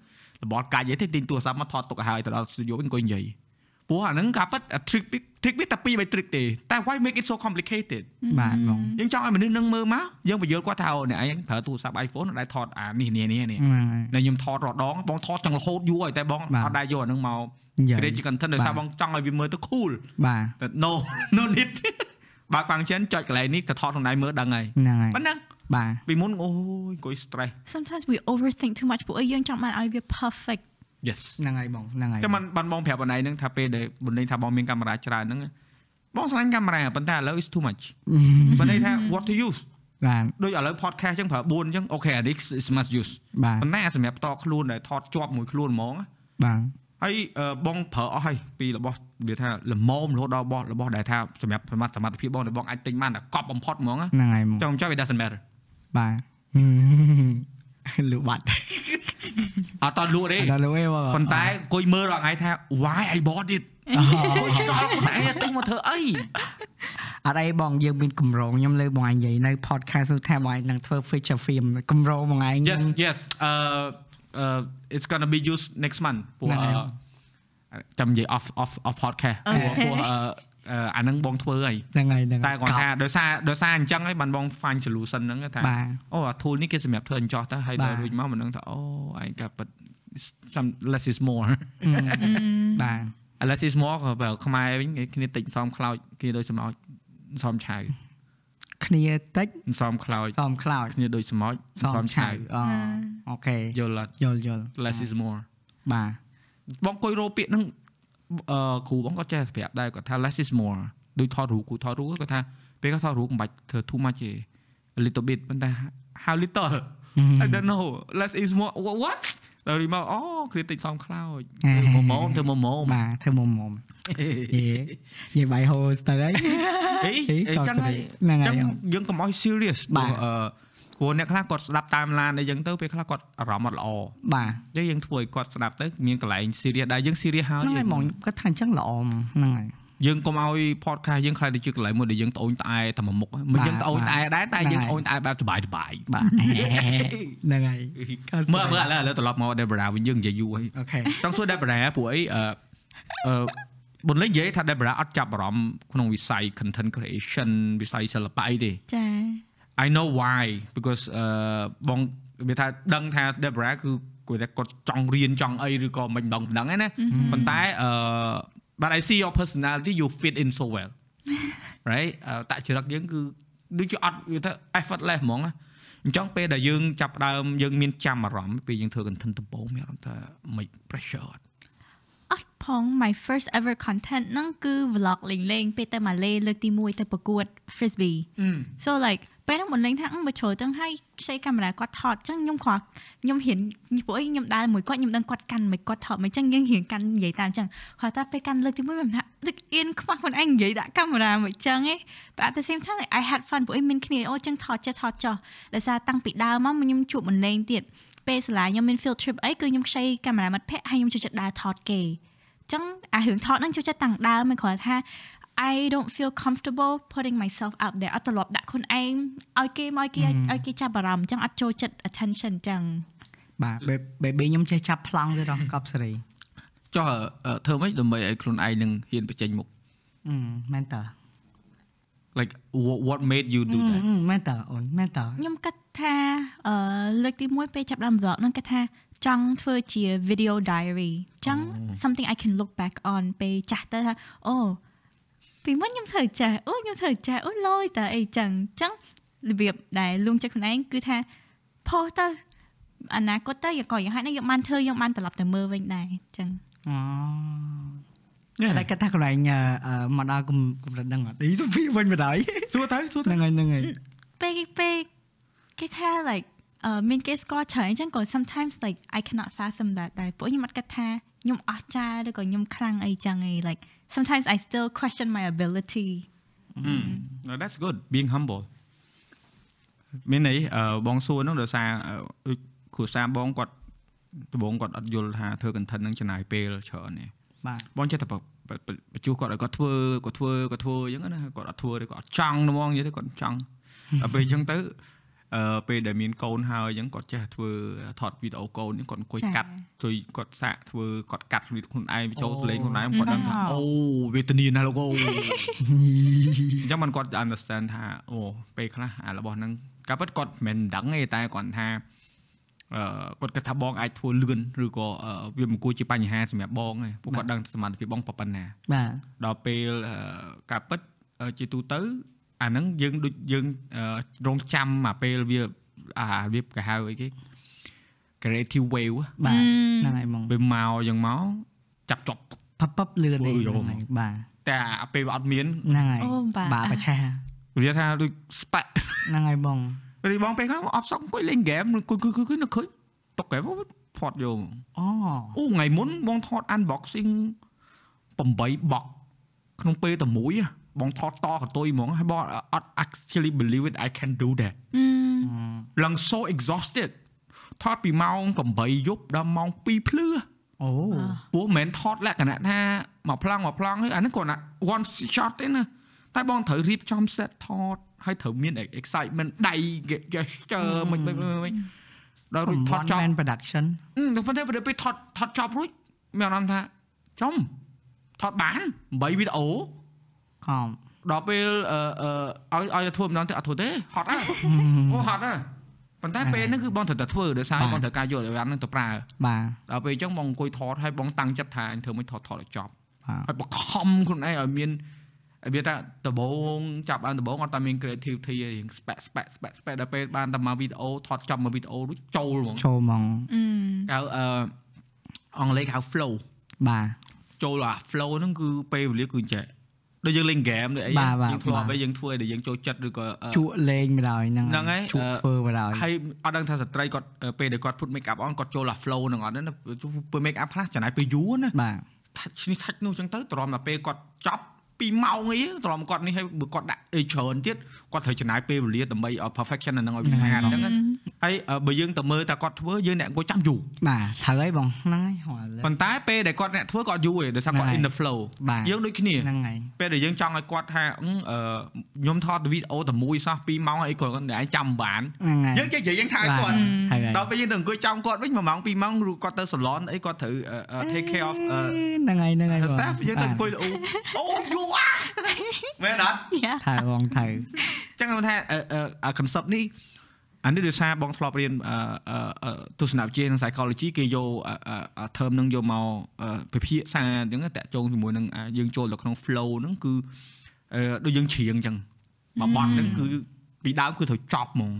Speaker 4: របស់កាច់យីទេទិញទូរស័ព្ទមកថតទុកឲ្យហើយទៅដល់ studio វិញអង្គុយនិយាយព្រោះអាហ្នឹងការប៉ិត trick trick វាតែ2 3 trick ទេតែ why make it so complicated
Speaker 3: បាទបង
Speaker 4: យើងចង់ឲ្យមនុស្សនឹងមើលមកយើងបញ្យល់គាត់ថាអូអ្នកឯងប្រើទូរស័ព្ទ iPhone អត់ដែរថតអានេះនេះនេះ
Speaker 3: ហ្នឹ
Speaker 4: នេះ
Speaker 3: ងហើយ
Speaker 4: ដែលខ្ញុំថតរដងបងថតចង់រហូតយូរហើយតែបង
Speaker 3: បាទ
Speaker 4: អត់ដែរយកអាហ្នឹងមក
Speaker 3: និយាយ
Speaker 4: create ជា content ដោយសារ
Speaker 3: បាទ
Speaker 4: បងចង់ឲ្យវាមើលទៅ cool
Speaker 3: បាទ
Speaker 4: តែ no *laughs* no need បើ function ចុចកន្លែងនេះទៅថតខ្លួនឯងមើលដឹងហើយ
Speaker 3: ហ្នឹងហើយ
Speaker 4: ប៉ុណ្ណឹង
Speaker 3: បាទ
Speaker 4: ពីមុនអូយអង្គុយ stress
Speaker 2: sometimes we overthink too much ពួកអីយើងចង់បានឲ្យវា perfect
Speaker 4: yes
Speaker 3: ហ្នឹងហើយបងហ្នឹងហើយ
Speaker 4: តែមិនបានបងប្រាប់បងឯងហ្នឹងថាពេលដែលបងលេងថាបងមានកាមេរ៉ាច្រើនហ្នឹងបងស្រឡាញ់កាមេរ៉ាប៉ុន្តែឥឡូវ is too
Speaker 3: *laughs*
Speaker 4: much បងន័យថា what to use
Speaker 3: បាទ
Speaker 4: ដូចឥឡូវ podcast ចឹងប្រើ4អញ្ចឹង okay អានេះ is must use
Speaker 3: បាទ
Speaker 4: ប៉ុន្តែអាសម្រាប់តខ្លួនដែលថតជាប់មួយខ្លួនហ្មងណា
Speaker 3: បាទ
Speaker 4: ហើយអឺបងប្រើអស់ហើយពីរបស់វាថាលមមរហូតដល់របស់របស់ដែលថាសម្រាប់សមត្ថសមត្ថភាពបងដែលបងអាចទិញបានតែកប់បំផុតហ្មងណា
Speaker 3: ហ្នឹងហើយបង
Speaker 4: ចង់ចាំវា doesn't matter
Speaker 3: បាទលុ *laughs* បាត់
Speaker 4: *laughs* អត់តលក់ទេ
Speaker 3: ដល់លុយបង
Speaker 4: ប៉ុន្តែអង្គុយមើលរាល់ថ្ងៃថា why I bought it
Speaker 3: អូ
Speaker 4: អូឆ្ងល់ខ្លួនឯងទិញមកធ្វើអី
Speaker 3: អត់អីបងយើងមានកម្រងខ្ញុំលើបងឯងនិយាយនៅ podcast នោះថាបងឯងនឹងធ្វើ feature film កម្រងបងឯង
Speaker 4: Yes yes អឺ it's going to be used next month ព្រោះ
Speaker 3: ហ្នឹងហើយ
Speaker 4: អឺចាំនិយាយ off off off podcast ព្រោះ
Speaker 2: Okay.
Speaker 4: ព្រោះអឺអឺអាហ្នឹងបងធ្វើហើយ
Speaker 3: ហ្នឹងហើយហ្នឹង
Speaker 4: តែ
Speaker 3: ហើយ
Speaker 4: គាត់
Speaker 3: ក
Speaker 4: ថាដោយសារដោយសារអញ្ចឹងហើយបានបង find solution ហ្នឹងថា
Speaker 3: ប់បាទ
Speaker 4: អូអា tool នេះគេសម្រាប់ធ្វើអញ្ចោះទៅហើយ
Speaker 3: បា
Speaker 4: ដល់
Speaker 3: ទ
Speaker 4: រួចមកមិនដឹងថាអូឯងក៏ប៉ិត some less is more *laughs*
Speaker 3: បាទ
Speaker 4: អា less is more ក៏បើខ្មែរវិញគេគ្នាតិចសំខ្លោចគ្នាដូចសម្អោចសំឆៅ
Speaker 3: គ្នាតិច
Speaker 4: សំខ្លោច
Speaker 3: សំខ្លោច
Speaker 4: គ្នាដូចសម្អោចសំឆៅ
Speaker 3: អូអូខេ
Speaker 4: យល់អត់
Speaker 3: យល់យល់
Speaker 4: less is more
Speaker 3: បាទ
Speaker 4: បងអង្គុយរោពាក្យហ្នឹងអឺគ្រូបងក៏ចេះប្រាប់ដែរគាត់ថា less is more ដូចថតរូបគ្រូថតរូបគាត់ថាពេលគាត់ថតរូបមិនបាច់ធ្វើ too much ទេ a little bit ប៉ុន្តែ how little I don't know less is more Wha- what ដល់រីមកអូគ្រាតិចសំខ្លោចធ្វើម៉មធ្វើម៉ម
Speaker 3: *laughs*
Speaker 4: ហ
Speaker 3: បាទធ្វើមុំមុំយេនិយាយបាយហូស្ទើរហើយ
Speaker 4: អី
Speaker 3: ហេ
Speaker 4: អីចឹងហើយ
Speaker 3: ហ្នឹងហើយ
Speaker 4: ចឹងយើងកុំឲ្យ serious
Speaker 3: បា
Speaker 4: បាទ ទអឺព្រោះអ្នកខ្លះគាត់ស្ដាប់តាមឡានអីចឹងទៅពេលខ្លះគាត់អារម្មណ៍អត់ល្អ
Speaker 3: បាទ
Speaker 4: អញ្ចឹងយើងធ្វើឲ្យគាត់ស្ដាប់ទៅមានកន្លែង serious ដែរយើង serious ហើយ
Speaker 3: ហ្នឹងហើយហ្មងគាត់ថាអញ្ចឹងល្អហ្មងហ្នឹងហើយ
Speaker 4: យើងកុំឲ្យ podcast យើងខ្លាចទៅជាកន្លែងមួយដែលយើងត្អូញត្អែតែមួយមុខហ្នឹងមិន
Speaker 3: បាទ
Speaker 4: យើងត្អូញត្អែដែរតែ
Speaker 3: ហ្នឹង
Speaker 4: យើង
Speaker 3: ហើយ
Speaker 4: ត្អូញត្អែបែបសบายសบาย
Speaker 3: បាទហ្នឹងហើយ
Speaker 4: មើលមើលឥឡូវឥឡូវត្រឡប់មក Debra វិញយើងនិយាយយូរហើយ
Speaker 3: អូខេ
Speaker 4: ចង់សួរ Debra ព្រោះអីអឺអឺបុនលេងនិយាយថា Debra អត់ចាប់អារម្មណ៍ក្នុងវិស័យ content creation វិស័យសិល្បៈអីទេ
Speaker 2: ចា
Speaker 4: I know why because អឺបងវាថាដឹងថា Debra គឺគាត់ថាគាត់ចង់រៀនចង់អីឬក៏មិនដឹងមិនដឹងឯណាប៉ុន្តែអឺ but I see your personality you fit in so well right អឺតាក់ចរិតយើងគឺដូចជាអត់វាថា effortless ហ្មងណាអញ្ចឹងពេលដែលយើងចាប់ផ្ដើមយើងមានចាំអារម្មណ៍ពេលយើងធ្វើ content ដំបូងមានអារម្មណ៍ថាមិន pressure អត់
Speaker 2: អត់ផ ផង my first ever content ហ្នឹងគឺ vlog លេងៗពេលទៅម៉ាឡេលើកទី1ទៅប្រកួត frisbee
Speaker 3: អឺ
Speaker 2: so like ពេលហ្នឹងមិនលេងថាអឺមកជ្រើទាំងឲ្យខ្ចីកាមេរ៉ាគាត់ថតអញ្ចឹងខ្ញុំគ្រាន់ខ្ញុំហ៊ានពួកអីខ្ញុំដើរមួយគាត់ខ្ញុំដឹងគាត់កាន់មិនគាត់ថតមិនអញ្ចឹងយើងហ៊ានកាន់និយាយតាមអញ្ចឹងគាត់ថាពេលកាន់លើកទី1មិនថាដូចអៀនខ្វះខ្លួនឯងនិយាយដាក់កាមេរ៉ាមកអញ្ចឹងឯង but at the same time like, I had fun ពួកអីមានគ្នាអូអញ្ចឹងថតចេះថតចោះដោយសារតាំងពីដើមមកខ្ញុំជួបមិនលេងទៀតពេលសាលាខ្ញុំមាន field trip អីគឺខ្ញុំខ្ចីកាមេរ៉ាមិត្តភ័ក្តិហើយខ្ញុំចូលចិត្តដើរថតគេអញ្ចឹងអារឿងថតហ្នឹងចូលចិត្តតាំងដើមមិនគ្រាន់ថា I don't feel comfortable putting myself out there អត់ត្រឡប់ដាក់ខ្លួនឯងឲ្យគេមកឲ្យគេឲ្យគេចាប់អារម្មណ៍អញ្ចឹងអត់ចូលចិត្ត attention អញ្ចឹង
Speaker 3: បាទ ba- baby ខ្ញុំចេះចាប់ប្លង់ទៅដល់កប់សេរី
Speaker 5: ចុះអឺធ្វើម៉េចដើម្បីឲ្យខ្លួនឯងនឹងហ៊ានបញ្ចេញមុខ
Speaker 3: អឺមែនតើ
Speaker 5: like what- what made you do
Speaker 3: អឺ
Speaker 5: that
Speaker 3: អឺមែនតើអូនមែនតើ
Speaker 2: ខ្ញុំគិតថាអឺលើកទី1ពេលចាប់ដើម vlog ហ្នឹងគាត់ថាចង់ធ្វើជា video diary អញ្ចឹង something I can look back on ពេលចាស់ទៅថាអូពីមុនខ្ញុំធ្វើចាស់អូខ្ញុំធ្វើចាស់អូលយតើអីអញ្ចឹងអញ្ចឹងរបៀបដែលលួងចិត្តខ្លួនឯងគឺថា post ទៅអនាគតទៅយ៉ាងក៏យ៉ាងហោចណាស់យើងបានធ្វើយើងបានត្រឡប់ទៅមើលវិញដែរអញ្ចឹង
Speaker 3: អូ
Speaker 4: នេះ
Speaker 3: តែគាត់ថាកន្លែងអឺអឺមកដល់គំកម្រិតហ្នឹងអត់ឌីសុភីវិញបណ្ដោយ
Speaker 4: សួរទៅសួរទៅ
Speaker 3: ហ្នឹងហើយហ្នឹងហើយ
Speaker 2: ពេលពេលគេថា like អឺមានគេស្គាល់ច្រើនអញ្ចឹងក៏ sometimes like I cannot fathom that ដែរពួកខ្ញុំអត់គិតថាខ្ញុំអស្ចារ្យឬក៏ខ្ញុំខ្លាំងអីចឹងឯង like sometimes I still question my ability
Speaker 4: No, that's good being humble មានន័យអឺបងសួរហ្នឹងដោយសារអឺដូចគ្រូសាបងគាត់ដំបងគាត់អត់យល់ថាធ្វើ content ហ្នឹងចំណាយពេលច្រើនទេ
Speaker 3: បាទ
Speaker 4: បងចេះតែបបបបញ្ជូសគាត់ឲ្យគាត់ធ្វើគាត់ធ្វើគាត់ធ្វើអញ្ចឹងណាគាត់អត់ធ្វើឬគាត់អត់ចង់ហ្មងនិយាយទៅគាត់អត់ច *laughs* ង់ ដល់ពេលអញ្ចឹងទៅអឺពេលដែលមានកូនហើយអញ្ចឹងគាត់ចេះធ្វើថតវីដេអូកូនហ្នឹងគាត់អង្គុយ
Speaker 2: ចា៎
Speaker 4: កាត់ជួយគាត់សាកធ្វើគាត់កាត់វីដេអូខ្លួនឯងបញ្ចូល
Speaker 3: អូ
Speaker 4: សលេងខ្លួនឯងគាត់ដឹងថា
Speaker 3: វ៉ាវ
Speaker 4: អូវេទនាណាស់លោកអូ អញ្ចឹងមិនគាត់ understand ថាអូពេលខ្លះអារបស់ហ្នឹងការពិតគាត់មិនមែនដឹងទេតែគាត់ថាអឺគាត់គិតថាបងអាចធ្វើលឿនឬក៏អឺវាមិនគួរជាបញ្ហាសម្រាប់បងទេពួកគាត់ដឹងសមត្ថភាពបងប៉ុណ្ណា
Speaker 3: បាទ
Speaker 4: ដល់ពេលអឺការពិតអឺជាទូទៅអាហ្នឹងយើងដូចយើងអឺរងចាំអាពេលវាអាវាគេហៅអីគេ creative wave
Speaker 3: បាទហ្នឹងហើយហ្មង
Speaker 4: វាមកយ៉ាងមកចាប់ចប់
Speaker 3: ផឹបផឹបលឿន
Speaker 4: អូ
Speaker 3: ឯង
Speaker 4: យ
Speaker 3: ហ្នឹង
Speaker 4: ហ្ម
Speaker 3: ហើយ
Speaker 4: ង
Speaker 3: បាទ
Speaker 4: តែអាពេលវាអត់មាន
Speaker 3: ហ្នឹងហើយ
Speaker 2: អូបាទ
Speaker 3: បាទប្រឆា
Speaker 4: វាថាដូច spark
Speaker 3: ហ្នឹងហើយបង
Speaker 4: រីបងពេលខ្លះអបសក់អង្គុយលេងហ្គេមអង្គុយគយគយនៅឃើញតុកហ្គេមថតយក
Speaker 3: អូ
Speaker 4: អូថ្ងៃមុនបងថត unboxing 8បុកក្នុងពេលតែមួយហ៎បងថតតកតុយហ្មងហើយបងអត់ actually believe it I can do that ឡើង so exhausted ថតពីម៉ោង8យប់ដល់ម៉ោង2ភ្លឺ
Speaker 3: អូ
Speaker 1: Ờ.
Speaker 4: ព្រោះមិនមែនថតលក្ខណៈថាមកប្លង់មកប្លង់ហើយអានេះគ្រាន់តែ one shot ទេណាតែបងត្រូវរៀបចំ set ថតហើយត្រូវមាន excitement ដៃ gesture មិនមិនមិនមិនដល់រួចថតចប់
Speaker 3: Man production
Speaker 4: អឺប៉ុន្តែពេលថតថតចប់រួចមានអារម្មណ៍ថាចំថតបាន8វីដេអូ
Speaker 3: ខំ
Speaker 4: ដល់ពេលអឺអឺឲ្យឲ្យធ្វើម្ដងទៀតអត់ធ្វើទេហត់ *laughs* ហើយអូហត់ហើយប៉ុន្តែពេលហ្នឹងគឺបងត្រូវតែធ្វើដោយសារបងត្រូវការយកអាវ៉ាន់ហ្នឹងទៅប្រើ
Speaker 3: បាទ
Speaker 4: ដល់ពេលអញ្ចឹងបងអង្គុយថតហើយបងតាំងចិត្តថាអញធ្វើមិនថតថតឲ្យចប់
Speaker 3: បាទ
Speaker 4: ហើយបង្ខំខ្លួនឯងឲ្យមានវាថាដបងចាប់បានដបងអត់តែមាន creativity ឯងរៀងស្ប៉ាក់ស្ប៉ាក់ស្ប៉ាក់ស្ប៉ាក់ដល់ពេលបានតែមកវីដេអូថតចប់មកវីដេអូរួចចូលហ្មង
Speaker 3: ចូលហ្មង
Speaker 4: ហៅអឺអង់គ្លេសគេហៅ flow
Speaker 3: បាទ
Speaker 4: ចូលអា flow ហ្នឹងគឺពេលវេលាគឺចេះដូចយើងលេងហ្គេមដូចអី
Speaker 3: បាទបាទ
Speaker 4: យើងធ្លាប់
Speaker 3: បាទ
Speaker 4: ឲ្យយើងធ្វើឲ្យយើងចូលចិត្តឬក៏អឺ
Speaker 3: ជក់លេងបណ្ដោយហ្នឹង
Speaker 4: ហ្នឹងហើយ
Speaker 3: ជក់
Speaker 4: អឺ
Speaker 3: ធ្វើបណ្ដោយ
Speaker 4: ហើយអត់ដឹងថាស្ត្រីគាត់អឺពេលដែលគាត់ put make up on គាត់ចូលអា flow ហ្នឹងអត់ទេណាពេល make up ខ្លះចំណាយពេលយូរណា
Speaker 3: បាទ
Speaker 4: ថាច់នេះថាច់នោះអញ្ចឹងទៅទ្រាំតែពេលគាត់ចប់2ម៉ោងអីទ្រាំគាត់នេះហើយបើគាត់ដាក់អីច្រើនទៀតគាត់ត្រូវចំណាយពេលវេលាដើម្បីឲ្យ perfection អាហ្នឹងឲ្យវាស្អាតអញ្ចឹងណាហើយអឺបើយើងទៅមើលតែគាត់ធ្វើយើងអ្នកអង្គុយចាំយូរ
Speaker 3: បាទត្រូវហើយបងហ្នឹងហើយហៅលើ
Speaker 4: ប៉ុន្តែពេលដែលគាត់អ្នកធ្វើគាត់យូរឯងដោយសារគាត់ in the flow
Speaker 3: បាទ
Speaker 4: យើងដូចគ្នា
Speaker 3: ហ្នឹងហើយ
Speaker 4: ពេលដែលយើងចង់ឲ្យគាត់ថាអឺអឺខ្ញុំថតវីដេអូតែមួយសោះ2ម៉ោងអីគាត់គាត់ឯងចាំមិនបាន
Speaker 3: ហ្នឹងហើយ
Speaker 4: យើងចេះនិយាយយើងថាឲ្យគា
Speaker 3: ប
Speaker 4: ត់
Speaker 3: ាទត្រូវហើយ
Speaker 4: ដល់ពេលយើងទៅអង្គុយចាំគាត់វិញ1ម៉ោង2ម៉ោងឬគាត់ទៅ salon អីគាត់ត្រូវអឺអឺ take care of អឺ
Speaker 3: ហ្នឹងហើយហ្នឹងហើយ
Speaker 4: herself យើងទៅអង្គុយល្អអូយូអាមែនអត់
Speaker 2: *laughs* yeah
Speaker 3: ថើបងថើ
Speaker 4: ចឹងខ្ញុំថាអឺអឺអា concept នេះអានេះដោយសារបងធ្លាប់រៀនអអឺអឺទស្សនវិជ្ជានិង psychology គេយកអអអ term ហ្នឹងយកមកអឺពិភាក្សាអញ្ចឹងតាក់ទងជាមួយនឹងអាយើងចូលទៅក្នុង flow ហ្នឹងគឺអឺដូចយើងច្រៀងអញ្ចឹងបបត់ហ្នឹងគឺពីដើមគឺត្រូវចប់ហ្មង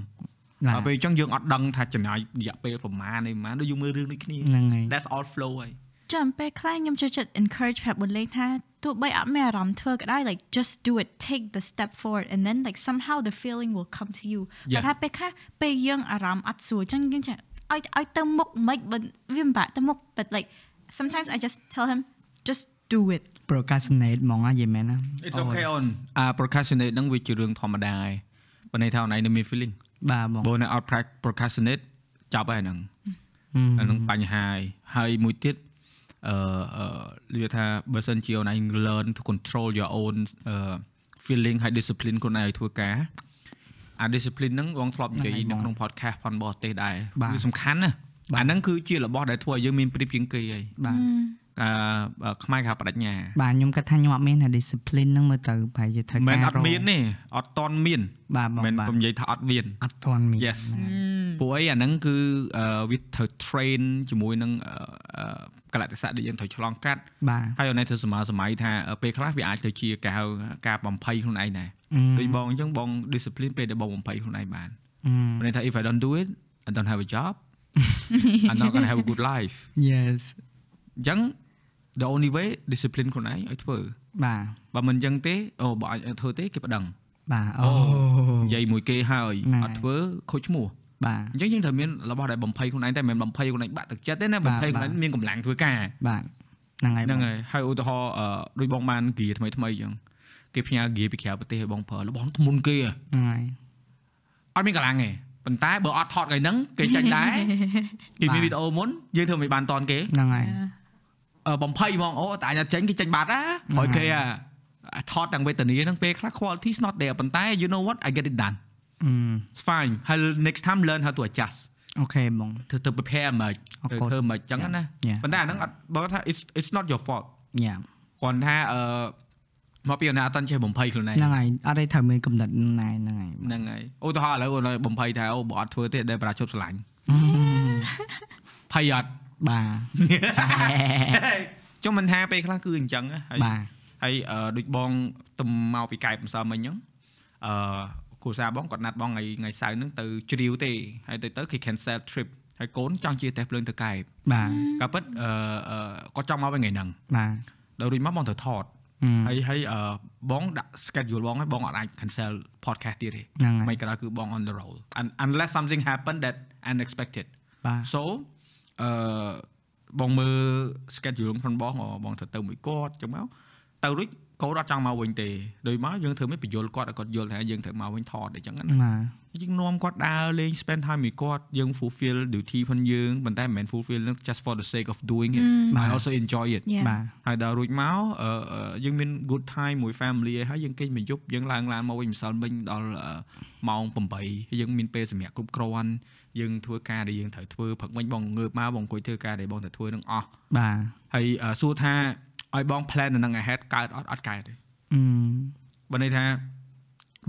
Speaker 3: បាទ
Speaker 4: ដល់ពេលអញ្ចឹងយើងអត់ដឹងថាចំណាយរយៈពេលប្រមាណឯប៉ុន្មានដូចយើងមើលរឿងដូចគ្នា
Speaker 3: ហ្នឹងហើយ
Speaker 4: that's all flow ហើយ
Speaker 2: ចាំពេលខ្លះខ្ញុំចូលចិត្ត encourage ប្រាប់បុនលេងថាទោះបីអត់មានអារម្មណ៍ធ្វើក៏ដោយ like just do it take the step forward and then like somehow the feeling will come to you
Speaker 1: យ៉ា
Speaker 2: តែថាពេលខ្លះពេលយើងអារម្មណ៍អត់ស្រួលចឹងយើងចាឲ្យឲ្យទៅមុខមិនបើវាមិនបាក់ទៅមុខ but like sometimes i just tell him just do it
Speaker 3: procrastinate ហ្មងហ្នឹងយីមែនណា
Speaker 4: It's okay on អា procrastinate ហ្នឹងវាជារឿងធម្មតាហើយបើន័យថាអូនឯងនៅមាន feeling
Speaker 3: បាទហ្មង
Speaker 4: បើនៅ out prac- procrastinate ចាប់ហើយហ្នឹងអា
Speaker 3: ហឹម
Speaker 4: ហ្នឹងបញ្ហាហើយហើយមួយទៀតអឺអឺនិយាយថាបើសិនជាអូនឯង learn to control your own អឺ feeling ហើយ discipline ខ្លួនឯងឲ្យធ្វើការអា discipline ហ្នឹងបងធ្លាប់និយាយនៅក្នុង podcast ផងបរទេសដែរគឺសំខាន់ណាស់អាហ្នឹងគឺជារបស់ដែលធ្វើឲ្យយើងមានព្រៀបជាងគេហើយ
Speaker 3: បាទ
Speaker 4: អឺខ្មែរគេហៅបដិញ្ញា
Speaker 3: បាទខ្ញុំគិតថាខ្ញុំអត់មានអា discipline ហ្នឹងមើលទៅប្រហែលជាធ្វើ
Speaker 4: មិនមែនអ
Speaker 3: ការ
Speaker 4: ត់មានទេអត់តន់មាន
Speaker 3: បាទហ្មង
Speaker 4: មិនមែន
Speaker 3: បាទ
Speaker 4: ខ្ញុំនិយាយថាអត់មាន
Speaker 3: អត់ទាន់មាន
Speaker 4: Yes ពួកអីអាហ្នឹងគឺអឺវាត្រូវ train ជាមួយនឹងអឺអឺកលតិសៈដែលយើងត្រូវឆ្លងកាត់
Speaker 3: បាទ
Speaker 4: ហើយអូនឯងធ្វើសម័យសម័យថាអឺពេលខ្លះវាអាចទៅជាការហៅការបំភ័យខ្លួនឯងដែរដូចបងអញ្ចឹងបង discipline ពេលដែលបងបំភ័យខ្លួនឯងបានមិនន័យថា if I don't do it I don't have a job I'm not going to have a good life
Speaker 3: Yes
Speaker 4: អញ្ចឹង the only way discipline ខ្លួនឯងឲ្យធ្វើ
Speaker 3: បាទ
Speaker 4: បើមិនអញ្ចឹងទេអូបើអាចធ្វើទេគេប្តឹង
Speaker 3: បាទអូ
Speaker 4: និយាយមួយគេហើយ
Speaker 3: ណែ
Speaker 4: អត់ធ្វើខូចឈ្មោះ
Speaker 3: បាទ
Speaker 4: អញ្ចឹងយើងត្រូវមានរបស់ដែលបំភ័យខ្លួនឯងតែមិនមែនបំភ័យខ្លួនឯងបាក់ទឹកចិត្តទេណាបំភ័យខ្លួនឯងមានកម្លាំងធ្វើការ
Speaker 3: បាទហ្នឹងហើយ
Speaker 4: ហ្នឹង
Speaker 3: បង
Speaker 4: ហើយហើយឧទាហរណ៍អឺដូចបងបានហ្គីថ្មីថ្មីអញ្ចឹងគេផ្ញើហ្គីពីក្រៅប្រទេសឲ្យបងប្រើរបស់ហ្នឹងធ្ងន់គេហ៎
Speaker 3: ហ្នឹងហើយ
Speaker 4: អត់មានកម្លាំងទេប៉ុន្តែបើអត់ថតថ្ងៃហ្នឹងគេចាញ់ *laughs* ដែរ គេមា
Speaker 3: បា
Speaker 4: ន
Speaker 3: ទ
Speaker 4: វីដេអូមុនយើងធ្វើមិនបានតនគេ
Speaker 3: ហ្នឹងហើយ
Speaker 4: អឺបំភ័យហ្មងអូតែអញអត់ចាញ់គេចាញ់បាត់ណាហើយគេអាអាថតទាំងវេទនាហ្នឹងពេលខ្លះ quality is not there ប៉ុន្តែ you know what I get it done
Speaker 3: អឺ
Speaker 4: it's fine ហើយ next time learn how to adjust
Speaker 3: អូខេបង
Speaker 4: ធ្វើទៅ prepare ហ្មក
Speaker 3: អរគុ
Speaker 4: ទៅ
Speaker 3: ណ
Speaker 4: ធ្វើហ្មកចឹងណា
Speaker 3: Yeah.
Speaker 4: ប៉ុន្តែអាហ្នឹងអត់បើថា it's it's not your fault
Speaker 3: យ៉ា
Speaker 4: គ្រាន់ថាអឺមកពីអូនណាអត់តាន់ចេះបំភ័យខ្លួនឯង
Speaker 3: ហ្នឹងហើយអត់ទេត្រូវមានកំណត់ណែហ្នឹងហើយបង
Speaker 4: ហ្នឹងហើយឧទាហរណ៍ឥឡូវអូនបំភ័យថាអូបើអត់ធ្វើទេដែលប្រាជប់ស្រឡាញ់ *laughs* ភ័យអត់
Speaker 3: បាទ
Speaker 4: ចុះមិនថាពេលខ្លះគឺអញ្ចឹងណាហើយ
Speaker 3: បាទ
Speaker 4: ហើយអឺដូចបងទៅមកពីកែបម្សិលមិញអញ្ចឹងអឺគ្រូសាបងគាត់ណាត់បងថ្ងៃថ្ងៃសៅរ៍ហ្នឹងទៅជ្រាវទេហើយទៅទៅគេ cancel trip ហើយកូនចង់ជាតេសភ្លើងទៅកែប
Speaker 3: បាទ
Speaker 4: ការពិតអឺអឺគាត់ចង់មកវិញថ្ងៃហ្នឹង
Speaker 3: បាទ
Speaker 4: ដល់រួចមកបងទៅថត
Speaker 3: អឺ
Speaker 4: ហើយហើយអឺបងដាក់ schedule បងហើយបងអត់អាច cancel podcast ទៀតទេ
Speaker 3: ហ្នឹងហើយ
Speaker 4: មិនក៏ដោយគឺបង on the roll Un- unless something happen that unexpected
Speaker 3: បាទ
Speaker 4: so អឺបងមើល schedule ផងបងអូបងទៅទៅមួយគាត់ចឹងមកទៅរួចកូនអត់ចង់មកវិញទេដូចមកយើងធ្វើមិនបញ្យល់គាត់ឲ្យគាត់យល់ថាយើងត្រូវមកវិញថតអីចឹង
Speaker 3: ប
Speaker 4: ណា
Speaker 3: ាទ
Speaker 4: យើងនាំគាត់ដើរលេង spend time មួយគាត់យើង fulfill duty ផងយើងប៉ុន្តែមិនមែន fulfill នឹង just for the sake of doing it I also enjoy it
Speaker 3: បាទ
Speaker 4: ហើយដល់រួចមកអឺអឺយើងមាន good time មួយ family ហើយហើយយើងគេងមួយយប់យើងឡើងឡានមកវិញម្សិលមិញដល់អឺម៉ោង8ហើយយើងមានពេលសម្រាប់គ្រប់គ្រាន់យើងធ្វើការដែលយើងត្រូវធ្វើព្រឹកមិញបងងើបមកបងអង្គុយធ្វើការដែលបងត្រូវធ្វើនឹងអស់
Speaker 3: បាទ
Speaker 4: ហើយអឺសួរថាឲ្យបង plan នៅនឹង ahead កើតអត់អត់កើតទេ
Speaker 3: អឺ
Speaker 4: បើន័យថា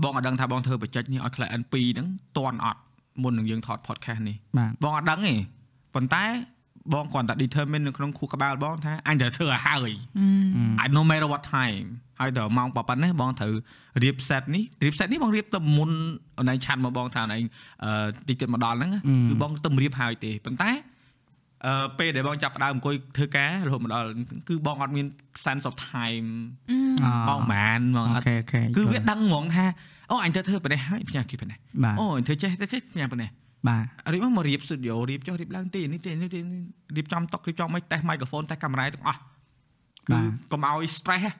Speaker 4: បងអត់ដឹងថាបងធ្វើបច្ចេកនេះឲ្យ client 2ហ្នឹងតន់អត់មុននឹងយើងថត podcast នេះ
Speaker 3: បាទ
Speaker 4: បងអត់ដឹងទេប៉ុន្តែបងគ្រាន់តែ determine នៅក្នុងខួរក្បាលបងថាអញត្រូវធ្វើឲ្យហើយ I no matter what time ហើយដល់ម៉ោងប៉ប៉ុណ្ណេះបងត្រូវរៀប set នេះរៀប set នេះបងរៀបទៅមុនអូនឯងឆាត់មកបងថាអូនឯងអឺតិចទៀតមកដល់ហ្នឹង
Speaker 3: អឺ
Speaker 4: គឺបងទៅរៀបហើយទេប៉ុន្តែអឺពេលដែលបងចាប់ផ្ដើមអង្គុយធ្វើការរហូតមកដល់គឺបងអត់មាន sense of time
Speaker 3: Ờ.
Speaker 4: បងប្រហែលបងអ
Speaker 3: អូ
Speaker 4: ត់
Speaker 3: ខេអូខេ
Speaker 4: គឺវាដឹងហ្មងថាអូអញទៅធ្វើប៉ុណ្ណេះហើយផ្ញើគេប៉ុណ្ណេះ
Speaker 3: បាទ
Speaker 4: អូអញធ្វើចេះទៅចេះផ្ញើប៉ុណ្ណេះ
Speaker 3: បាទ
Speaker 4: រៀបមកមករៀប studio រៀបចុះរៀបឡើងទីនេះទីនេះទីនេះរៀបចំតុរៀបចំមិនតេស microphone តេសកាមេរ៉ាទាំងអស់គឺ
Speaker 3: បាទ
Speaker 4: កុំឲ្យ stress ហ្នឹង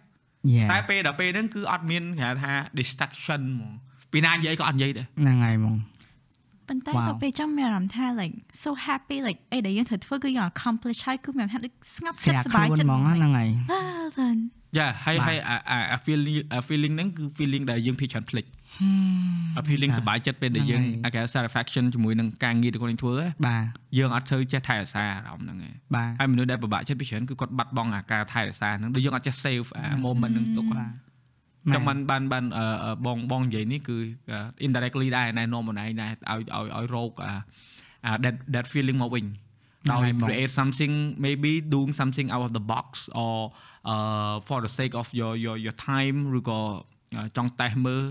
Speaker 3: យ៉ា
Speaker 4: តែពេលដល់ពេលហ្នឹងគឺអត់មានគេហៅថា distraction ហ្មងពីណានិយាយក៏អត់និយាយដែរ
Speaker 3: ហ្នឹងហើយហ្មង
Speaker 2: ប៉ុន្តែ
Speaker 3: Wow.
Speaker 2: ក៏ពេលចាំមានអារម្មណ៍ថា like so happy like អីដែលយើងត្រូវធ្វើគឺយើង accomplish ហើយគឺមានអារម្មណ៍ថាដូចស្ងប់ចិ
Speaker 3: ស្រា
Speaker 2: ត្ត
Speaker 3: ប់
Speaker 2: សប្បាយ
Speaker 3: ខ្លួន
Speaker 2: ចិត្ត
Speaker 3: ហ្មងហ្នឹងហើយ
Speaker 2: អើទៅ
Speaker 4: យ៉ាហើយហើយអាអាអា feeling អា feeling ហ្នឹងគឺ feeling ដែលយើងភាគច្រើនភ្លេចអា feeling សប្បាយចិត្តពេលដែលយើង
Speaker 3: ហ្នឹងហើយ
Speaker 4: អាគេហៅ satisfaction ជាមួយនឹងការងារដែលខ្លួនឯងធ្វើហ៎
Speaker 3: បាទ
Speaker 4: យើងអត់ធ្វើចេះថែរក្សាអារម្មណ៍ហ្នឹងឯង
Speaker 3: បាទ
Speaker 4: ហើយមនុស្សដែលពិបាកចិត្តភាគច្រើនគឺគាត់បាត់បង់អាការថែរក្សាហ្នឹងដូចយើងអត់ចេះ save អា moment ហ្នឹងទុក
Speaker 3: បាទ
Speaker 4: ចឹងបានបានបានអឺអឺបងបងនិយាយនេះគឺ indirectly ដែរណែនាំខ្លួនឯងដែរឲ្យឲ្យឲ្យរោគអាអា that that feeling មកវិញ ដោយ
Speaker 3: ហ្នឹងហើយបង
Speaker 4: create something maybe doing something out of the box or uh for the sake of your your your time ឬក៏ចង់តេស្តមើល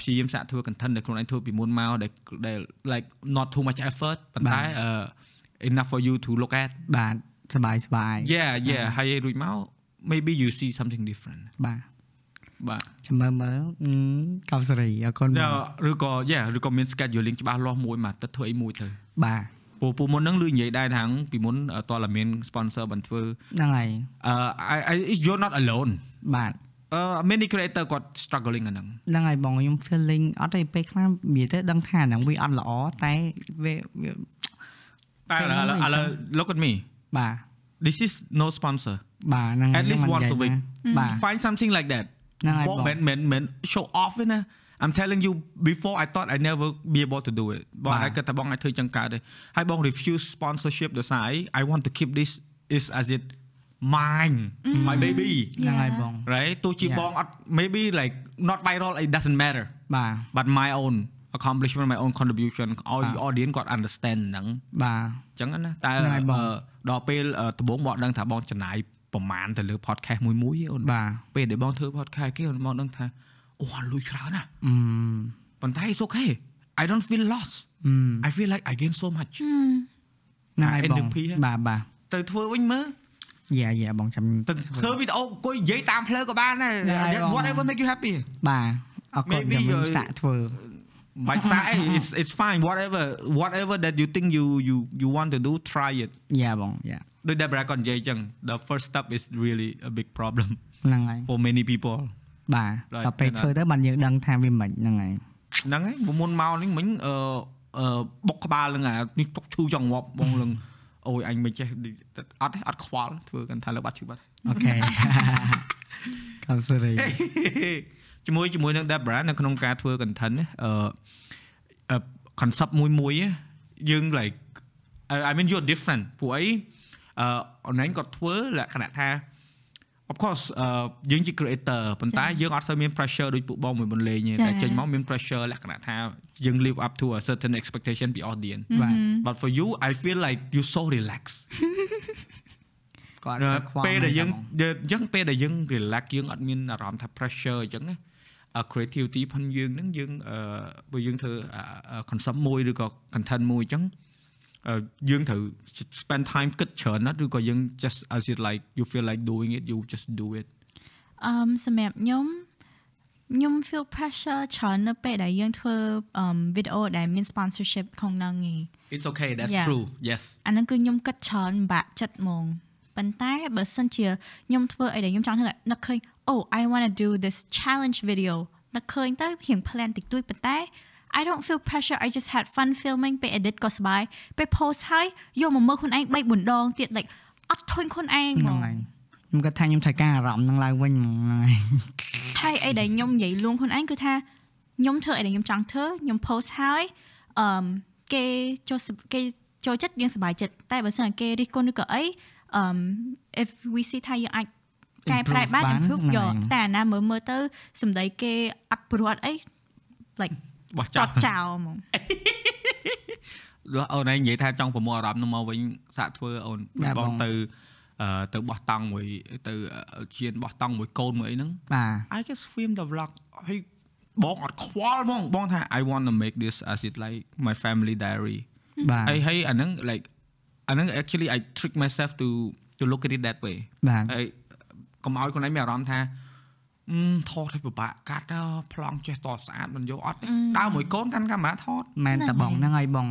Speaker 4: ព្យាយាមសាកធ្វើ content ដែលខ្លួនឯងធ្វើពីមុនមកដែលដែល like not too much effort ប៉ុន្តែ uh, enough for you to look at
Speaker 3: បាទ សบายសบาย
Speaker 4: yeah yeah ហើយរួចមក maybe you see something different
Speaker 3: បាទ
Speaker 4: បាទ
Speaker 3: ចាំមើលមើលអឺកោបសេរីអរគុណ
Speaker 4: តែឬក៏ yeah ឬក៏មាន scheduling ច្បាស់លាស់មួយមួយអាទិត្យធ្វើអីមួយទៅ
Speaker 3: បាទ
Speaker 4: ពូពូមុនហ្នឹងលឺនិយាយដែរថាពីមុនអឺតើតែមាន sponsor បានធ្វើ
Speaker 3: ហ្នឹងហើយ
Speaker 4: អឺ I- I- you're not alone
Speaker 3: បាទ
Speaker 4: អឺ many creator គាត់ struggling អាហ្នឹង
Speaker 3: ហ្នឹងហើយបងខ្ញុំ feeling អត់ទេពេលខ្លះនិយាយទៅដឹងថាហ្នឹងវាអត់ល្អតែវាវា
Speaker 4: តែឥឡូវឥឡូវឥឡូវ look at me
Speaker 3: បាទ
Speaker 4: this is no sponsor
Speaker 3: បាទហ្នឹង
Speaker 4: At least
Speaker 3: ខ្ញុំ
Speaker 4: once
Speaker 3: និយាយ
Speaker 4: a week
Speaker 3: ណាបាទ
Speaker 4: find something like that
Speaker 3: ហ្នឹងហើយ
Speaker 4: បង
Speaker 3: បង
Speaker 4: មិនមិនមិន show off ទេណា I'm telling you before I thought I never be able to do it បង
Speaker 3: បាទ
Speaker 4: អាចគិតថាបងអាចធ្វើចឹងកើតទេហើយបង refuse sponsorship ដោយសារអី I want to keep this is as it mine my baby
Speaker 3: ហ្នឹងហើយបង
Speaker 4: right ទោះជា
Speaker 3: Yeah.
Speaker 4: បងអត់ maybe like not viral it doesn't matter
Speaker 3: បាទ
Speaker 4: but my own accomplishment my own contribution ឲ្យ
Speaker 3: បាទ
Speaker 4: audience គាត់ understand ហ្នឹង
Speaker 3: បាទ
Speaker 4: ចឹងណាតែ
Speaker 3: ហ្នឹងហើយបង
Speaker 4: អឺដល់ពេលអឺដំបូងបងដឹងថាបងចំណាយប្រមាណទៅលើ podcast មួយមួយៗអូន
Speaker 3: បាទ
Speaker 4: ពេលដែលបងធ្វើ podcast គេអូនបងដឹងថាអូអាលុយច្រើនណាស់
Speaker 3: អឺ
Speaker 4: ប៉ុន្តែ it's okay I don't feel lost
Speaker 3: អឺ
Speaker 4: I feel like I gain so much À,
Speaker 3: ហ្នឹងហើយបង
Speaker 4: NDP ហ៎
Speaker 3: បាទបាទ
Speaker 4: ទៅធ្វើវិញមើល
Speaker 3: យ៉ាយ៉ាបងចាំ
Speaker 4: ទៅធ្វើវីដេអូអង្គុយនិយាយតាមផ្លូវក៏បានដែរ
Speaker 3: ហ្នឹងហើយបង
Speaker 4: whatever make you happy
Speaker 3: បាទអរគុណ
Speaker 4: Maybe ờ,
Speaker 3: ខ្ញុំ
Speaker 4: you're-
Speaker 3: សាក់ធ្វើ
Speaker 4: បាច់សាអី it's it's fine whatever whatever that you think you you you want to do try it
Speaker 3: យ៉ាបងយ៉ា
Speaker 4: ដូចដែល Barack គាត់និយាយចឹង the first step is really a big problem *laughs*
Speaker 3: ហ្នឹងហើយ
Speaker 4: for many people
Speaker 3: បាទ
Speaker 4: Right,
Speaker 3: ដល់ពេល
Speaker 4: and
Speaker 3: ធ្វើទៅបានយើងដឹងថាវាមិនហ្នឹងហើយ
Speaker 4: ហ្នឹងហើយមុនមុនមកនេះមិញអឺអឺបុកក្បាលនឹងអានេះទុកឈូចង់ងាប់បងនឹងអូយអញមិនចេះអត់ទេអត់ខ្វល់ធ្វើកាន់ថាលើបាត់ឈឺបាត់
Speaker 3: អូខេ កោបសេរី
Speaker 4: *laughs* ជាមួយជាមួយនឹង Debra នៅក្នុងការធ្វើ content ណាអឺអឺ concept មួយមួយណាយើង like I- I mean you're different ពួកអីអឺ online គាត់ធ្វើលក្ខណៈថា of course អឺយើងជា creator ប៉ុន្តែយើងអត់សូវមាន pressure ដូចពួកបងមួយមុនលេងទេ
Speaker 2: ចា៎
Speaker 4: តែចេញមកមាន pressure លក្ខណៈថាយើង live up to a certain expectation ពី audience
Speaker 3: បាទ
Speaker 4: but for you I feel like you so relaxed
Speaker 3: គាត់
Speaker 4: ណា
Speaker 3: ខ្វល់
Speaker 4: ពេលដែលយើង
Speaker 3: ហ្នឹ
Speaker 4: យើងអញ្ចឹងពេលដែលយើង relax យើងអត់មានអារម្មណ៍ថា pressure អញ្ចឹងណាអឺ creativity ផងយើងហ្នឹងយើងអឺបើយើងធ្វើអឺ concept មួយឬក៏ content មួយអញ្ចឹងអឺយើងត្រូវ spend time គិតច្រើនណាស់ឬក៏យើង just as it like you feel like doing it you just do it
Speaker 2: អឺមសម្រាប់ខ្ញុំខ្ញុំ feel pressure ច្រើននៅពេលដែលយើងធ្វើអឺម video ដែលមាន sponsorship ក្នុងហ្នឹងឯង
Speaker 4: it's okay that's
Speaker 2: Yeah.
Speaker 4: true yes
Speaker 2: អាហ្នឹងគឺខ្ញុំគិតច្រើនពិបាក់ចិត្តហ្មងប៉ុន្តែបើសិនជាខ្ញុំធ្វើអីដែលខ្ញុំចង់ធ្វើដែរនឹកឃើញ oh I want to do this challenge video នឹកឃើញទៅរៀង plan តិចតួចប៉ុន្តែ I don't feel pressure I just had fun filming ពេល edit ក៏សប្បាយពេល post ហើយយកមកមើលខ្លួនឯង3 4ដងទៀត like អត់ធុញខ្លួនឯងហ្ម
Speaker 3: ង
Speaker 2: ង
Speaker 3: ហើយខ្ញុំគាត់ថាខ្ញុំត្រូវការអារម្មណ៍ហ្នឹងឡើងវិញហ្មងហ្នឹង
Speaker 4: *laughs*
Speaker 3: ហើយ
Speaker 2: ហើយអីដែលខ្ញុំនិយាយលួងខ្លួនឯងគឺថាខ្ញុំធ្វើអីដែលខ្ញុំចង់ធ្វើខ្ញុំ post ហើយអឺមគេចូលសគេចូលចិត្តយើងសប្បាយចិត្តតែបើសិនជាគេរិះគន់ឬក៏អីអឺម if we see ថាយើងអាចកែប្រែ
Speaker 3: Improve
Speaker 2: បាន
Speaker 3: បាន
Speaker 2: improve
Speaker 3: ហ្នឹង
Speaker 2: យក
Speaker 3: ហើយ
Speaker 2: តែអាណាមើលមើលទៅសម្ដីគេអត់ព្រោះអត់អី like
Speaker 4: បោះចោ
Speaker 2: ចោ
Speaker 4: ល
Speaker 2: តចោលហ្មង
Speaker 4: អូនឯងនិយាយថាចង់ប្រមូលអារម្មណ៍ហ្នឹងមកវិញសាក់ធ្វើអូន
Speaker 3: បាទ
Speaker 4: ប
Speaker 3: ប
Speaker 4: ង
Speaker 3: ង
Speaker 4: ទៅអឺទៅបោះតង់មួយទៅអឺជៀនបោះតង់មួយកូនមួយអីហ្នឹង
Speaker 3: បាទ
Speaker 4: I just film the vlog ហើយបងអត់ខ្វល់ហ្មងបងថា I want to make this as it like my family diary
Speaker 3: បាទ
Speaker 4: ហើយហើយអាហ្នឹង like អាហ្នឹង actually I trick myself to to look at it that way
Speaker 3: បាទ
Speaker 4: ហើយកុំឲ្យខ្លួនឯងមានអារម្មណ៍ថាអឺថតឲ្យពិបាកកាត់ទៅប្លង់ចេះតស្អាតមិនយកអត់ទេដើរមួយកូនកាន់កាមេរ៉ាថត
Speaker 3: មែនតាបងហ្នឹងហើយបង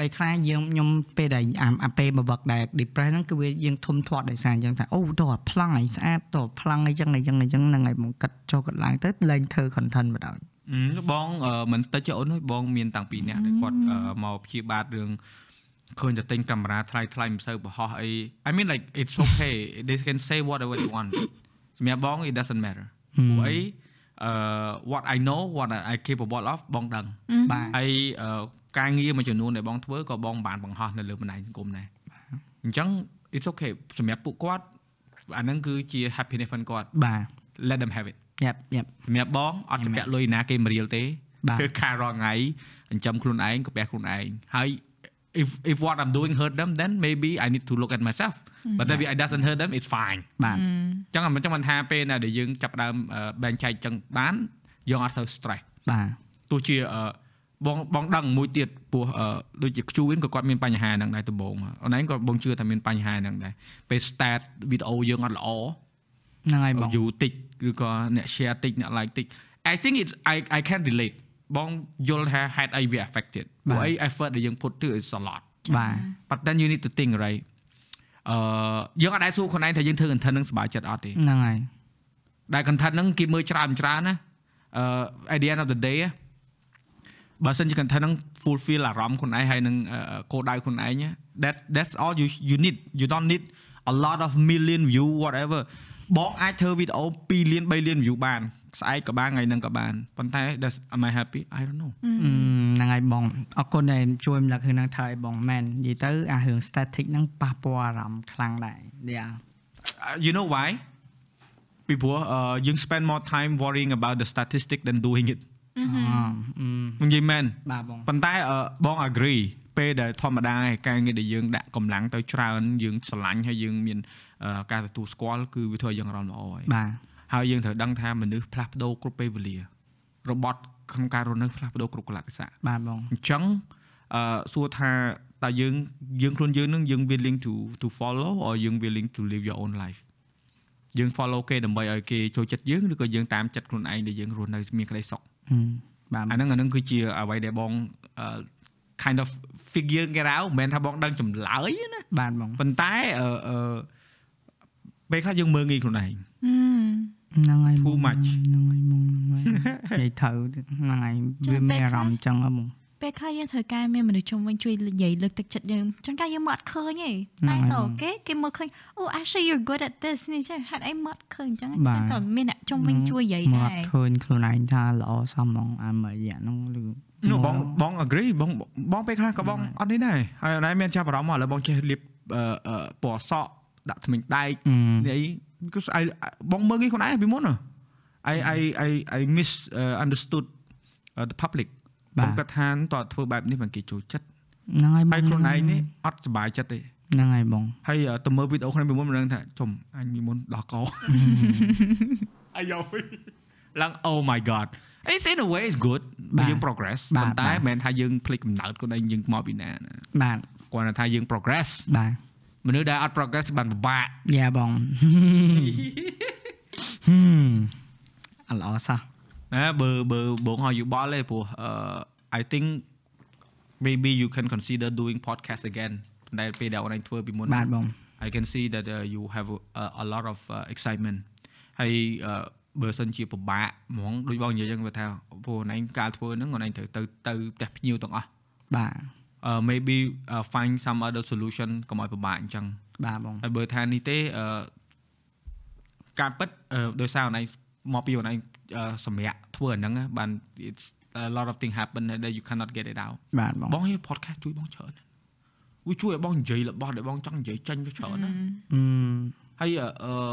Speaker 3: ពេលខ្លះយើងខ្ញុំពេលដែលអាអាពេលមកវឹកដែល depress ហ្នឹងគឺវាយើងធំធាត់ដោយសារអញ្ចឹងថាអូតោះអាប្លង់ឲ្យស្អាតតោះអាប្លង់អីចឹងអីចឹងអីចឹងហ្នឹងហើយបងគិតចូលគិតឡើងទៅលែងធ្វើ content បណ្ដោយ
Speaker 4: អឺបងអឺមិនតិចទេអូនអើយបងមានតាំងពីអ្នកដែលគាត់អឺមកព្យាបាទរឿងឃើញតែទិញកាមេរ៉ាថ្លៃថ្លៃមិនសូវបរហោះអី I mean like it's okay they can say whatever they want សម្រាប់បង it doesn't matter ព្រោះអីអឺ what I know what I capable of បងដឹង
Speaker 3: បាទ
Speaker 4: ហើយអឺការងារមួយចំនួនដែលបងធ្វើក៏បងបានបង្ហោះនៅលើបណ្ដាញសង្គមដែរអញ្ចឹង it's okay សម្រាប់ពួកគាត់អាហ្នឹងគឺជា happiness ផងគាត់
Speaker 3: បាទ
Speaker 4: let them have it
Speaker 3: Yep yep
Speaker 4: សម្រាប់បងអត់ចំពាក់លុយណា *laughs* គេមករៀលទេ
Speaker 3: បាទ
Speaker 4: ធ្វើការរាល់ថ្ងៃចិញ្ចឹមខ្លួនឯងក្បះខ្លួនឯងហើយ if if what i'm doing hurt them then maybe i need to look at myself but if i doesn't hurt them it's fine
Speaker 3: បាទ
Speaker 4: អញ្ចឹងមិនចាំមិនថាពេលណាដែលយើងចាប់ផ្ដើមអឺបែងចែកអញ្ចឹងបានយើងអត់ទៅ stress
Speaker 3: បាទ
Speaker 4: ទោះជាអឺ បងបងដឹងមួយទៀតព្រោះអឺដូចជា Q វិញក៏គាត់មានបញ្ហាហ្នឹងដែរដំបូងអូនឯងក៏បងជឿថាមានបញ្ហាហ្នឹងដែរពេល start វីដេអូយើងអត់ល្អ
Speaker 3: ហ្នឹងហើយបង
Speaker 4: យូរតិចឬក៏អ្នក share តិចអ្នក like តិច I think it's I I can relate បងយល់ថាហេតុអីវា affected
Speaker 3: បា
Speaker 4: ព្រោះ
Speaker 3: ទ
Speaker 4: អី effort ដែលយើង put ទៅ is a lot
Speaker 3: បាទ
Speaker 4: but then you need to think right អឺយើងអត់ដែរសួរខ្លួនឯងថាយើងធ្វើ content ហ្នឹងសប្បាយចិត្តអត់ទេ
Speaker 3: ហ្នឹងហើយ
Speaker 4: ដែល content ហ្នឹងគេមើលច្រើនច្រើនណាអឺ at the end of the day បើសិនជា content ហ្នឹង fulfill អារម្មណ៍ខ្លួនឯងហើយនឹងអឺគោលដៅខ្លួនឯងណា that that's all you you need you don't need a lot of million view whatever បងអាចធ្វើវីដេអូ2លាន3លាន view បានស្អែកក៏បានថ្ងៃហ្នឹងក៏បានប៉ុន្តែ that's am I happy I don't know
Speaker 3: អឺហ្នឹងហើយបងអរគុណដែលជួយរំលឹករឿងហ្នឹងថើយបងមែននិយាយទៅអារឿង static ហ្នឹងប៉ះពាល់អារម្មណ៍ខ្លាំងដែរយ៉ា
Speaker 4: Uh, you know why ពីព្រោះអឺយើង spend more time worrying about the statistic than doing it
Speaker 3: អឺ
Speaker 4: និយាយមែន
Speaker 3: បាទបង
Speaker 4: ប៉ុន្តែអឺបង agree ពេលដែលធម្មតាឯការងារដែលយើងដាក់កម្លាំងទៅច្រើនយើងស្រឡាញ់ហើយយើងមានអឺការទទួលស្គាល់គឺវាធ្វើឲ្យយើងអារម្មណ៍ល្អហើយ
Speaker 3: បាទ
Speaker 4: ហើយយើងត្រូវដឹងថាមនុស្សផ្លាស់ប្ដូរគ្រប់ពេលវេលារបត់ក្នុងការរស់នៅផ្លាស់ប្ដូរគ្រប់កលៈទេសៈ
Speaker 3: បាទបង
Speaker 4: អញ្ចឹងអឺសួរថាតើយើងយើងខ្លួនយើងនឹងយើង willing to to follow or យើង willing to live your own life យើង follow គេដើម្បីឲ្យគេចូលចិត្តយើងឬក៏យើងតាមចិត្តខ្លួនឯងដែលយើងរស់នៅមានក្តីសុខ
Speaker 3: ហឹមបាទ
Speaker 4: អាហ្នឹងអាហ្នឹងគឺជាអ្វីដែលបងអឺ kind of figure get out មិនមែនថាបងដឹងចម្លើយទេណា
Speaker 3: បាទបង
Speaker 4: ប៉ុន្តែអឺអឺពេលខ្លះយើងមើលងាយខ្លួនឯង
Speaker 3: ហ្នឹងហើយ
Speaker 4: Too much
Speaker 3: ហ្នឹងហើយបងនិយាយត្រូវហ្នឹងហើយវាមានអារម្មណ៍អញ្ចឹងហ៎បង
Speaker 2: ពេលខ្លះយើងត្រូវការមានមនុស្សជុំវិញជួយនិយាយលើកទឹកចិត្តយើងចង្ការយើងមកអត់ឃើញទេ
Speaker 3: ហ្នឹ
Speaker 2: តែ
Speaker 3: ង
Speaker 2: ត
Speaker 3: ហើយ
Speaker 2: គេគេមើលឃើញអូ actually you're good at this នេះចេះហេតុអីមកអត់ឃើញអញ្ចឹង
Speaker 3: បាទ
Speaker 2: តែតមានអ្នកជុំវិញជួយនិយាយ
Speaker 3: មកអ
Speaker 2: ដែរ
Speaker 3: ត់ឃើញខ្លួនឯងថាល្អសមហ្មងអាមួយរយៈហ្នឹងឬ
Speaker 4: នោះបងបង agree បងបងពេលខ្លះក៏បងអត់នេះដែរហើយអត់ដែរមានចាប់អារម្មណ៍មកឥឡូវបងចេះលាបអឺអឺពណ៌សក់ដាក់ថ្មិញដែក
Speaker 3: អឺ
Speaker 4: នេះអី because I បងមើលងាយខ្លួនឯងពីមុនហ៎ I I I I miss uh, understood uh, the public
Speaker 3: បាទ
Speaker 4: បងគាត់ថាតើធ្វើបែបនេះបានគេចូលចិត្ត
Speaker 3: ហ្នឹងហើយបង
Speaker 4: ហើយខ្លួនឯងនេះអត់សុបាយចិត្តទេ
Speaker 3: ហ្នឹងហើយបង
Speaker 4: ហើយអឺទៅមើលវីដេអូខ្ញុំពីមុនមិនដឹងថាចំអញពីមុនដោះកោ
Speaker 3: *laughs*
Speaker 4: អាយ៉ូយឡើង oh my god it's in a way is good
Speaker 3: បាទ
Speaker 4: យើង progress
Speaker 3: បាទ
Speaker 4: ប៉ុន្តែ
Speaker 3: បាទ
Speaker 4: មិនមែនថាយើងភ្លេចកំណើតខ្លួនឯងយើងមកពីណាណា
Speaker 3: បាទ
Speaker 4: គាត់ថាយើង progress
Speaker 3: បាទ
Speaker 4: មនុស្សដែលអត់ progress បានពិបាក
Speaker 3: យ៉ាបង
Speaker 4: *laughs*
Speaker 3: ហឹមអល្អសោះ
Speaker 4: ណាបើបើបងឲ្យយោបល់ទេព្រោះអឺ I think maybe you can consider doing podcast again តែលពេលដែលអូនឯងធ្វើពីមុន
Speaker 3: បាទបង
Speaker 4: I can see that uh, you have a, a, a lot of uh, excitement ហើយអឺបើសិនជាពិបាកហ្មងដូចបងនិយាយចឹងវាថាពួកណែងការធ្វើហ្នឹងណែងត្រូវទៅទៅផ្ទះភ្ញៀវទាំងអស់
Speaker 3: បាទ
Speaker 4: អឺ maybe uh, find some other solution កុំឲ្យពិបាកអញ្ចឹង
Speaker 3: បាទបង
Speaker 4: ហើយបើថានេះទេអឺការពិតអឺដោយសារណែងមកពីណែងអឺសម្រាប់ធ្វើអាហ្នឹងណាបាន it's a lot of thing happen that you cannot get it out
Speaker 3: បាទបង
Speaker 4: បងនេះ podcast ជួយបងច្រើនវាជួយឲ្យបងនិយាយរបស់ដែលបងចង់និយាយចេញទៅច្រើនណា
Speaker 3: អឺ
Speaker 4: ហើយអអ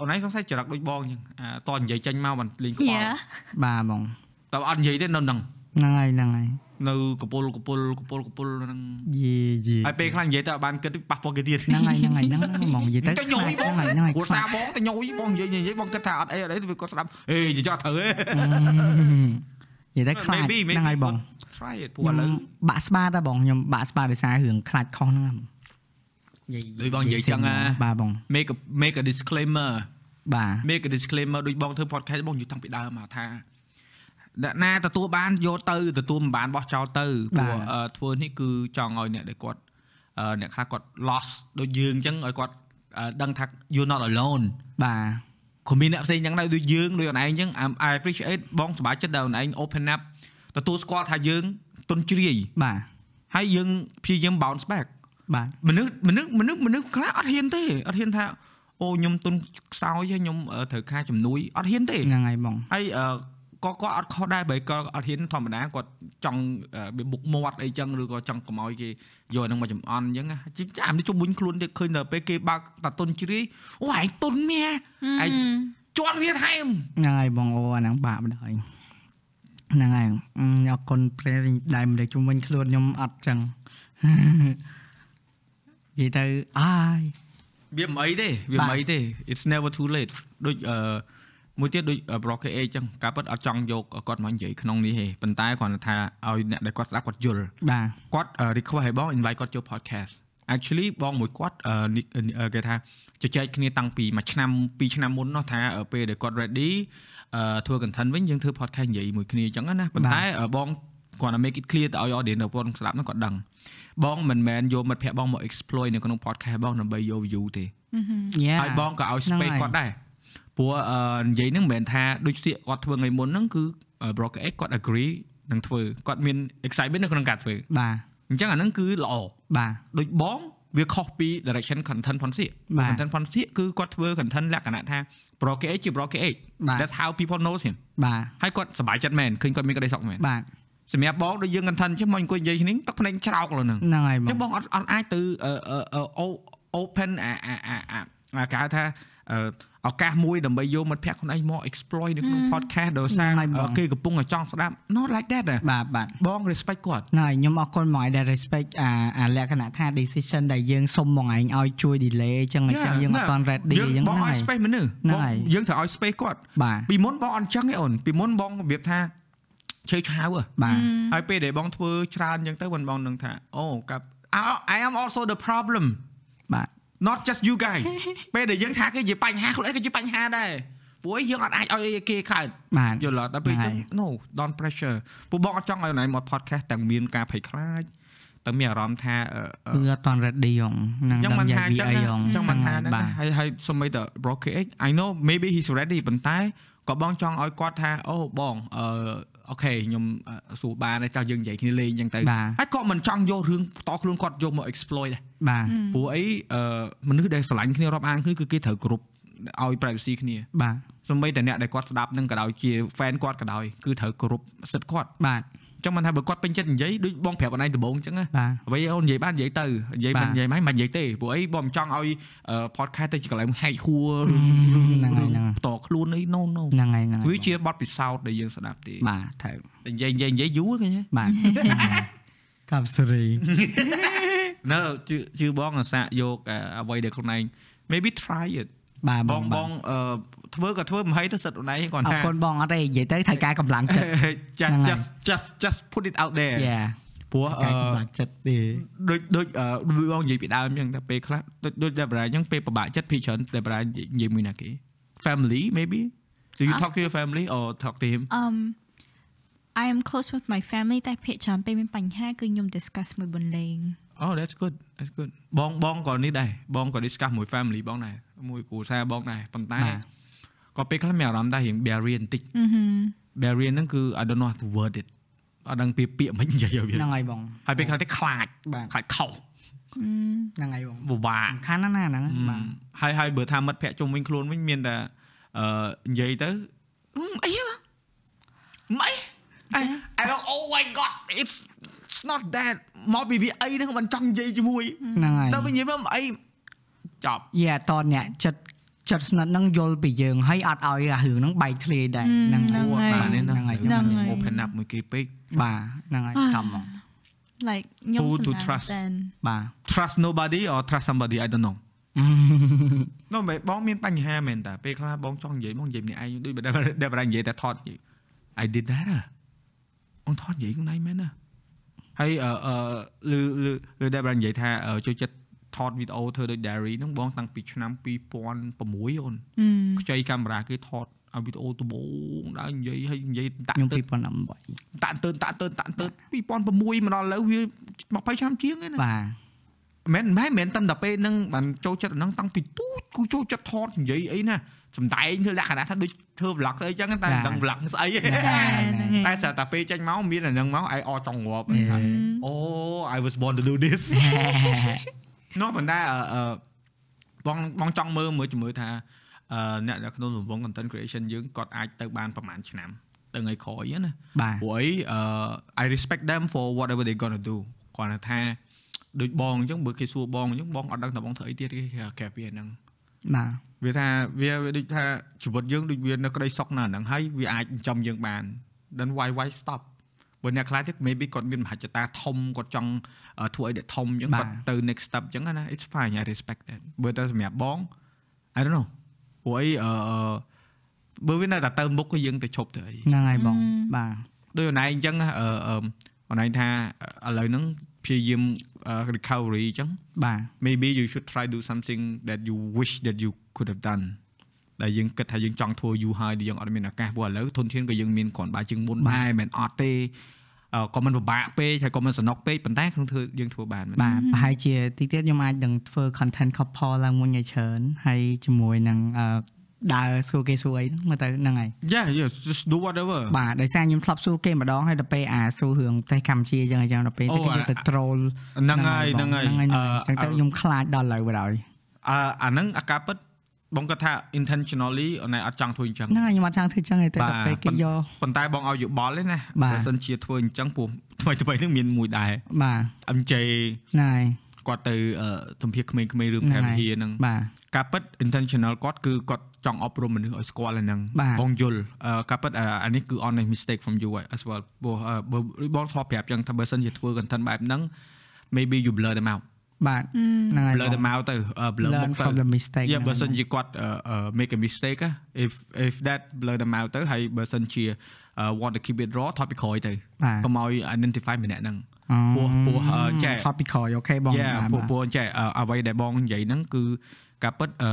Speaker 4: អូនឯងសង្ស័យចរិតដូចបងអញ្ចឹងអាតនិយាយចេញមកបានលេងខ្វ
Speaker 2: យ៉ា
Speaker 4: ល់
Speaker 2: *laughs*
Speaker 3: បាទបង
Speaker 4: តែអត់និយាយទេនៅនឹង
Speaker 3: ហ្នឹងហើយហ្នឹងហើយ
Speaker 4: នៅកពុលកពុលកពុលកពុលហ្នឹង
Speaker 3: យេយេ
Speaker 4: ហើយពេលខ្លះនិយាយទៅអត់បានគិតទេប៉ះពាល់គេទៀត
Speaker 3: ហ្នឹងហើយហ្នឹងហើយហ្នឹងហើយហ្មងនិ
Speaker 4: *laughs*
Speaker 3: យាយទៅ
Speaker 4: តែញយបង
Speaker 3: ហ្នឹងហើយហ្នឹងហើយ
Speaker 4: គ្រួ
Speaker 3: *laughs*
Speaker 4: សារបងតែញយបងនិយាយនិយាយបងគិតថាអត់អីអត់អីទៅវាគាត់ស្ដាប់អេនិយាយអត់ត្រូវទេ
Speaker 3: និយាយទៅខ្លាច
Speaker 4: Maybe- maybe
Speaker 3: ហ្នឹងហើយបង
Speaker 4: គាត់ try it ព្រោះឥឡូវ
Speaker 3: បាក់ស្បាតដែរបងខ្ញុំបាក់ស្បាដោយសាររឿងខ្លាចខុសហ្នឹងនិ
Speaker 4: ដូចបងនិយាយចឹងណា
Speaker 3: បាទបង
Speaker 4: make a make a disclaimer
Speaker 3: បាទ
Speaker 4: make a disclaimer ដូចបងធ្វើ podcast បងនិយាយតាំងពីដើមមកថាអ្នកណាទទួលបានយកទៅទទួលមិនបានបោះចោលទៅ
Speaker 3: បា
Speaker 4: ព្រោះ
Speaker 3: ទ
Speaker 4: អឺធ្វើនេះគឺចង់ឲ្យអ្នកដែលគាត់អឺអ្នកខ្លះគាត់ lost ដូចយើងអញ្ចឹងឲ្យគាត់អឺដឹងថា you not alone
Speaker 3: បាទ
Speaker 4: គ្មានអ្នកផ្សេងអញ្ចឹងដែរដូចយើងដូចអូនឯងអញ្ចឹង I'm- I appreciate បងសប្បាយចិត្តដែលអូនឯង open up ទទួលស្គាល់ថាយើងទុនជ្រាយ
Speaker 3: បាទ
Speaker 4: ហើយយើងព្យាយាម bounce back
Speaker 3: បាទ
Speaker 4: មនុស្សមនុស្សមនុស្សមនុស្សខ្លះអត់ហ៊ានទេអត់ហ៊ានថាអូខ្ញុំទុនខ្សោយហើយខ្ញុំអឺត្រូវការជំនួយអត់ហ៊ានទេ
Speaker 3: ហ្នឹងហើយបង
Speaker 4: ហើយអឺក៏គាត់អត់ខុសដែរបើគាត់អត់ហ៊ានធម្មតាគាត់ចង់អឺវាបុកមាត់អីចឹងឬក៏ចង់កម្អោយគេយកអាហ្នឹងមកចំអន់អញ្ចឹងណាជីមចាំនេះជុំវិញខ្លួនទៀតឃើញដល់ពេលគេបើកតាតុនជ្រាយអូឯងតុនមាឯងជន់វាថែម
Speaker 3: ហ្នឹងហើយបងអូអាហ្នឹងបាក់បណ្ដោយហ្នឹងហើយអឺអរគុណព្រះដែលមិនដែលជំវិញខ្លួនខ្ញុំអត់ចឹង *laughs* និយាយទៅអាយ
Speaker 4: វាមិនអីទេវាមិនអីទេ it's never too late ដូចអឺ មួយទៀតដូច broker age ចឹងការពិតអត់ចង់យកគាត់មកនិយាយក្នុងនេះទេប៉ុន្តែគ្រាន់តែថាឲ្យអ្នកដែលគាត់ស្ដាប់គាត់យល់
Speaker 3: បាទ
Speaker 4: គាត់ request ឲ្យបង invite គាត់ចូល podcast actually បងមួយគាត់អឺ nick- អឺគេថាជជែកគ្នាតាំងពីមួយឆ្នាំពីរឆ្នាំមុននោះថាអឺពេលដែលគាត់ ready អឺធ្វើ content វិញយើងធ្វើ podcast និយាយមួយគ្នាចឹងណាប៉ុន្តែអឺបងគាត់តែ make it clear ទៅឲ្យ audience របស់គាត់ស្ដាប់នោះគាត់ដឹងបងមិនមែនយកមិត្តភ័ក្ដិបងមក exploit នៅក្នុង podcast បងដើម្បីយក view ទេ
Speaker 3: Yeah
Speaker 4: ហើយបងក៏ឲ្យ
Speaker 3: ហ្នឹងហើយ
Speaker 4: space គាត់ដែរព្រោះអឺនិយាយហ្នឹងមិនមែនថាដូចសៀកគាត់ធ្វើថ្ងៃមុនហ្នឹងគឺអឺ broker X គាត់ agree នឹងធ្វើគាត់មាន excitement នៅក្នុងការធ្វើ
Speaker 3: បាទ
Speaker 4: អញ្ចឹងអាហ្នឹងគឺល្អ
Speaker 3: បាទ
Speaker 4: ដូចបងវាខុសពី direction content ផនសៀក
Speaker 3: បាទ
Speaker 4: content ផនសៀកគឺគាត់ធ្វើ content លក្ខណៈថា broker X ជា broker X
Speaker 3: បាទ
Speaker 4: that's how people knows him
Speaker 3: បាទ
Speaker 4: ហើយគាត់សប្បាយចិត្តមែនឃើញគាត់មានក្តីសុខមែន
Speaker 3: បាទ
Speaker 4: សម្រាប់បងដូចយើង content ចឹងមកអង្គុយនិយាយគ្នាទឹកភ្នែកច្រោកលើហ្នឹង
Speaker 3: ហ្នឹងហើយ
Speaker 4: ចឹ
Speaker 3: បង ង
Speaker 4: បងអត់អត់អាចទៅអឺអឺអឺ o- open អាអាអាអាអាគេហៅថាអឺឱកាសមួយដើម្បីយកមិត្តភ័ក្ដិខ្លួនឯងមក exploit នៅក្នុង podcast ដោយសារអឺគេកំពុងតែចង់ស្ដាប់ not like that ណា
Speaker 3: បាទបាទ
Speaker 4: បង respect គាត់
Speaker 3: ណ៎ខ្ញុំអរគុណហ្មងឯងដែល respect អាអាលក្ខណៈថា decision ដែលយើងសុំហ្មងឯងឲ្យជួយ delay អញ្ចឹងអញ្ចឹង
Speaker 4: Yeah,
Speaker 3: យើងអត់
Speaker 4: no.
Speaker 3: ទាន់ ready អញ្ចឹង
Speaker 4: ប
Speaker 3: ហ្នឹង ង
Speaker 4: ឲ្យ
Speaker 3: ហើយ
Speaker 4: space មនុស្ស
Speaker 3: ហ្នឹង
Speaker 4: បង
Speaker 3: ហើយ
Speaker 4: យើងត្រូវឲ្យ space គាត់
Speaker 3: បាទ
Speaker 4: ពីមុនបងអត់ចឹងទេអូនពីមុនបងរបៀបថាឆេវឆាវហ៎
Speaker 3: បាទ
Speaker 4: ហើយពេលដែលបងធ្វើច្រើនចឹងទៅបងបងនឹងថាអូកាប់ I- I am also the problem
Speaker 3: បាទ
Speaker 4: not just you
Speaker 3: *laughs*
Speaker 4: guys ពេលដែលយើងថាគេជាបញ្ហាខ្លួនឯងក៏ជាបញ្ហាដែរព្រោះអីយើងអត់អាចឲ្យគេខើត
Speaker 3: បាទ
Speaker 4: យល់អត់ដល់ពេលអញ្ចឹង
Speaker 3: ហ្នឹងហើយ
Speaker 4: no don't pressure ពួកបងអត់ចង់ឲ្យនរណាមក podcast ទាំងមានការភ័យខ្លាចទាំងមានអារម្មណ៍ថាអអ
Speaker 3: គឺអត់ទាន់ ready ហ្មងហ្នឹង
Speaker 4: អញ្ចឹង
Speaker 3: ដឹង
Speaker 4: មិន
Speaker 3: យ៉ាងវា
Speaker 4: ថាអ
Speaker 3: អី
Speaker 4: ញ្
Speaker 3: ហ្មង
Speaker 4: ចឹងមិនថាហ្នឹង
Speaker 3: បា
Speaker 4: ណា
Speaker 3: ទ
Speaker 4: ហើយហើយសូម្បីតែ broker X I know maybe he's ready ប៉ុន្តែក៏បងចង់ឲ្យគាត់ថាអូបងអឺអូខេខ្ញុំអឺសួរបានទេចោះយើងនិយាយគ្នាលេងអញ្ចឹងទៅ
Speaker 3: បាទ
Speaker 4: ហើយក៏មិនចង់យករឿងតខ្លួនគាត់យកមក exploit ដែរ
Speaker 3: បាទ
Speaker 4: ព្រោះអីអឺមនុស្សដែលស្រឡាញ់គ្នារាប់អានគ្នាគឺគេត្រូវគ្រប់ឲ្យ privacy គ្នា
Speaker 3: បាទ
Speaker 4: សម្បីតែអ្នកដែលគាត់ស្ដាប់នឹងក៏ដោយជា fan គាត់ក៏ដោយគឺត្រូវគ្រប់សិទ្ធិគាត់
Speaker 3: បាទ
Speaker 4: អញ្ចឹងមិនថាបើគាត់ពេញចិត្តនិយាយដូចបងប្រាប់អនឯងដំបូងអញ្ចឹងណា
Speaker 3: បាទ
Speaker 4: អ្វីអូននិយាយបាននិយាយទៅនិយាយមិននិយាយមិនមិននិយាយទេព្រោះអីបងមិនចង់ឲ្យអឺ podcast ទៅជាកន្លែងហែកហួរឬឬ
Speaker 3: ហ្នឹងហើយហ្នឹងហើយ
Speaker 4: តខ្លួនអី no no
Speaker 3: ហ្នឹងហើយហ្នឹងហើយ
Speaker 4: វាជាបទពិសោធន៍ដែលយើងស្ដាប់ទេ
Speaker 3: បាទត្រូវ
Speaker 4: តែនិយាយនិយាយនិយាយយូរគេណា
Speaker 3: *laughs* បាទ កាប់សេរី
Speaker 4: នៅជឿជឿបងអាសាក់យកអ่าអ្វីដែលខ្លួនឯង maybe try it
Speaker 3: បាទ
Speaker 4: ប
Speaker 3: បង ង
Speaker 4: ប
Speaker 3: បង ង
Speaker 4: អឺធ្វើក៏ធ្វើមិនហីទៅសិតអូនឯងគាត់
Speaker 3: អរ
Speaker 4: ថា
Speaker 3: គុណបងអត់ទេនិយាយទៅត្រូវការកម្លាំង
Speaker 4: *laughs*
Speaker 3: ចិត្ត
Speaker 4: just
Speaker 3: ហ្នឹងហើយ
Speaker 4: just just just put it out there
Speaker 3: យ៉ា
Speaker 4: ព្រោះអឺ
Speaker 3: ការកម្លាំងចិត្តទេ
Speaker 4: ដូចដូចអឺបងនិយាយពីដើមអញ្ចឹងតែពេលខ្លះដូចដូចដែលប្រាអញ្ចឹងពេលពិបាកចិត្តភីច្រើនដែលប្រានិយាយមួយណាគេ family maybe do you talk to your family or talk to him
Speaker 2: um I am close with my family តែភាគច្រើនពេលមានបញ្ហាគឺខ្ញុំ discuss មួយបន្លែង
Speaker 4: oh that's good that's good បងបងក៏នេះដែរបងក៏ discuss មួយ family បងដែរមួយគ្រួសារបងដែរប៉ុន្តែ
Speaker 3: បាទ
Speaker 4: ក៏ពេលខ្លះមានអារម្មណ៍ដែររៀង barrier បន្តិច barrier ហ្នឹងគឺ I don't know how to word it អត់ដឹងពីពាក្យមិននិយាយឲ្យវា
Speaker 3: ហ្នឹងហើយបង
Speaker 4: ហើយពេលខ្លះទៅខ្លាច
Speaker 3: បាទ
Speaker 4: ខ្លាចខុស
Speaker 3: ហ្នឹងហើយបង
Speaker 4: ពិបាក
Speaker 3: សំខាន់ណាស់ណាហ្នឹងបាទ
Speaker 4: ហើយហើយបើថាមិត្តភ័ក្តិជុំវិញខ្លួនវិញមានតែអឺនិយាយទៅអឺអីហ៎ម៉េច I I don't oh my god it's it's not that មកពីវាអីហ្នឹងមិនចង់និយាយជាមួយ
Speaker 3: ហ្នឹងហើយ
Speaker 4: ដល់វិញនិយាយមកអីចប់
Speaker 3: យ៉ាតនអ្នកចិត្តចិត្តស្និទ្ធនឹងយល់ពីយើងហើយអត់ឲ្យអារឿងហ្នឹងបែកធ្លាយដែរ
Speaker 2: ហ្នឹ
Speaker 3: ហ្នឹង ង
Speaker 2: ហើ
Speaker 3: ហើយ យហ្នឹង
Speaker 4: ពួកបាទនេះ
Speaker 3: ហើយ
Speaker 2: ហ្នឹ
Speaker 4: ហ្នឹង
Speaker 2: ងហើយ
Speaker 4: អូ open up មួយគេពេក
Speaker 3: បាទហ្នឹងហើយកម្មហ្មង
Speaker 2: like ខ្ញុំ
Speaker 4: Who
Speaker 2: ស
Speaker 4: to
Speaker 2: ម្រាប់
Speaker 4: trust?
Speaker 2: តែ
Speaker 4: *laughs*
Speaker 3: បាទ
Speaker 4: trust nobody or trust somebody I don't know នោះមែនបងមានបញ្ហាមែនតាពេលខ្លះបងចង់និយាយបងនិយាយម្នាក់ឯងដូចបើដែលដែលបងនិយាយតែថតនិយាយ I did that ហ៎អូនថតនិយាយខ្លួនឯងមែនណាហើយអឺអឺឬឬឬដែលបងនិយាយថាអឺចូលចិត្តថតវីដេអូធ្វើដូច diary ហ្នឹងបងតាំងពីឆ្នាំ2006អូនខ្ចីកាមេរ៉ាគេថតឲ្យវីដេអូដំបូងដើរនិយាយហើយនិយាយតាក់
Speaker 3: ខ្ញុំ
Speaker 4: ទើ
Speaker 3: ពី
Speaker 4: ន
Speaker 3: 2018
Speaker 4: តាក់ទើនតាក់ទើនតាក់ទើន2006មកដល់ឥឡូវវា20ឆ្នាំជាងឯណា
Speaker 3: បាទ
Speaker 4: មែនមែនមែនតាំងតែពេលហ្នឹងបានចូលចិត្តអាហ្នឹងតាំងពីទូចគូចូលចិត្តថតនិយាយអីណាសំដែងធ្វើលក្ខណៈថាដូចធ្វើ vlog ទៅអីចឹងតែមិនដឹង vlog ស្អីទេ
Speaker 2: ចាហ្នឹងហើយ
Speaker 4: តែស្រាប់តែពេលចេញមកមានអាហ្នឹងមកឯងអត់ចង់ងាប់ថាអូ I was born to do this នោះប៉ុន្តែអឺអឺបងបងចង់មើលមើលជាមួយថាអឺអ្នកនៅក្នុងរង្វង់ content creation យើងគាត់អាចទៅបានប្រហែលឆ្នាំទៅថ្ងៃក្រោយហ្នឹងណា
Speaker 3: បាទ
Speaker 4: ព្រោះអីអឺ I respect them for whatever they gonna do គាត់ថា ដូចបងអញ្ចឹងបើគេសួរបងអញ្ចឹងបងអត់ដឹងថាបងធ្វើអីទៀតគេគេកែពីអាហ្នឹង
Speaker 3: បាទ
Speaker 4: វាថាវាវាដូចថាជីវិតយើងដូចវានៅក្តីសុខណាស់ហ្នឹងហើយវាអាចចិញ្ចឹមយើងបាន then why why stop បើអ្នកខ្លះទៀត maybe គាត់មានមហិច្ឆតាធំគាត់ចង់អឺធ្វើអីដែលធំអញ្ចឹងគាត់ទៅ next step អញ្ចឹងណា it's fine I respect that បើតែសម្រាប់បង I don't know ព្រោះអីអឺ បើវានៅតែទៅមុខគឺយើងទៅឈប់ទៅអី
Speaker 3: ហ្នឹងហើយបងបាទ
Speaker 4: ដូចអនឡាញអញ្ចឹងអឺអឺអនឡាញថាឥឡូវហ្នឹងព្យាយាមអឺ recovery អញ្ចឹង
Speaker 3: បាទ
Speaker 4: maybe you should try do something that you wish that you could have done ដែលយើងគិតថាយើងចង់ធ្វើយូរហើយដែលយើងអត់មានឱកាសព្រោះឥឡូវធនធានក៏យើងមានគ្រាន់បើជាងមុនដែរមិនអត់ទេអឺក៏មិនពិបាកពេកហើយក៏មិនសំណុកពេកប៉ុន្តែក្នុងធ្វើយើងធ្វើបានមែន
Speaker 3: បាទប្រហែលជាតិចទៀតខ្ញុំអាចនឹងធ្វើ content couple ឡើងមួយឲ្យច្រើនហើយជាមួយនឹងអឺដើរសួរគេសួរអីហ្នឹងមើលទៅហ្នឹងហើយ
Speaker 4: Yeah yeah just do whatever
Speaker 3: បាទដោយសារខ្ញុំធ្លាប់សួរគេម្ដងហើយដល់ពេលអាសួររឿងប្រទេសកម្ពុជាអញ្ចឹងអញ្ចឹងដល់ពេល
Speaker 4: អូ
Speaker 3: ទៅគេយកទៅ troll
Speaker 4: ហ្នឹងហើយហ្នឹងហើយ
Speaker 3: ហ្នឹងហើយអ
Speaker 4: អឺ
Speaker 3: ញ្ចឹងទៅខ្ញុំខ្លាចដល់ឥឡូវបណ្ដោយ
Speaker 4: អឺអាហ្នឹងអាការពិតបងគាត់ថា intentionally អូនឯងអត់ចង់ធ្វើអញ្ចឹង
Speaker 3: ហ្នឹងហើយខ្ញុំអត់ចង់ធ្វើអញ្ចឹងទេតែ
Speaker 4: បាទ
Speaker 3: ដល់ពេលគេ
Speaker 4: ប៉ុន្
Speaker 3: យក
Speaker 4: ប៉ុន្តែបងឲ្យយោបល់ទេណា
Speaker 3: បាទ
Speaker 4: បើសិនជាធ្វើអញ្ចឹងព្រោះ *laughs* ថ្មីថ្មីៗហ្នឹងមានមួយដែរ
Speaker 3: បាទ
Speaker 4: MJ
Speaker 3: ហ្នឹងហើយ
Speaker 4: គាត់ទៅអឺសម្ភារក្មេងៗរឿង
Speaker 3: ហ្នឹ
Speaker 4: ប្រែ
Speaker 3: ង
Speaker 4: វិ
Speaker 3: ហើយ
Speaker 4: ហារហ្នឹង
Speaker 3: បាទ
Speaker 4: ការពិត intentional គាត់គឺគាត់ចង់អប់រំមនុស្សឲ្យស្គាល់អាហ្នឹង
Speaker 3: បាទ
Speaker 4: បងយល់អឺការពិតអឺអានេះគឺ honest mistake from you as well ព្រោះអឺបើបងធ្លាប់ប្រាប់ចឹងថាបើសិនជាធ្វើ content បែបហ្នឹង maybe you blur them out
Speaker 3: បាទហ្នឹងហើយ
Speaker 4: blur them out ទៅអឺ blur
Speaker 3: learn
Speaker 4: មុខទៅ
Speaker 3: from the mistake
Speaker 4: យ៉ាបើសិន
Speaker 3: ហ្នឹង
Speaker 4: ជាគាត់អឺអឺ make a mistake ណា if if that blur them out ទៅហើយបើសិនជាអឺ want to keep it raw ថតពីក្រោយទៅ
Speaker 3: បាទ
Speaker 4: កុំឲ្យ identify ម្នាក់ហ្នឹង
Speaker 3: អូ
Speaker 4: ពោះពោះអឺចែ
Speaker 3: ừ, topical អូខេបង
Speaker 4: យ៉ា
Speaker 3: បាទ
Speaker 4: ពួក
Speaker 3: បាទ
Speaker 4: ពួកអញ្ចេះអឺអ្វីដែលបងនិយាយហ្នឹងគឺការពិតអឺ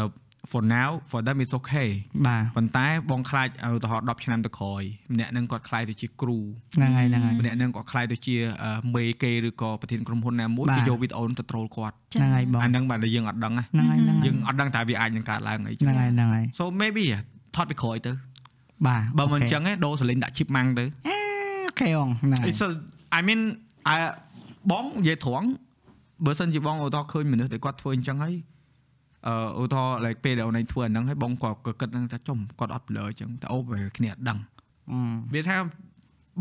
Speaker 4: for now for them is okay
Speaker 3: បាទ
Speaker 4: ប៉ុន្តែបងខ្លាចឧទាហរណ៍10ឆ្នាំទៅក្រោយម្នាក់ហ្នឹងគាត់ខ្លាចទៅជាគ្រូ
Speaker 3: ហ្នឹងហើយហ្នឹងហើយ
Speaker 4: ម្នាក់ហ្នឹងគាត់ខ្លាចទៅជាអឺមេគេឬក៏ប្រធានក្រុមហ៊ុនណាមួយ
Speaker 3: បាទ
Speaker 4: គេយកវីដេអូហ្នឹងទៅ troll គាត់
Speaker 3: ហ្នឹងហើយបង
Speaker 4: អាហ្នឹងបាទដែលយើងអត់ដឹងណា
Speaker 3: ហ្នឹងហើយហ្នឹងហើយ
Speaker 4: យើងអត់ដឹងថាវាអាចនឹងកើតឡើងអីចឹង
Speaker 3: ហ្នឹងហើយហ្នឹងហើយ
Speaker 4: so maybe ថតពីក្រោយទៅ
Speaker 3: បាទ
Speaker 4: បើមិនអ
Speaker 3: អូខេ
Speaker 4: ញ្ចឹងឯងដូរសលេងដាក់ chip ម៉ាំងទៅ
Speaker 3: អូខេអងហ្នឹងហើយ
Speaker 4: it's a i mean i បងនិយាយត្រង់បើសិនជាបងឧទាហរណ៍ឃើញមនុស្សដែលគាត់ធ្វើអញ្ចឹងហើយអឺឧទាហរណ៍ like ពេលដែលអូនឯងធ្វើអាហ្នឹងហើយបងគាត់ក៏គិតហ្នឹងថាចំគាត់អត់ blur អញ្ចឹងតែអូបែរគ្នាអត់ដឹង
Speaker 3: Ừ,
Speaker 4: វាថា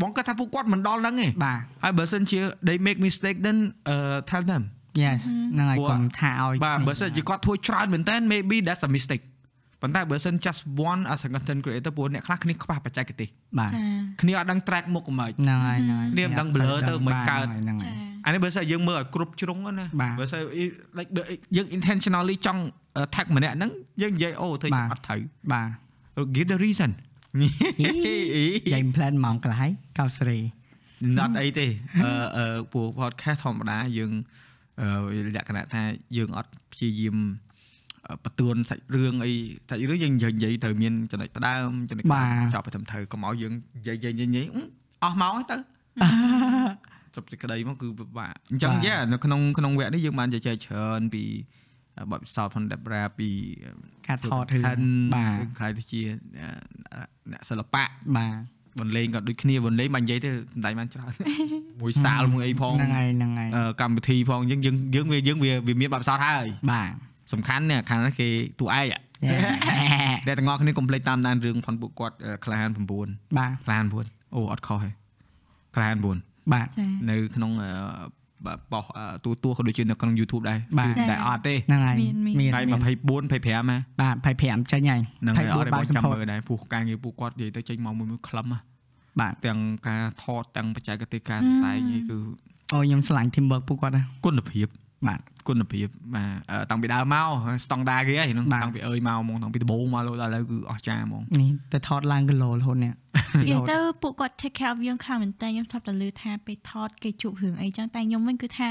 Speaker 4: បងគាត់ថាពួកគាត់មិនដល់ហ្នឹងឯង
Speaker 3: បាទ
Speaker 4: ហើយបើសិនជា they make mistake then uh tell them
Speaker 3: yes ហ្នឹងហើយ
Speaker 4: ពួក
Speaker 3: កុំថាឲ្យ
Speaker 4: បាទបើសិនជាគាត់ធ្វើច្រើនមែនតើ maybe that's a mistake ប៉ុន្តែបើសិន just one as a content creator ពួកអ្នកខ្លះគ្នាខ្វះបច្ចេកទេស
Speaker 3: បាទ
Speaker 2: ចា
Speaker 4: គ្នាអត់ដឹង track មុខមិនខ្មិច
Speaker 3: ហ្នឹងហើយហ្នឹងហើយ
Speaker 4: គ្នាមិនដឹង blur ទៅមិនកើត
Speaker 3: ហ្នឹងហើ
Speaker 2: ចា
Speaker 3: យ
Speaker 4: អានេះបើសិនយើងមើលឲ្យគ្រប់ជ្រុងហ្នឹងណា
Speaker 3: បាទ
Speaker 4: បើសិន i- like the- យើង intentionally ចង់ attack ម្នាក់ហ្នឹងយើងនិយាយអូធ្វើ
Speaker 3: បាទ
Speaker 4: អត់ត្រូវ
Speaker 3: បាទ
Speaker 4: give the reason *laughs*
Speaker 3: យាយ plan ម៉ោងកន្លះហើយកោបសេរី
Speaker 4: not អីទេអឺអឺពួក podcast ធម្មតាយើងអឺលក្ខណៈថាយើងអត់ព្យាយាមអឺបន្ទួនសាច់រឿងអីសាច់រឿងយើងនិយាយនិយាយទៅមានចំណុចផ្ដើមចំណុច
Speaker 3: បាទ
Speaker 4: ចប់ទៅទៅកុំឲ្យយើងនិយាយនិយាយនិយាយនិយាយអឺអស់ម៉ោងហើយទៅ
Speaker 3: *laughs*
Speaker 4: ចប់សេចក្តីមកគឺពិបាកអញ្ចឹង
Speaker 3: បាទ
Speaker 4: យ៉ានៅក្នុងក្នុងវគ្គនេះយើងបានជជែកច្រើនពីអឺបទពិសោធន៍ផង Debra ពី
Speaker 3: ការថត
Speaker 4: ហា
Speaker 3: រឿង
Speaker 4: ន
Speaker 3: បា
Speaker 4: គឺ
Speaker 3: ទ
Speaker 4: ខ្ល้ายទៅជាអឺអ្នកសិល្បៈ
Speaker 3: បាទ
Speaker 4: បន្លេងក៏ដូចគ្នាបន្លេងមិននិយាយទេសំដែងបានច្រើន *laughs* មួយសាលមួយអីផង
Speaker 3: ហ្នឹងហើយហ្នឹងហើយ
Speaker 4: អឺកម្មវិធីផងអញ្ចឹងយើងយើងវាយើងវាវាមានបទពិសោធន៍ហើយ
Speaker 3: បាទ
Speaker 4: សំខាន់នេះខាងនេះគេតួឯងអ្ហ៎ *laughs* តែទាំងអស់គ្នាកុំភ្លេចតាមដានរឿងផនពួកគាត់អឺក្លាហាន9
Speaker 3: បាទ
Speaker 4: ក្លាហាន9អូអត់ខុសទេក្លាហាន9
Speaker 3: បាទ
Speaker 2: ចា
Speaker 4: នៅក្នុងអឺបាទបោះអឺទូទួក៏ដូចជានៅក្នុង YouTube ដែរ
Speaker 3: បាទ
Speaker 4: គឺតែ
Speaker 2: ចា៎
Speaker 4: អត់ទេ
Speaker 3: ហ្នឹងហើយ
Speaker 2: មានមាន
Speaker 4: ថ្ងៃ24 25ណា
Speaker 3: បាទ25ចេញហើយ
Speaker 4: ហ្នឹងហើយអត់
Speaker 3: 24
Speaker 4: ឲ្យ
Speaker 3: បាវ
Speaker 4: បង
Speaker 3: សំ
Speaker 4: ចាំ
Speaker 3: ផុត
Speaker 4: មើលដែរពួកការងារពួកគាត់និយាយទៅចេញមកមួយមួយខ្លឹមណា
Speaker 3: បាទ
Speaker 4: ទាំងការថតទាំងបច្ចេកទេសការសម្តែងនេះគឺ
Speaker 3: អូខ្ញុំឆ្លាញ់ team work ពួកគាត់ណា
Speaker 4: គុណភាព
Speaker 3: បាទ
Speaker 4: គុណភាពបាទអឺតាំងពីដើមមកស្តង់ដារគេហើយហ្នឹង
Speaker 3: បាទ
Speaker 4: តាំងពីអើយមកហ្មងតាំងពីដំបូងមកលោកដល់ឥឡូវគឺអស្ចារ្យហ្មង
Speaker 3: នេះទៅថតឡើងគីឡូរហូតនេះ
Speaker 2: និយាយទៅពួកគាត់ take care of យើងខ្លាំងមែនតើខ្ញុំធ្លាប់តែឮថាពេលថតគេជួបរឿងអីចឹងតែខ្ញុំវិញគឺថា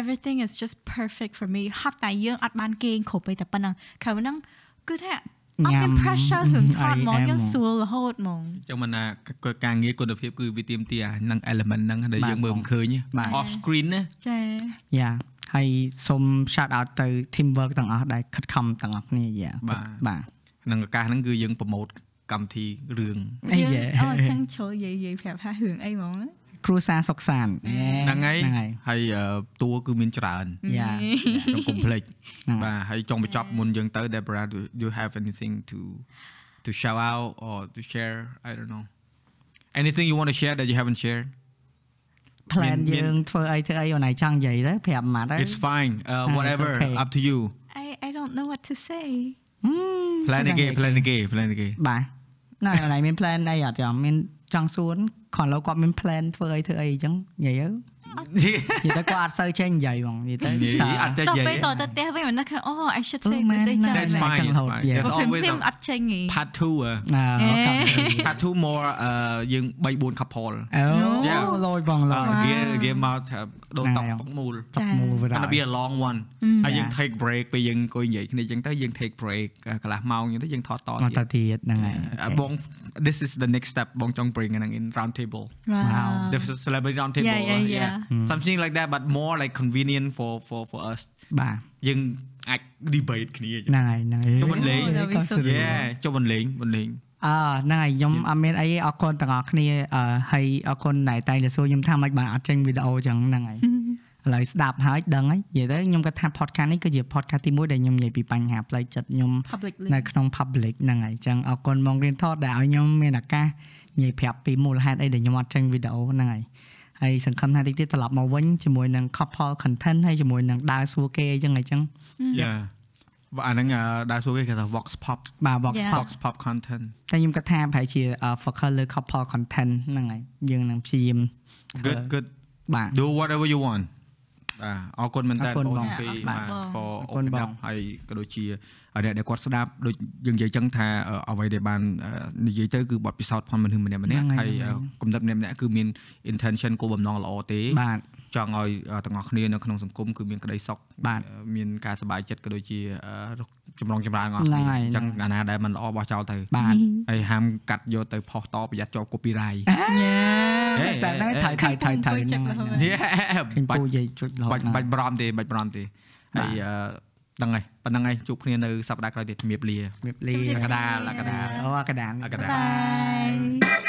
Speaker 2: everything is just perfect for me ហត់តែយើងអត់បានគេងគ្រប់ទេតែប៉ុណ្ណឹងខៅហ្នឹងគឺថាអត់
Speaker 3: ញ៉ាំ
Speaker 2: មាន pressure រឿងថតហ្មង
Speaker 3: IM
Speaker 2: យើ
Speaker 3: ហ្ម
Speaker 2: ង
Speaker 3: ង
Speaker 2: ស្រួលរហូតហ្មង
Speaker 4: ចឹងមិនណាកការងារគុណភាពគឺវាទៀមទាអាហ្នឹង element ហ្នឹងដែល
Speaker 3: បាទ
Speaker 4: យើងមើល
Speaker 3: បង
Speaker 4: មិនឃើញទេ
Speaker 3: បាទ
Speaker 4: off screen ណា
Speaker 2: ចា
Speaker 3: យ៉ាហើយសូម shout out ទៅ team work ទាំងអស់ដែលខិតខំទាំងអស់គ្នាយ៉ាបាទ
Speaker 4: ហ្នឹងឱកាសហ្នឹងគឺយើងប្រម៉ូទកម្មវិធីរឿង
Speaker 3: អី
Speaker 2: យើង
Speaker 3: យ៉ា
Speaker 2: អូចឹងចូលនិយាយនិយាយប្រាប់ថារឿងអីហ្មង
Speaker 3: គ្រួសារសុខសាន្ត
Speaker 4: ហ្នឹងហើយ
Speaker 3: ហ្នឹងហើយ
Speaker 4: ហើយអឺតួគឺមាន *laughs* ច្រើន
Speaker 3: យ៉ា
Speaker 4: ក្នុងកុំភ្លេច
Speaker 3: ហ្នឹងហើយ
Speaker 4: បាទហើយចង់បញ្ចប់មុនយើងទៅ Debra do you have anything to to shout out or to share I don't know anything you want to share that you haven't shared
Speaker 3: plan
Speaker 4: មាន
Speaker 3: យើងធ្វើអីធ្វើអីអូនឯងចង់និយាយទៅប្រាប់មកទៅ
Speaker 4: it's fine uh,
Speaker 3: it's
Speaker 4: whatever
Speaker 3: okay.
Speaker 4: up to you
Speaker 2: អី I don't know what to say
Speaker 4: plan
Speaker 3: ចង់និយា
Speaker 4: again
Speaker 3: យ
Speaker 4: plan again plan
Speaker 3: *laughs*
Speaker 4: again *laughs*
Speaker 3: បាទណាអូនឯងមាន plan អីអត់ចាំមានចង់សួនខនឡូវគាត់មាន plan ធ្វើអីធ្វើអីអញ្ចឹងនិយាយទៅ និយាយទៅគាត់អត់សូវចេះនិយាយហ្មងនិយាយទៅ
Speaker 4: និយាយអត់ចេះ
Speaker 2: តទៅ
Speaker 4: និ
Speaker 2: ត
Speaker 4: យាយ
Speaker 2: ទៅផ្ទះវិញមិនដឹងថាអូ I should say
Speaker 3: អូមែ
Speaker 2: this អីចឹង
Speaker 4: That's
Speaker 2: ហ្នឹ
Speaker 4: fine, it's
Speaker 3: ហូត
Speaker 4: fine.
Speaker 3: យេ
Speaker 2: ង
Speaker 4: Yes. It's
Speaker 2: ព្រម
Speaker 4: always
Speaker 2: ព្រម
Speaker 4: a-
Speaker 2: អត់ចេញហី
Speaker 4: part 2
Speaker 3: *laughs* អូខេ
Speaker 4: part 2 more អឺយើង3 4 couple
Speaker 3: អូលយបងលយ
Speaker 2: Wow.
Speaker 4: គេគេមកថាដូនតក
Speaker 3: ហ្នឹងហើយ
Speaker 4: តុកមូល
Speaker 3: ទឹកមូលវាដ
Speaker 4: and be a long one ហើយ
Speaker 3: Yeah.
Speaker 4: យើង take break ពេលយើងអង្គុយនិយាយគ្នាអញ្ចឹងទៅយើង take break កន្លះម៉ោងអញ្ចឹងទៅយើងថតត
Speaker 3: មក
Speaker 4: ទៀត
Speaker 3: ទៅទៀតហ្នឹងហើយ
Speaker 4: អ่าបង this is the next step បងចង់ bring ហ្នឹង in round table
Speaker 2: Wow
Speaker 4: this is celebrity round table
Speaker 2: Yeah, yeah,
Speaker 4: uh,
Speaker 2: yeah.
Speaker 4: something like that but more like convenient for for for us
Speaker 3: បាទ
Speaker 4: យើងអាច debate គ្នា
Speaker 3: ហ្នឹងហើយហ្នឹងហើយ
Speaker 4: ជុំបន
Speaker 2: Oh,
Speaker 4: ្លែង
Speaker 2: that'd be so
Speaker 4: យេចុះបន្លេងបន្លេង
Speaker 3: អឺហ្នឹងហើយខ្ញុំអត់មានអីទេអរគុណទាំងអស់គ្នាអឺហើយអរគុណដែលតែងតែសួរខ្ញុំថាម៉េចបានអត់ចេញវីដេអូចឹងហ្នឹង
Speaker 2: *laughs*
Speaker 3: ហើយឥឡូវស្ដាប់ហើយដឹងហើយនិយាយទៅខ្ញុំគាត់ថា podcast នេះគឺជា podcast ទី1ដែលខ្ញុំនិយាយពីបញ្ហាផ្លូវចិត្តខ្ញុំ
Speaker 2: publicly
Speaker 3: នៅក្នុង public ហ្នឹងហើយចឹងអរគុណមករៀនថតដែលឲ្យខ្ញុំមានឱកាសនិយាយប្រាប់ពីមូលហេតុអីដែលខ្ញុំអត់ចេញវីដេអូហ្នឹងហើយហើយសង្ឃឹមថាតិចទៀតត្រឡប់មកវិញជាមួយនឹង couple content ហើយជាមួយនឹងដើរសួរគេអីចឹងហើយចឹង
Speaker 4: យ៉ាអាហ្នឹងអ่าដែរសួរគេគេថា vox pop
Speaker 3: បាទ box
Speaker 2: Yeah.
Speaker 3: box
Speaker 4: vox pop content
Speaker 3: តែខ្ញុំគិតថាប្រហែលជា uh, focus លើ couple content ហ្នឹងហើយយើងនឹងព្យាយាម
Speaker 4: good good
Speaker 3: បាទ
Speaker 4: do whatever you want បាទអរគុណមែនតើ
Speaker 3: អរគុណ
Speaker 4: បង
Speaker 3: បង
Speaker 4: ពី
Speaker 2: អរគុណ
Speaker 4: បាទ
Speaker 2: បង
Speaker 4: for
Speaker 3: អរគុណ
Speaker 4: open up ហើយក៏ដូចជាអ្នកដែលគាត់ស្ដាប់ដូចយើងនិយាយចឹងថាអឺអ្វីដែលបានអឺនិយាយទៅគឺបទពិសោធន៍ផងមនុស្សម្នាក់ម្នាក់
Speaker 3: ហ្នឹងហើ
Speaker 4: ហើយ
Speaker 3: យ
Speaker 4: អឺគំនិតម្នាក់ម្នាក់គឺមាន intention គោលបំណងល្អទេ
Speaker 3: បាទ
Speaker 4: ចង់ឲ្យអឺទាំងអស់គ្នានៅក្នុងសង្គមគឺមានក្តីសុខ
Speaker 3: បាទ
Speaker 4: អឺមានការសប្បាយចិត្តក៏ដូចជាអឺចម្រុងចម្រើនរបស់គ្នា
Speaker 3: ហ្នឹងហើយ
Speaker 4: អញ្ចឹងអាណាដែលមិនល្អបោះចោលទៅ
Speaker 3: បាទ
Speaker 4: ហើយហាមកាត់យកទៅផុសតប្រយ័ត្នជាប់ copyright
Speaker 2: ញ៉ា
Speaker 4: Hey,
Speaker 3: តែហ្នឹង
Speaker 4: hey,
Speaker 3: ថៃ
Speaker 4: hey.
Speaker 3: ថៃថៃថៃ
Speaker 2: ខា
Speaker 3: ហ្នឹងង
Speaker 2: ង
Speaker 3: ហើយ
Speaker 2: ពូចុច
Speaker 4: Yeah.
Speaker 3: ឃើញ
Speaker 4: បា
Speaker 3: ពូ
Speaker 4: ច់
Speaker 3: និយាយជួយរហូ
Speaker 4: បា
Speaker 3: ត
Speaker 4: ច់
Speaker 3: ហ្នឹង
Speaker 4: បាច់បារម្ភទេបាច់បារម្ភទេហើយអឺដឹងហើយប៉ុណ្្នឹងហើយជួបគ្នានៅសប្តាហ៍ក្រោយទៀតជំរាបលា
Speaker 3: ជំរាបលា
Speaker 2: ជំរាបលា
Speaker 4: កដាលកដាល
Speaker 3: អូអាកដាល
Speaker 4: អាកដាល
Speaker 2: Bye